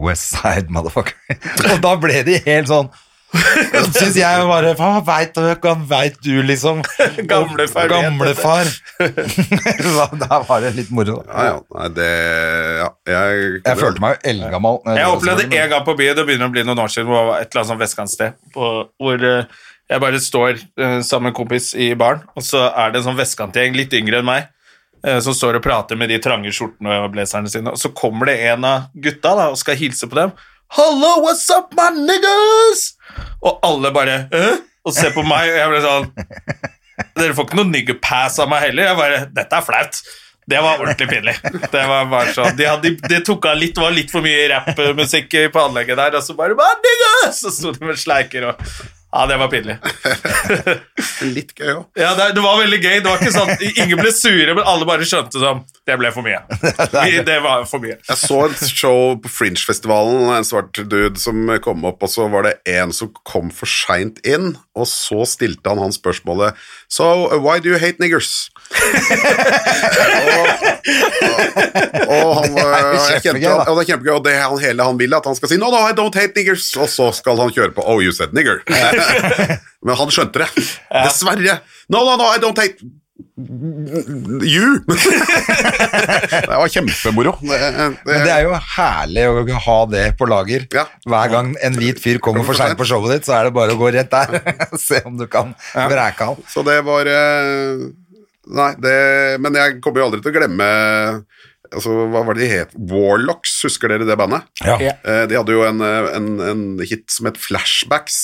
[SPEAKER 1] West Side, motherfucker. Og da ble de helt sånn Syns jeg bare Hva veit du, hva veit du, liksom?
[SPEAKER 2] Gamlefar vet
[SPEAKER 1] Gamlefar. Så da var det litt moro.
[SPEAKER 3] Ja, ja. Nei, det Ja. Jeg,
[SPEAKER 1] Jeg følte meg jo eldgammel. når
[SPEAKER 2] Jeg
[SPEAKER 1] gjorde
[SPEAKER 2] opplevde
[SPEAKER 1] sånn, men-
[SPEAKER 2] en gang på byen, det begynner å bli noen år siden, hvor det var et eller annet sånn vestkantsted, på- hvor eh, jeg bare står eh, sammen med en kompis i baren, og så er det en sånn vestkantgjeng, litt yngre enn meg, eh, som står og prater med de trange skjortene og blazerne sine, og så kommer det en av gutta da, og skal hilse på dem, 'Hallo, what's up, my niggas?' Og alle bare «Hæ?» Og ser på meg, og jeg ble sånn Dere får ikke noe nigger pass av meg heller. Jeg bare Dette er flaut. Det var ordentlig pinlig. Det var bare sånn, de hadde, det tok av litt, det var litt for mye rappmusikk på anlegget der, og så bare «My niggas!» Så sto de med sleiker og Ja, det var pinlig.
[SPEAKER 3] Litt gøy òg.
[SPEAKER 2] Ja, det, det var veldig gøy. Det var ikke sånn, Ingen ble sure, men alle bare skjønte sånn Det ble for mye. Vi, det var for mye.
[SPEAKER 3] Jeg så et show på Fringe-festivalen, en svart dude som kom opp, og så var det en som kom for seint inn, og så stilte han han spørsmålet So, uh, why do you hate niggers? og, og, og han eh, jeg
[SPEAKER 1] kjempegøy,
[SPEAKER 3] kjente,
[SPEAKER 1] da.
[SPEAKER 3] han- ja, det er kjempegøy, og det han hele han vil, er at han skal si No, no, I don't hate niggers, og så skal han kjøre på Oh, you said nigger. Men han skjønte det. Dessverre. No, no, no, I don't hate You! det var kjempemoro. Det,
[SPEAKER 1] Men det er jo herlig å ha det på lager.
[SPEAKER 3] Ja.
[SPEAKER 1] Hver gang en hvit fyr kommer for seint på showet ditt, så er det bare å gå rett der. Se om du kan vreke han.
[SPEAKER 3] Så det var eh, Nei, det Men jeg kommer jo aldri til å glemme Altså, Hva var det de het? Warlocks, husker dere det bandet?
[SPEAKER 1] Ja.
[SPEAKER 3] Eh, De hadde jo en, eh, en, en hit som het Flashbacks,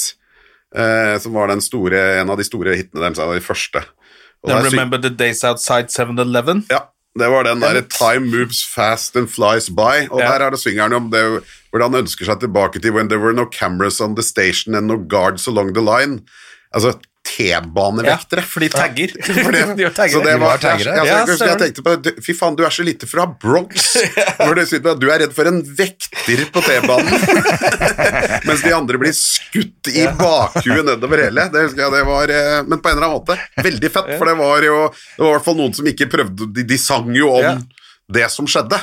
[SPEAKER 3] eh, som var den store, en av de store hitene deres, en av de første. Og
[SPEAKER 2] Then
[SPEAKER 3] der syng-
[SPEAKER 2] remember the days outside 7-Eleven.
[SPEAKER 3] Ja, det var den der Time moves fast and flies by, og
[SPEAKER 2] Ja.
[SPEAKER 3] der er det syngeren om det, hvordan han ønsker seg tilbake til When there were no cameras on the station and no guards along the line. Altså,
[SPEAKER 2] Ja,
[SPEAKER 3] T-banevektere.
[SPEAKER 2] for de tagger.
[SPEAKER 3] For det,
[SPEAKER 2] De var taggere.
[SPEAKER 3] Så det
[SPEAKER 1] De
[SPEAKER 3] var,
[SPEAKER 1] var taggere.
[SPEAKER 3] Jeg,
[SPEAKER 2] Ja,
[SPEAKER 3] jeg, jeg
[SPEAKER 2] stemmer.
[SPEAKER 3] tenkte på det, Fy faen, du er så lite fra Bronx! Når du, sier at du er redd for en vekter på T-banen. Mens de andre blir skutt i bakhuet nedover hele. Det husker jeg, det var eh, Men på en eller annen måte veldig fett, for det var jo Det var i hvert fall noen som ikke prøvde De, de sang jo om
[SPEAKER 2] Ja.
[SPEAKER 3] det som skjedde.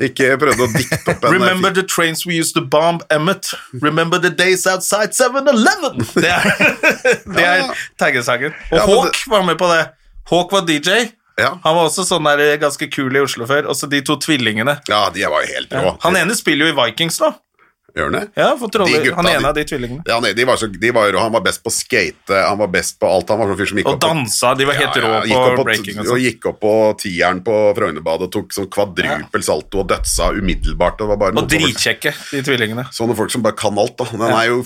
[SPEAKER 3] Ikke prøvde å dikte opp en eh,
[SPEAKER 2] Remember the trains we used to bomb Emmet. Remember the days outside 7-Eleven. Det er, det er taggesangen. Og
[SPEAKER 3] Ja, men
[SPEAKER 2] Hawk var med på det. Hawk var DJ.
[SPEAKER 3] Ja.
[SPEAKER 2] Han var også sånn der ganske kul i Oslo før. Også de to tvillingene.
[SPEAKER 3] Ja, de var jo helt rå.
[SPEAKER 2] Han ene spiller jo i Vikings nå.
[SPEAKER 3] Gjør han det?
[SPEAKER 2] Ja, for troller.
[SPEAKER 3] De gutta,
[SPEAKER 2] han ene
[SPEAKER 3] de-
[SPEAKER 2] av de tvillingene.
[SPEAKER 3] Ja, nei, de var så, de var, jo- han var best på skate, han var best på alt. Han var sånn fyr som gikk
[SPEAKER 2] Og
[SPEAKER 3] opp på-
[SPEAKER 2] dansa. De var helt
[SPEAKER 3] Ja, ja,
[SPEAKER 2] rå
[SPEAKER 3] gikk opp
[SPEAKER 2] på breaking og
[SPEAKER 3] og
[SPEAKER 2] sånn.
[SPEAKER 3] gikk opp på tieren på Frognerbadet og tok sånn kvadrupel salto og dødsa umiddelbart. Det var bare
[SPEAKER 2] Og
[SPEAKER 3] noen som-
[SPEAKER 2] dritkjekke, de tvillingene.
[SPEAKER 3] Sånne folk som bare kan alt, da. Den er jo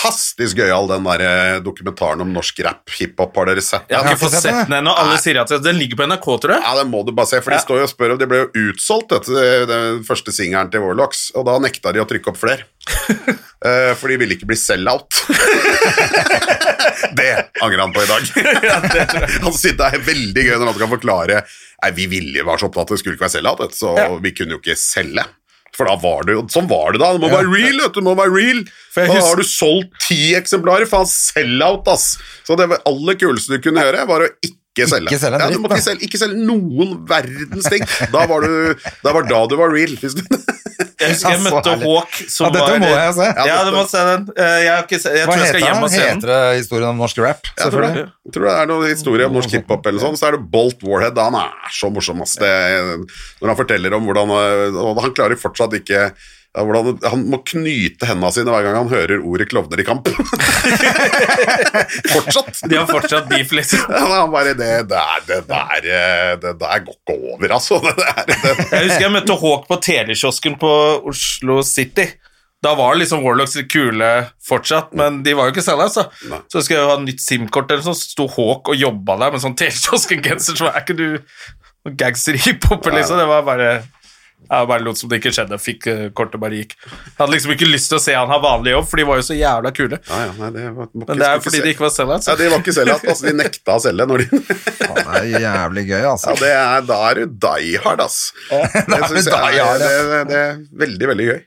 [SPEAKER 3] fantastisk gøyal, den der eh, dokumentaren om norsk rap, hiphop, har dere sett
[SPEAKER 2] Jeg
[SPEAKER 3] den?
[SPEAKER 2] har ikke fått sett den ennå. Alle
[SPEAKER 3] Nei.
[SPEAKER 2] sier at den ligger på NRK, tror jeg.
[SPEAKER 3] Ja, den må du bare se, for de
[SPEAKER 2] Ja.
[SPEAKER 3] står jo og spør om De ble jo utsolgt, vet du, den første singelen til Warlocks, og da nekta de å trykke opp flere. Eh, For de ville ikke bli sell-out. det angrer han på i dag. han sier det er veldig gøy når han kan forklare Nei, vi ville var så opptatt av at det skulle ikke være sell-out, vet du, så vi kunne jo ikke selge. For da var det jo Sånn var det da. Det må være real, vet du. Det må være real.
[SPEAKER 2] jeg
[SPEAKER 3] Da
[SPEAKER 2] husker-
[SPEAKER 3] har du solgt ti eksemplarer. Faen, sell-out, ass. Så det var aller kuleste du kunne gjøre, var å ikke selge.
[SPEAKER 1] Ikke selge en
[SPEAKER 3] ja, du
[SPEAKER 1] dritt,
[SPEAKER 3] måtte
[SPEAKER 1] da.
[SPEAKER 3] ikke selge, ikke selge noen verdens ting. Da var du Da var, da du var real. Hvis du
[SPEAKER 2] Jeg husker jeg
[SPEAKER 1] Ja, så
[SPEAKER 2] møtte
[SPEAKER 1] Altså, herlig.
[SPEAKER 2] Hawk, som
[SPEAKER 1] Ja, dette
[SPEAKER 2] var
[SPEAKER 1] må jeg se.
[SPEAKER 2] Ja, du må se den. Eh, Jeg, har ikke se, jeg
[SPEAKER 1] Hva
[SPEAKER 2] tror jeg skal
[SPEAKER 1] heter
[SPEAKER 2] hjem
[SPEAKER 1] han?
[SPEAKER 2] og se den.
[SPEAKER 1] Heter det historien om norsk rap?
[SPEAKER 3] Jeg tror det. Jeg tror det er noen historie om norsk hiphop eller sånn, så er det Bolt Warhead. Han er så morsom, ass. Det, når han forteller om hvordan øh, Og han klarer fortsatt ikke ja, hvordan, Han må knyte hendene sine hver gang han hører ordet 'klovner i kamp'. fortsatt.
[SPEAKER 2] De har fortsatt beef, liksom.
[SPEAKER 3] Ja, han bare Det der, det der øh, Det der går ikke over, altså. Det der, det.
[SPEAKER 2] Jeg husker jeg møtte Hawk på telekiosken på Oslo City. Da var liksom Warlocks litt kule fortsatt, men de var jo ikke selge, altså.
[SPEAKER 3] Nei.
[SPEAKER 2] Så husker jeg ha nytt SIM-kort eller sånn, så sto Hawk og jobba der med sånn telekiosken-genser, så er ikke du noen gangster-hiphoper, liksom. Det var bare jeg bare lot som det ikke skjedde, fikk eh, kortet bare gikk. Jeg hadde liksom ikke lyst til å se han ha vanlig jobb, for de var jo så jævla kule.
[SPEAKER 3] Ja, ja, nei, det var, må
[SPEAKER 2] Men det er
[SPEAKER 3] skulle
[SPEAKER 2] fordi de ikke var selge,
[SPEAKER 3] ja,
[SPEAKER 2] altså.
[SPEAKER 3] De var ikke selge, altså. De nekta å selge når de
[SPEAKER 1] Ja, det er jævlig gøy,
[SPEAKER 3] Ja,
[SPEAKER 1] altså.
[SPEAKER 3] det er, da er du die hard, ass. Det,
[SPEAKER 1] er du
[SPEAKER 3] synes jeg
[SPEAKER 1] die hard,
[SPEAKER 3] det, det, det er veldig, veldig gøy.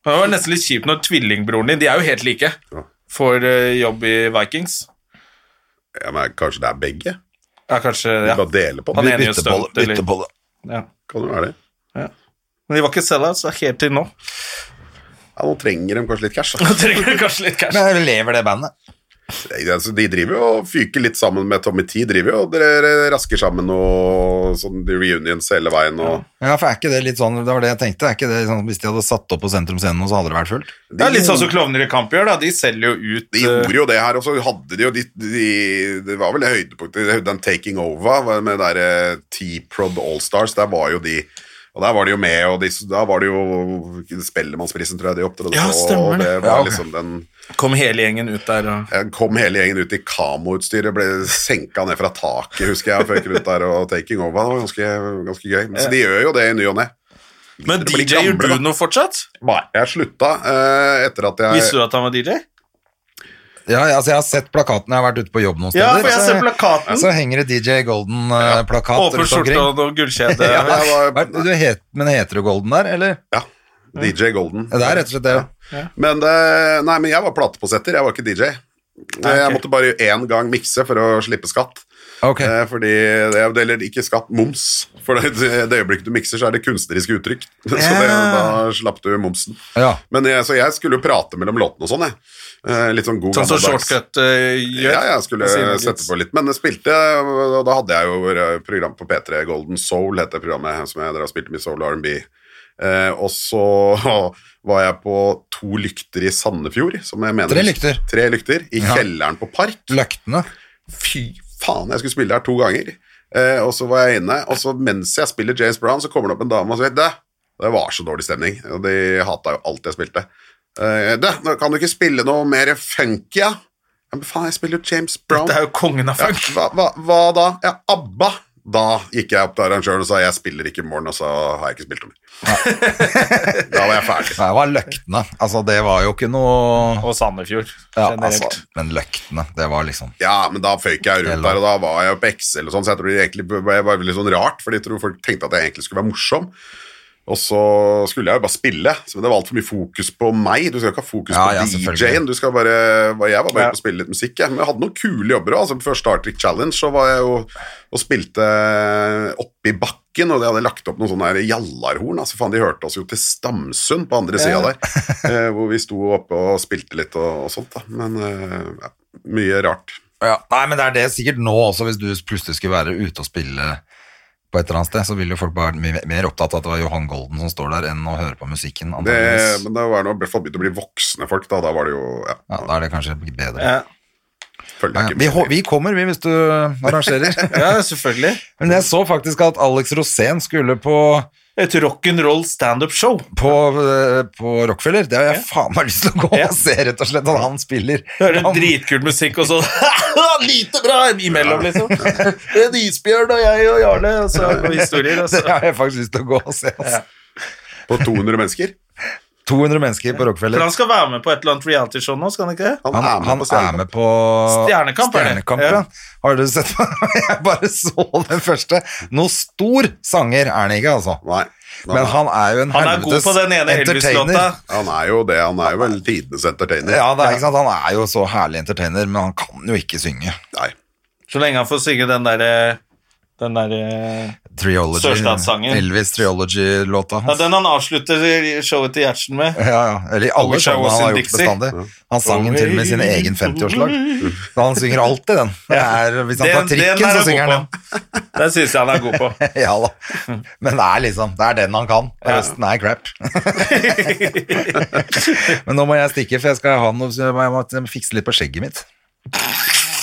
[SPEAKER 2] Det var nesten litt kjipt når tvillingbroren din, de er jo helt like,
[SPEAKER 3] Ja.
[SPEAKER 2] får eh, jobb i Vikings.
[SPEAKER 3] Ja, men kanskje det er begge?
[SPEAKER 2] Ja, kanskje,
[SPEAKER 3] Vi
[SPEAKER 2] ja.
[SPEAKER 3] bare deler på
[SPEAKER 2] Han
[SPEAKER 3] det.
[SPEAKER 2] ene gjør stunt, eller-
[SPEAKER 1] byttebolle.
[SPEAKER 2] ja.
[SPEAKER 3] Kan det være det?
[SPEAKER 2] Men de var ikke sellouts da, helt til nå.
[SPEAKER 3] Ja, nå trenger de kanskje litt cash.
[SPEAKER 2] Nå
[SPEAKER 3] Da.
[SPEAKER 2] trenger du kanskje litt cash.
[SPEAKER 1] Men lever det bandet?
[SPEAKER 3] Altså, de driver jo og fyker litt sammen med Tommy T. Driver jo og dere rasker sammen og sånn de reunions hele veien. Og
[SPEAKER 1] Ja, for er ikke det litt sånn Det var det jeg tenkte. Er ikke det sånn Hvis de hadde satt opp på Sentrum Scene nå, så hadde det vært fullt?
[SPEAKER 2] Det er litt sånn som Klovner i kamp gjør, da. De selger jo ut
[SPEAKER 3] de
[SPEAKER 2] eh,
[SPEAKER 3] gjorde jo det her, og så hadde de jo de, de, Det var vel det høydepunktet. Den Taking Over var med der eh, T-Prod Allstars, der var jo de Og der var de jo med, og de, da var det jo Spellemannsprisen, tror jeg, de opptrådte
[SPEAKER 2] Ja,
[SPEAKER 3] på,
[SPEAKER 2] stemmer
[SPEAKER 3] og
[SPEAKER 2] det.
[SPEAKER 3] det var
[SPEAKER 1] Ja, ok.
[SPEAKER 3] liksom den
[SPEAKER 2] Kom hele gjengen ut der og
[SPEAKER 3] jeg kom hele gjengen ut i Kamo-utstyret, ble senka ned fra taket, husker jeg, før jeg gikk ut der og taking over. Det var ganske, ganske gøy. Men, så de gjør jo det i ny og ne.
[SPEAKER 2] Men
[SPEAKER 3] blir
[SPEAKER 2] DJ-er
[SPEAKER 3] gamle,
[SPEAKER 2] du
[SPEAKER 3] da.
[SPEAKER 2] noe fortsatt?
[SPEAKER 3] Nei, jeg slutta eh, etter at jeg
[SPEAKER 2] Visste du at han var DJ?
[SPEAKER 1] Ja, ja, altså, jeg har sett plakaten, jeg har vært ute på jobb noen steder.
[SPEAKER 2] Ja, for jeg ser
[SPEAKER 1] så-
[SPEAKER 2] plakaten.
[SPEAKER 1] Så henger det DJ Golden-plakat
[SPEAKER 2] Åpen
[SPEAKER 1] rundt
[SPEAKER 2] skjorte
[SPEAKER 1] omkring.
[SPEAKER 2] og noe gullkjede.
[SPEAKER 3] Ja, jeg
[SPEAKER 1] Hva er
[SPEAKER 3] var,
[SPEAKER 1] det Du het, men heter du Golden der, eller?
[SPEAKER 3] ja, DJ Golden.
[SPEAKER 1] Ja, Det er rett og slett det.
[SPEAKER 3] Men, eh, nei, men jeg var plateposetter, jeg var ikke DJ. Jeg måtte bare én gang mikse for å slippe skatt.
[SPEAKER 1] Ok.
[SPEAKER 3] Eh, Fordi det er Eller ikke skatt, moms. For det, det øyeblikket du mikser, så er det kunstneriske uttrykk. Så det, da slapp du momsen.
[SPEAKER 1] Ja.
[SPEAKER 3] Men jeg, så jeg skulle jo prate mellom låtene og sånn, jeg. Eh, Litt sånn god
[SPEAKER 2] Sånn som
[SPEAKER 3] gammeldags-
[SPEAKER 2] shortcut eh, gjør.
[SPEAKER 3] Ja, jeg skulle
[SPEAKER 2] Siden
[SPEAKER 3] sette på litt. Men jeg spilte, og da hadde jeg jo program på P3, Golden Soul het det programmet, som jeg drev og spilte mye soul og R&B. Eh, og så var jeg på To lykter i Sandefjord, som jeg mener
[SPEAKER 1] Tre lykter.
[SPEAKER 3] Tre lykter I
[SPEAKER 1] Ja.
[SPEAKER 3] kjelleren på Park.
[SPEAKER 1] Løktene.
[SPEAKER 3] Fy faen, jeg skulle spille der to ganger. Eh, og så var jeg inne, og så mens jeg spiller James Brown, så kommer det opp en dame og sier det. Det var så dårlig stemning, og de hata jo alt jeg spilte. Eh, det, nå kan du ikke spille noe mer funky, ja? Ja, Men faen, jeg spiller jo James Brown.
[SPEAKER 2] Det er jo kongen av
[SPEAKER 3] ja,
[SPEAKER 2] funk.
[SPEAKER 3] hva, hva, hva da? Ja, ABBA. Da gikk jeg opp til arrangøren og sa jeg spiller ikke i morgen, og så har jeg ikke spilt om det. da var jeg ferdig.
[SPEAKER 1] Nei, det var Løktene. Altså, det var jo ikke noe
[SPEAKER 2] Og Sandefjord
[SPEAKER 1] ja,
[SPEAKER 2] generelt.
[SPEAKER 1] altså, Men Løktene, det var liksom
[SPEAKER 3] Ja, men da føyk jeg rundt der, og da var jeg jo på Excel og sånn, så jeg tror det egentlig det var veldig sånn rart, for jeg tror folk tenkte at jeg egentlig skulle være morsom. Og så skulle jeg jo bare spille, så- men det var altfor mye fokus på meg. Du skal ikke ha fokus
[SPEAKER 1] Ja,
[SPEAKER 3] på
[SPEAKER 1] ja, selvfølgelig.
[SPEAKER 3] DJ-en, du skal bare bare- Jeg var bare
[SPEAKER 2] Ja.
[SPEAKER 3] ute og spille litt musikk, jeg. Men jeg hadde noen kule jobber òg. Altså, før Star Trek Challenge så var jeg jo og spilte oppi bakken, og de hadde lagt opp noen sånne der jallarhorn. Altså, faen, de hørte oss jo til Stamsund på andre sida der, eh, hvor vi sto oppe og spilte litt og, og sånt, da. Men eh, ja, mye rart.
[SPEAKER 1] ja. Nei, men det er det sikkert nå også, hvis du plutselig skulle være ute og spille på et eller annet sted, så ville jo folk bare vært mye mer opptatt av at det var Johan Golden som står der, enn å høre på musikken.
[SPEAKER 3] Det,
[SPEAKER 1] antageligvis.
[SPEAKER 3] men da var det nå forbudt å bli voksne folk, da. Da var det jo ja,
[SPEAKER 1] Ja, da er det kanskje bedre.
[SPEAKER 2] Ja.
[SPEAKER 3] følger
[SPEAKER 1] Ja, ja.
[SPEAKER 3] jeg ikke
[SPEAKER 1] vi,
[SPEAKER 3] med.
[SPEAKER 1] hå- vi kommer, vi, hvis du arrangerer.
[SPEAKER 2] ja, selvfølgelig.
[SPEAKER 1] Men jeg så faktisk at Alex Rosén skulle på
[SPEAKER 2] Et rock'n'roll standup-show.
[SPEAKER 1] på, eh, på Rockefeller. Det har jeg faen meg lyst til å gå
[SPEAKER 2] Ja.
[SPEAKER 1] og se, rett og slett, at han spiller.
[SPEAKER 2] Hører
[SPEAKER 1] Han-
[SPEAKER 2] dritkul musikk og sånn Lite bra imellom, liksom. En isbjørn og jeg og Jarle, og så og historier. Og
[SPEAKER 1] Det
[SPEAKER 2] så.
[SPEAKER 1] har jeg faktisk lyst til å gå og se. Altså.
[SPEAKER 3] På 200 mennesker.
[SPEAKER 1] 200 mennesker på
[SPEAKER 2] For
[SPEAKER 1] Rockefeller.
[SPEAKER 2] han skal være med på et eller annet realityshow nå, skal han ikke det?
[SPEAKER 3] Han,
[SPEAKER 1] Han,
[SPEAKER 3] er med
[SPEAKER 1] han
[SPEAKER 3] på scenen.
[SPEAKER 1] er med på
[SPEAKER 2] Stjernekamp, er det?
[SPEAKER 1] Stjernekamp, ja. Har du sett Jeg bare så den første. Noe stor sanger er han ikke, altså.
[SPEAKER 3] Nei.
[SPEAKER 1] Men han er jo en
[SPEAKER 2] Han er god
[SPEAKER 1] helvetes
[SPEAKER 2] på den ene Elvis-låta.
[SPEAKER 1] entertainer.
[SPEAKER 3] han er jo det. Han er jo vel tidenes entertainer.
[SPEAKER 1] Ja, det er, ikke sant? Han er jo så herlig entertainer, men han kan jo ikke synge.
[SPEAKER 3] Nei.
[SPEAKER 2] Så lenge han får synge den derre den der, eh,
[SPEAKER 1] Triology,
[SPEAKER 2] Sørstatssangen.
[SPEAKER 1] Elvis Triology-låta
[SPEAKER 2] ja,
[SPEAKER 1] hans.
[SPEAKER 2] Den han avslutter showet til Gjertsen med.
[SPEAKER 1] Ja, ja. Eller i alle
[SPEAKER 2] Wish I
[SPEAKER 1] showene
[SPEAKER 2] Was
[SPEAKER 1] han har
[SPEAKER 2] in
[SPEAKER 1] gjort
[SPEAKER 2] Dixie.
[SPEAKER 1] bestandig. Han sang den til og med i sin egen 50-årslag. Så han synger alltid den. Det er, hvis han
[SPEAKER 2] Den-
[SPEAKER 1] tar
[SPEAKER 2] den
[SPEAKER 1] trikken,
[SPEAKER 2] er
[SPEAKER 1] så
[SPEAKER 2] han
[SPEAKER 1] synger
[SPEAKER 2] god
[SPEAKER 1] han den.
[SPEAKER 2] på. Den syns jeg han er god på.
[SPEAKER 1] Ja da. Men det er liksom, det er den han kan. og
[SPEAKER 2] Ja.
[SPEAKER 1] Resten er crap. Men nå må jeg stikke, for jeg skal ha noe, så jeg må- jeg må fikse litt på skjegget mitt.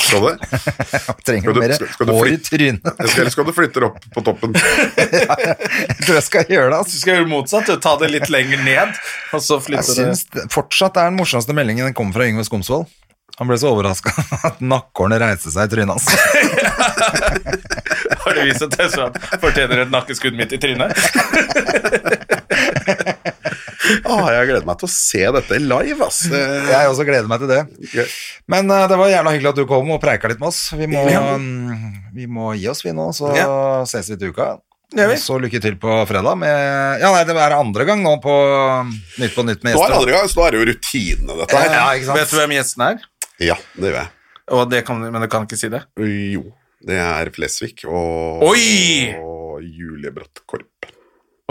[SPEAKER 3] Skal du det?
[SPEAKER 1] Jeg trenger
[SPEAKER 3] Skal du-
[SPEAKER 1] noe mer
[SPEAKER 3] skal- skal du
[SPEAKER 1] hår i
[SPEAKER 3] flytte?
[SPEAKER 1] trynet.
[SPEAKER 3] Jeg skal- Eller skal du flytte opp på toppen?
[SPEAKER 1] Jeg tror jeg skal gjøre det,
[SPEAKER 2] Du
[SPEAKER 1] altså.
[SPEAKER 2] skal gjøre motsatt. Du ta det litt lenger ned, og så
[SPEAKER 1] Jeg
[SPEAKER 2] flytte det
[SPEAKER 1] syns det- fortsatt det er den morsomste meldingen den kom fra Yngve Skomsvold. Han ble så overraska at nakkhårene reiste seg i trynet hans.
[SPEAKER 2] Har du vist at jeg så at fortjener et nakkeskudd midt i trynet?
[SPEAKER 3] Å, jeg gleder meg til å se dette live, ass. Det-
[SPEAKER 1] Jeg også gleder meg til det.
[SPEAKER 3] Gøy.
[SPEAKER 1] Men eh, det var gjerne hyggelig at du kom og preika litt med oss. Vi må, mm, vi må gi oss, vi nå, så ses vi til uka.
[SPEAKER 2] gjør vi.
[SPEAKER 1] Og så lykke til på fredag med Ja, nei, det er andre gang nå på mm, Nytt på nytt med
[SPEAKER 3] Nå er det
[SPEAKER 1] gjester.
[SPEAKER 3] andre gang, så nå er det jo rutinene, dette her.
[SPEAKER 1] Ja, ikke sant?
[SPEAKER 2] Vet du hvem gjesten er?
[SPEAKER 3] Ja, det gjør jeg.
[SPEAKER 2] Og det kan, men du kan ikke si det.
[SPEAKER 3] Jo, det er Flesvig og,
[SPEAKER 2] Oi!
[SPEAKER 3] og Julie Bratt Korp.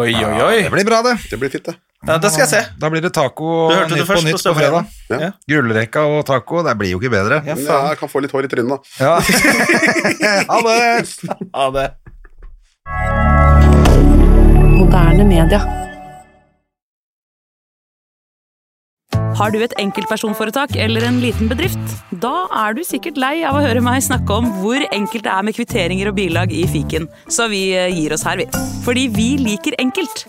[SPEAKER 2] Oi, oi,
[SPEAKER 1] Det
[SPEAKER 2] oi.
[SPEAKER 1] blir bra, det.
[SPEAKER 3] Det blir fint, det.
[SPEAKER 2] Ja, da skal jeg se.
[SPEAKER 1] Da blir det taco og
[SPEAKER 2] Du hørte det
[SPEAKER 1] Nytt på
[SPEAKER 2] først
[SPEAKER 1] nytt
[SPEAKER 2] på
[SPEAKER 1] på fredag.
[SPEAKER 3] Ja.
[SPEAKER 2] Ja.
[SPEAKER 1] Gullrekka og taco, det blir jo ikke bedre.
[SPEAKER 2] Ja,
[SPEAKER 3] Men
[SPEAKER 2] faen.
[SPEAKER 3] Jeg kan få litt hår i trynet, da.
[SPEAKER 1] Ja. ha det!
[SPEAKER 2] Ha det.
[SPEAKER 4] Moderne media.
[SPEAKER 5] Har du et enkeltpersonforetak eller en liten bedrift? Da er du sikkert lei av å høre meg snakke om hvor enkelt det er med kvitteringer og bilag i fiken, så vi eh, gir oss her, vi. Fordi vi liker enkelt.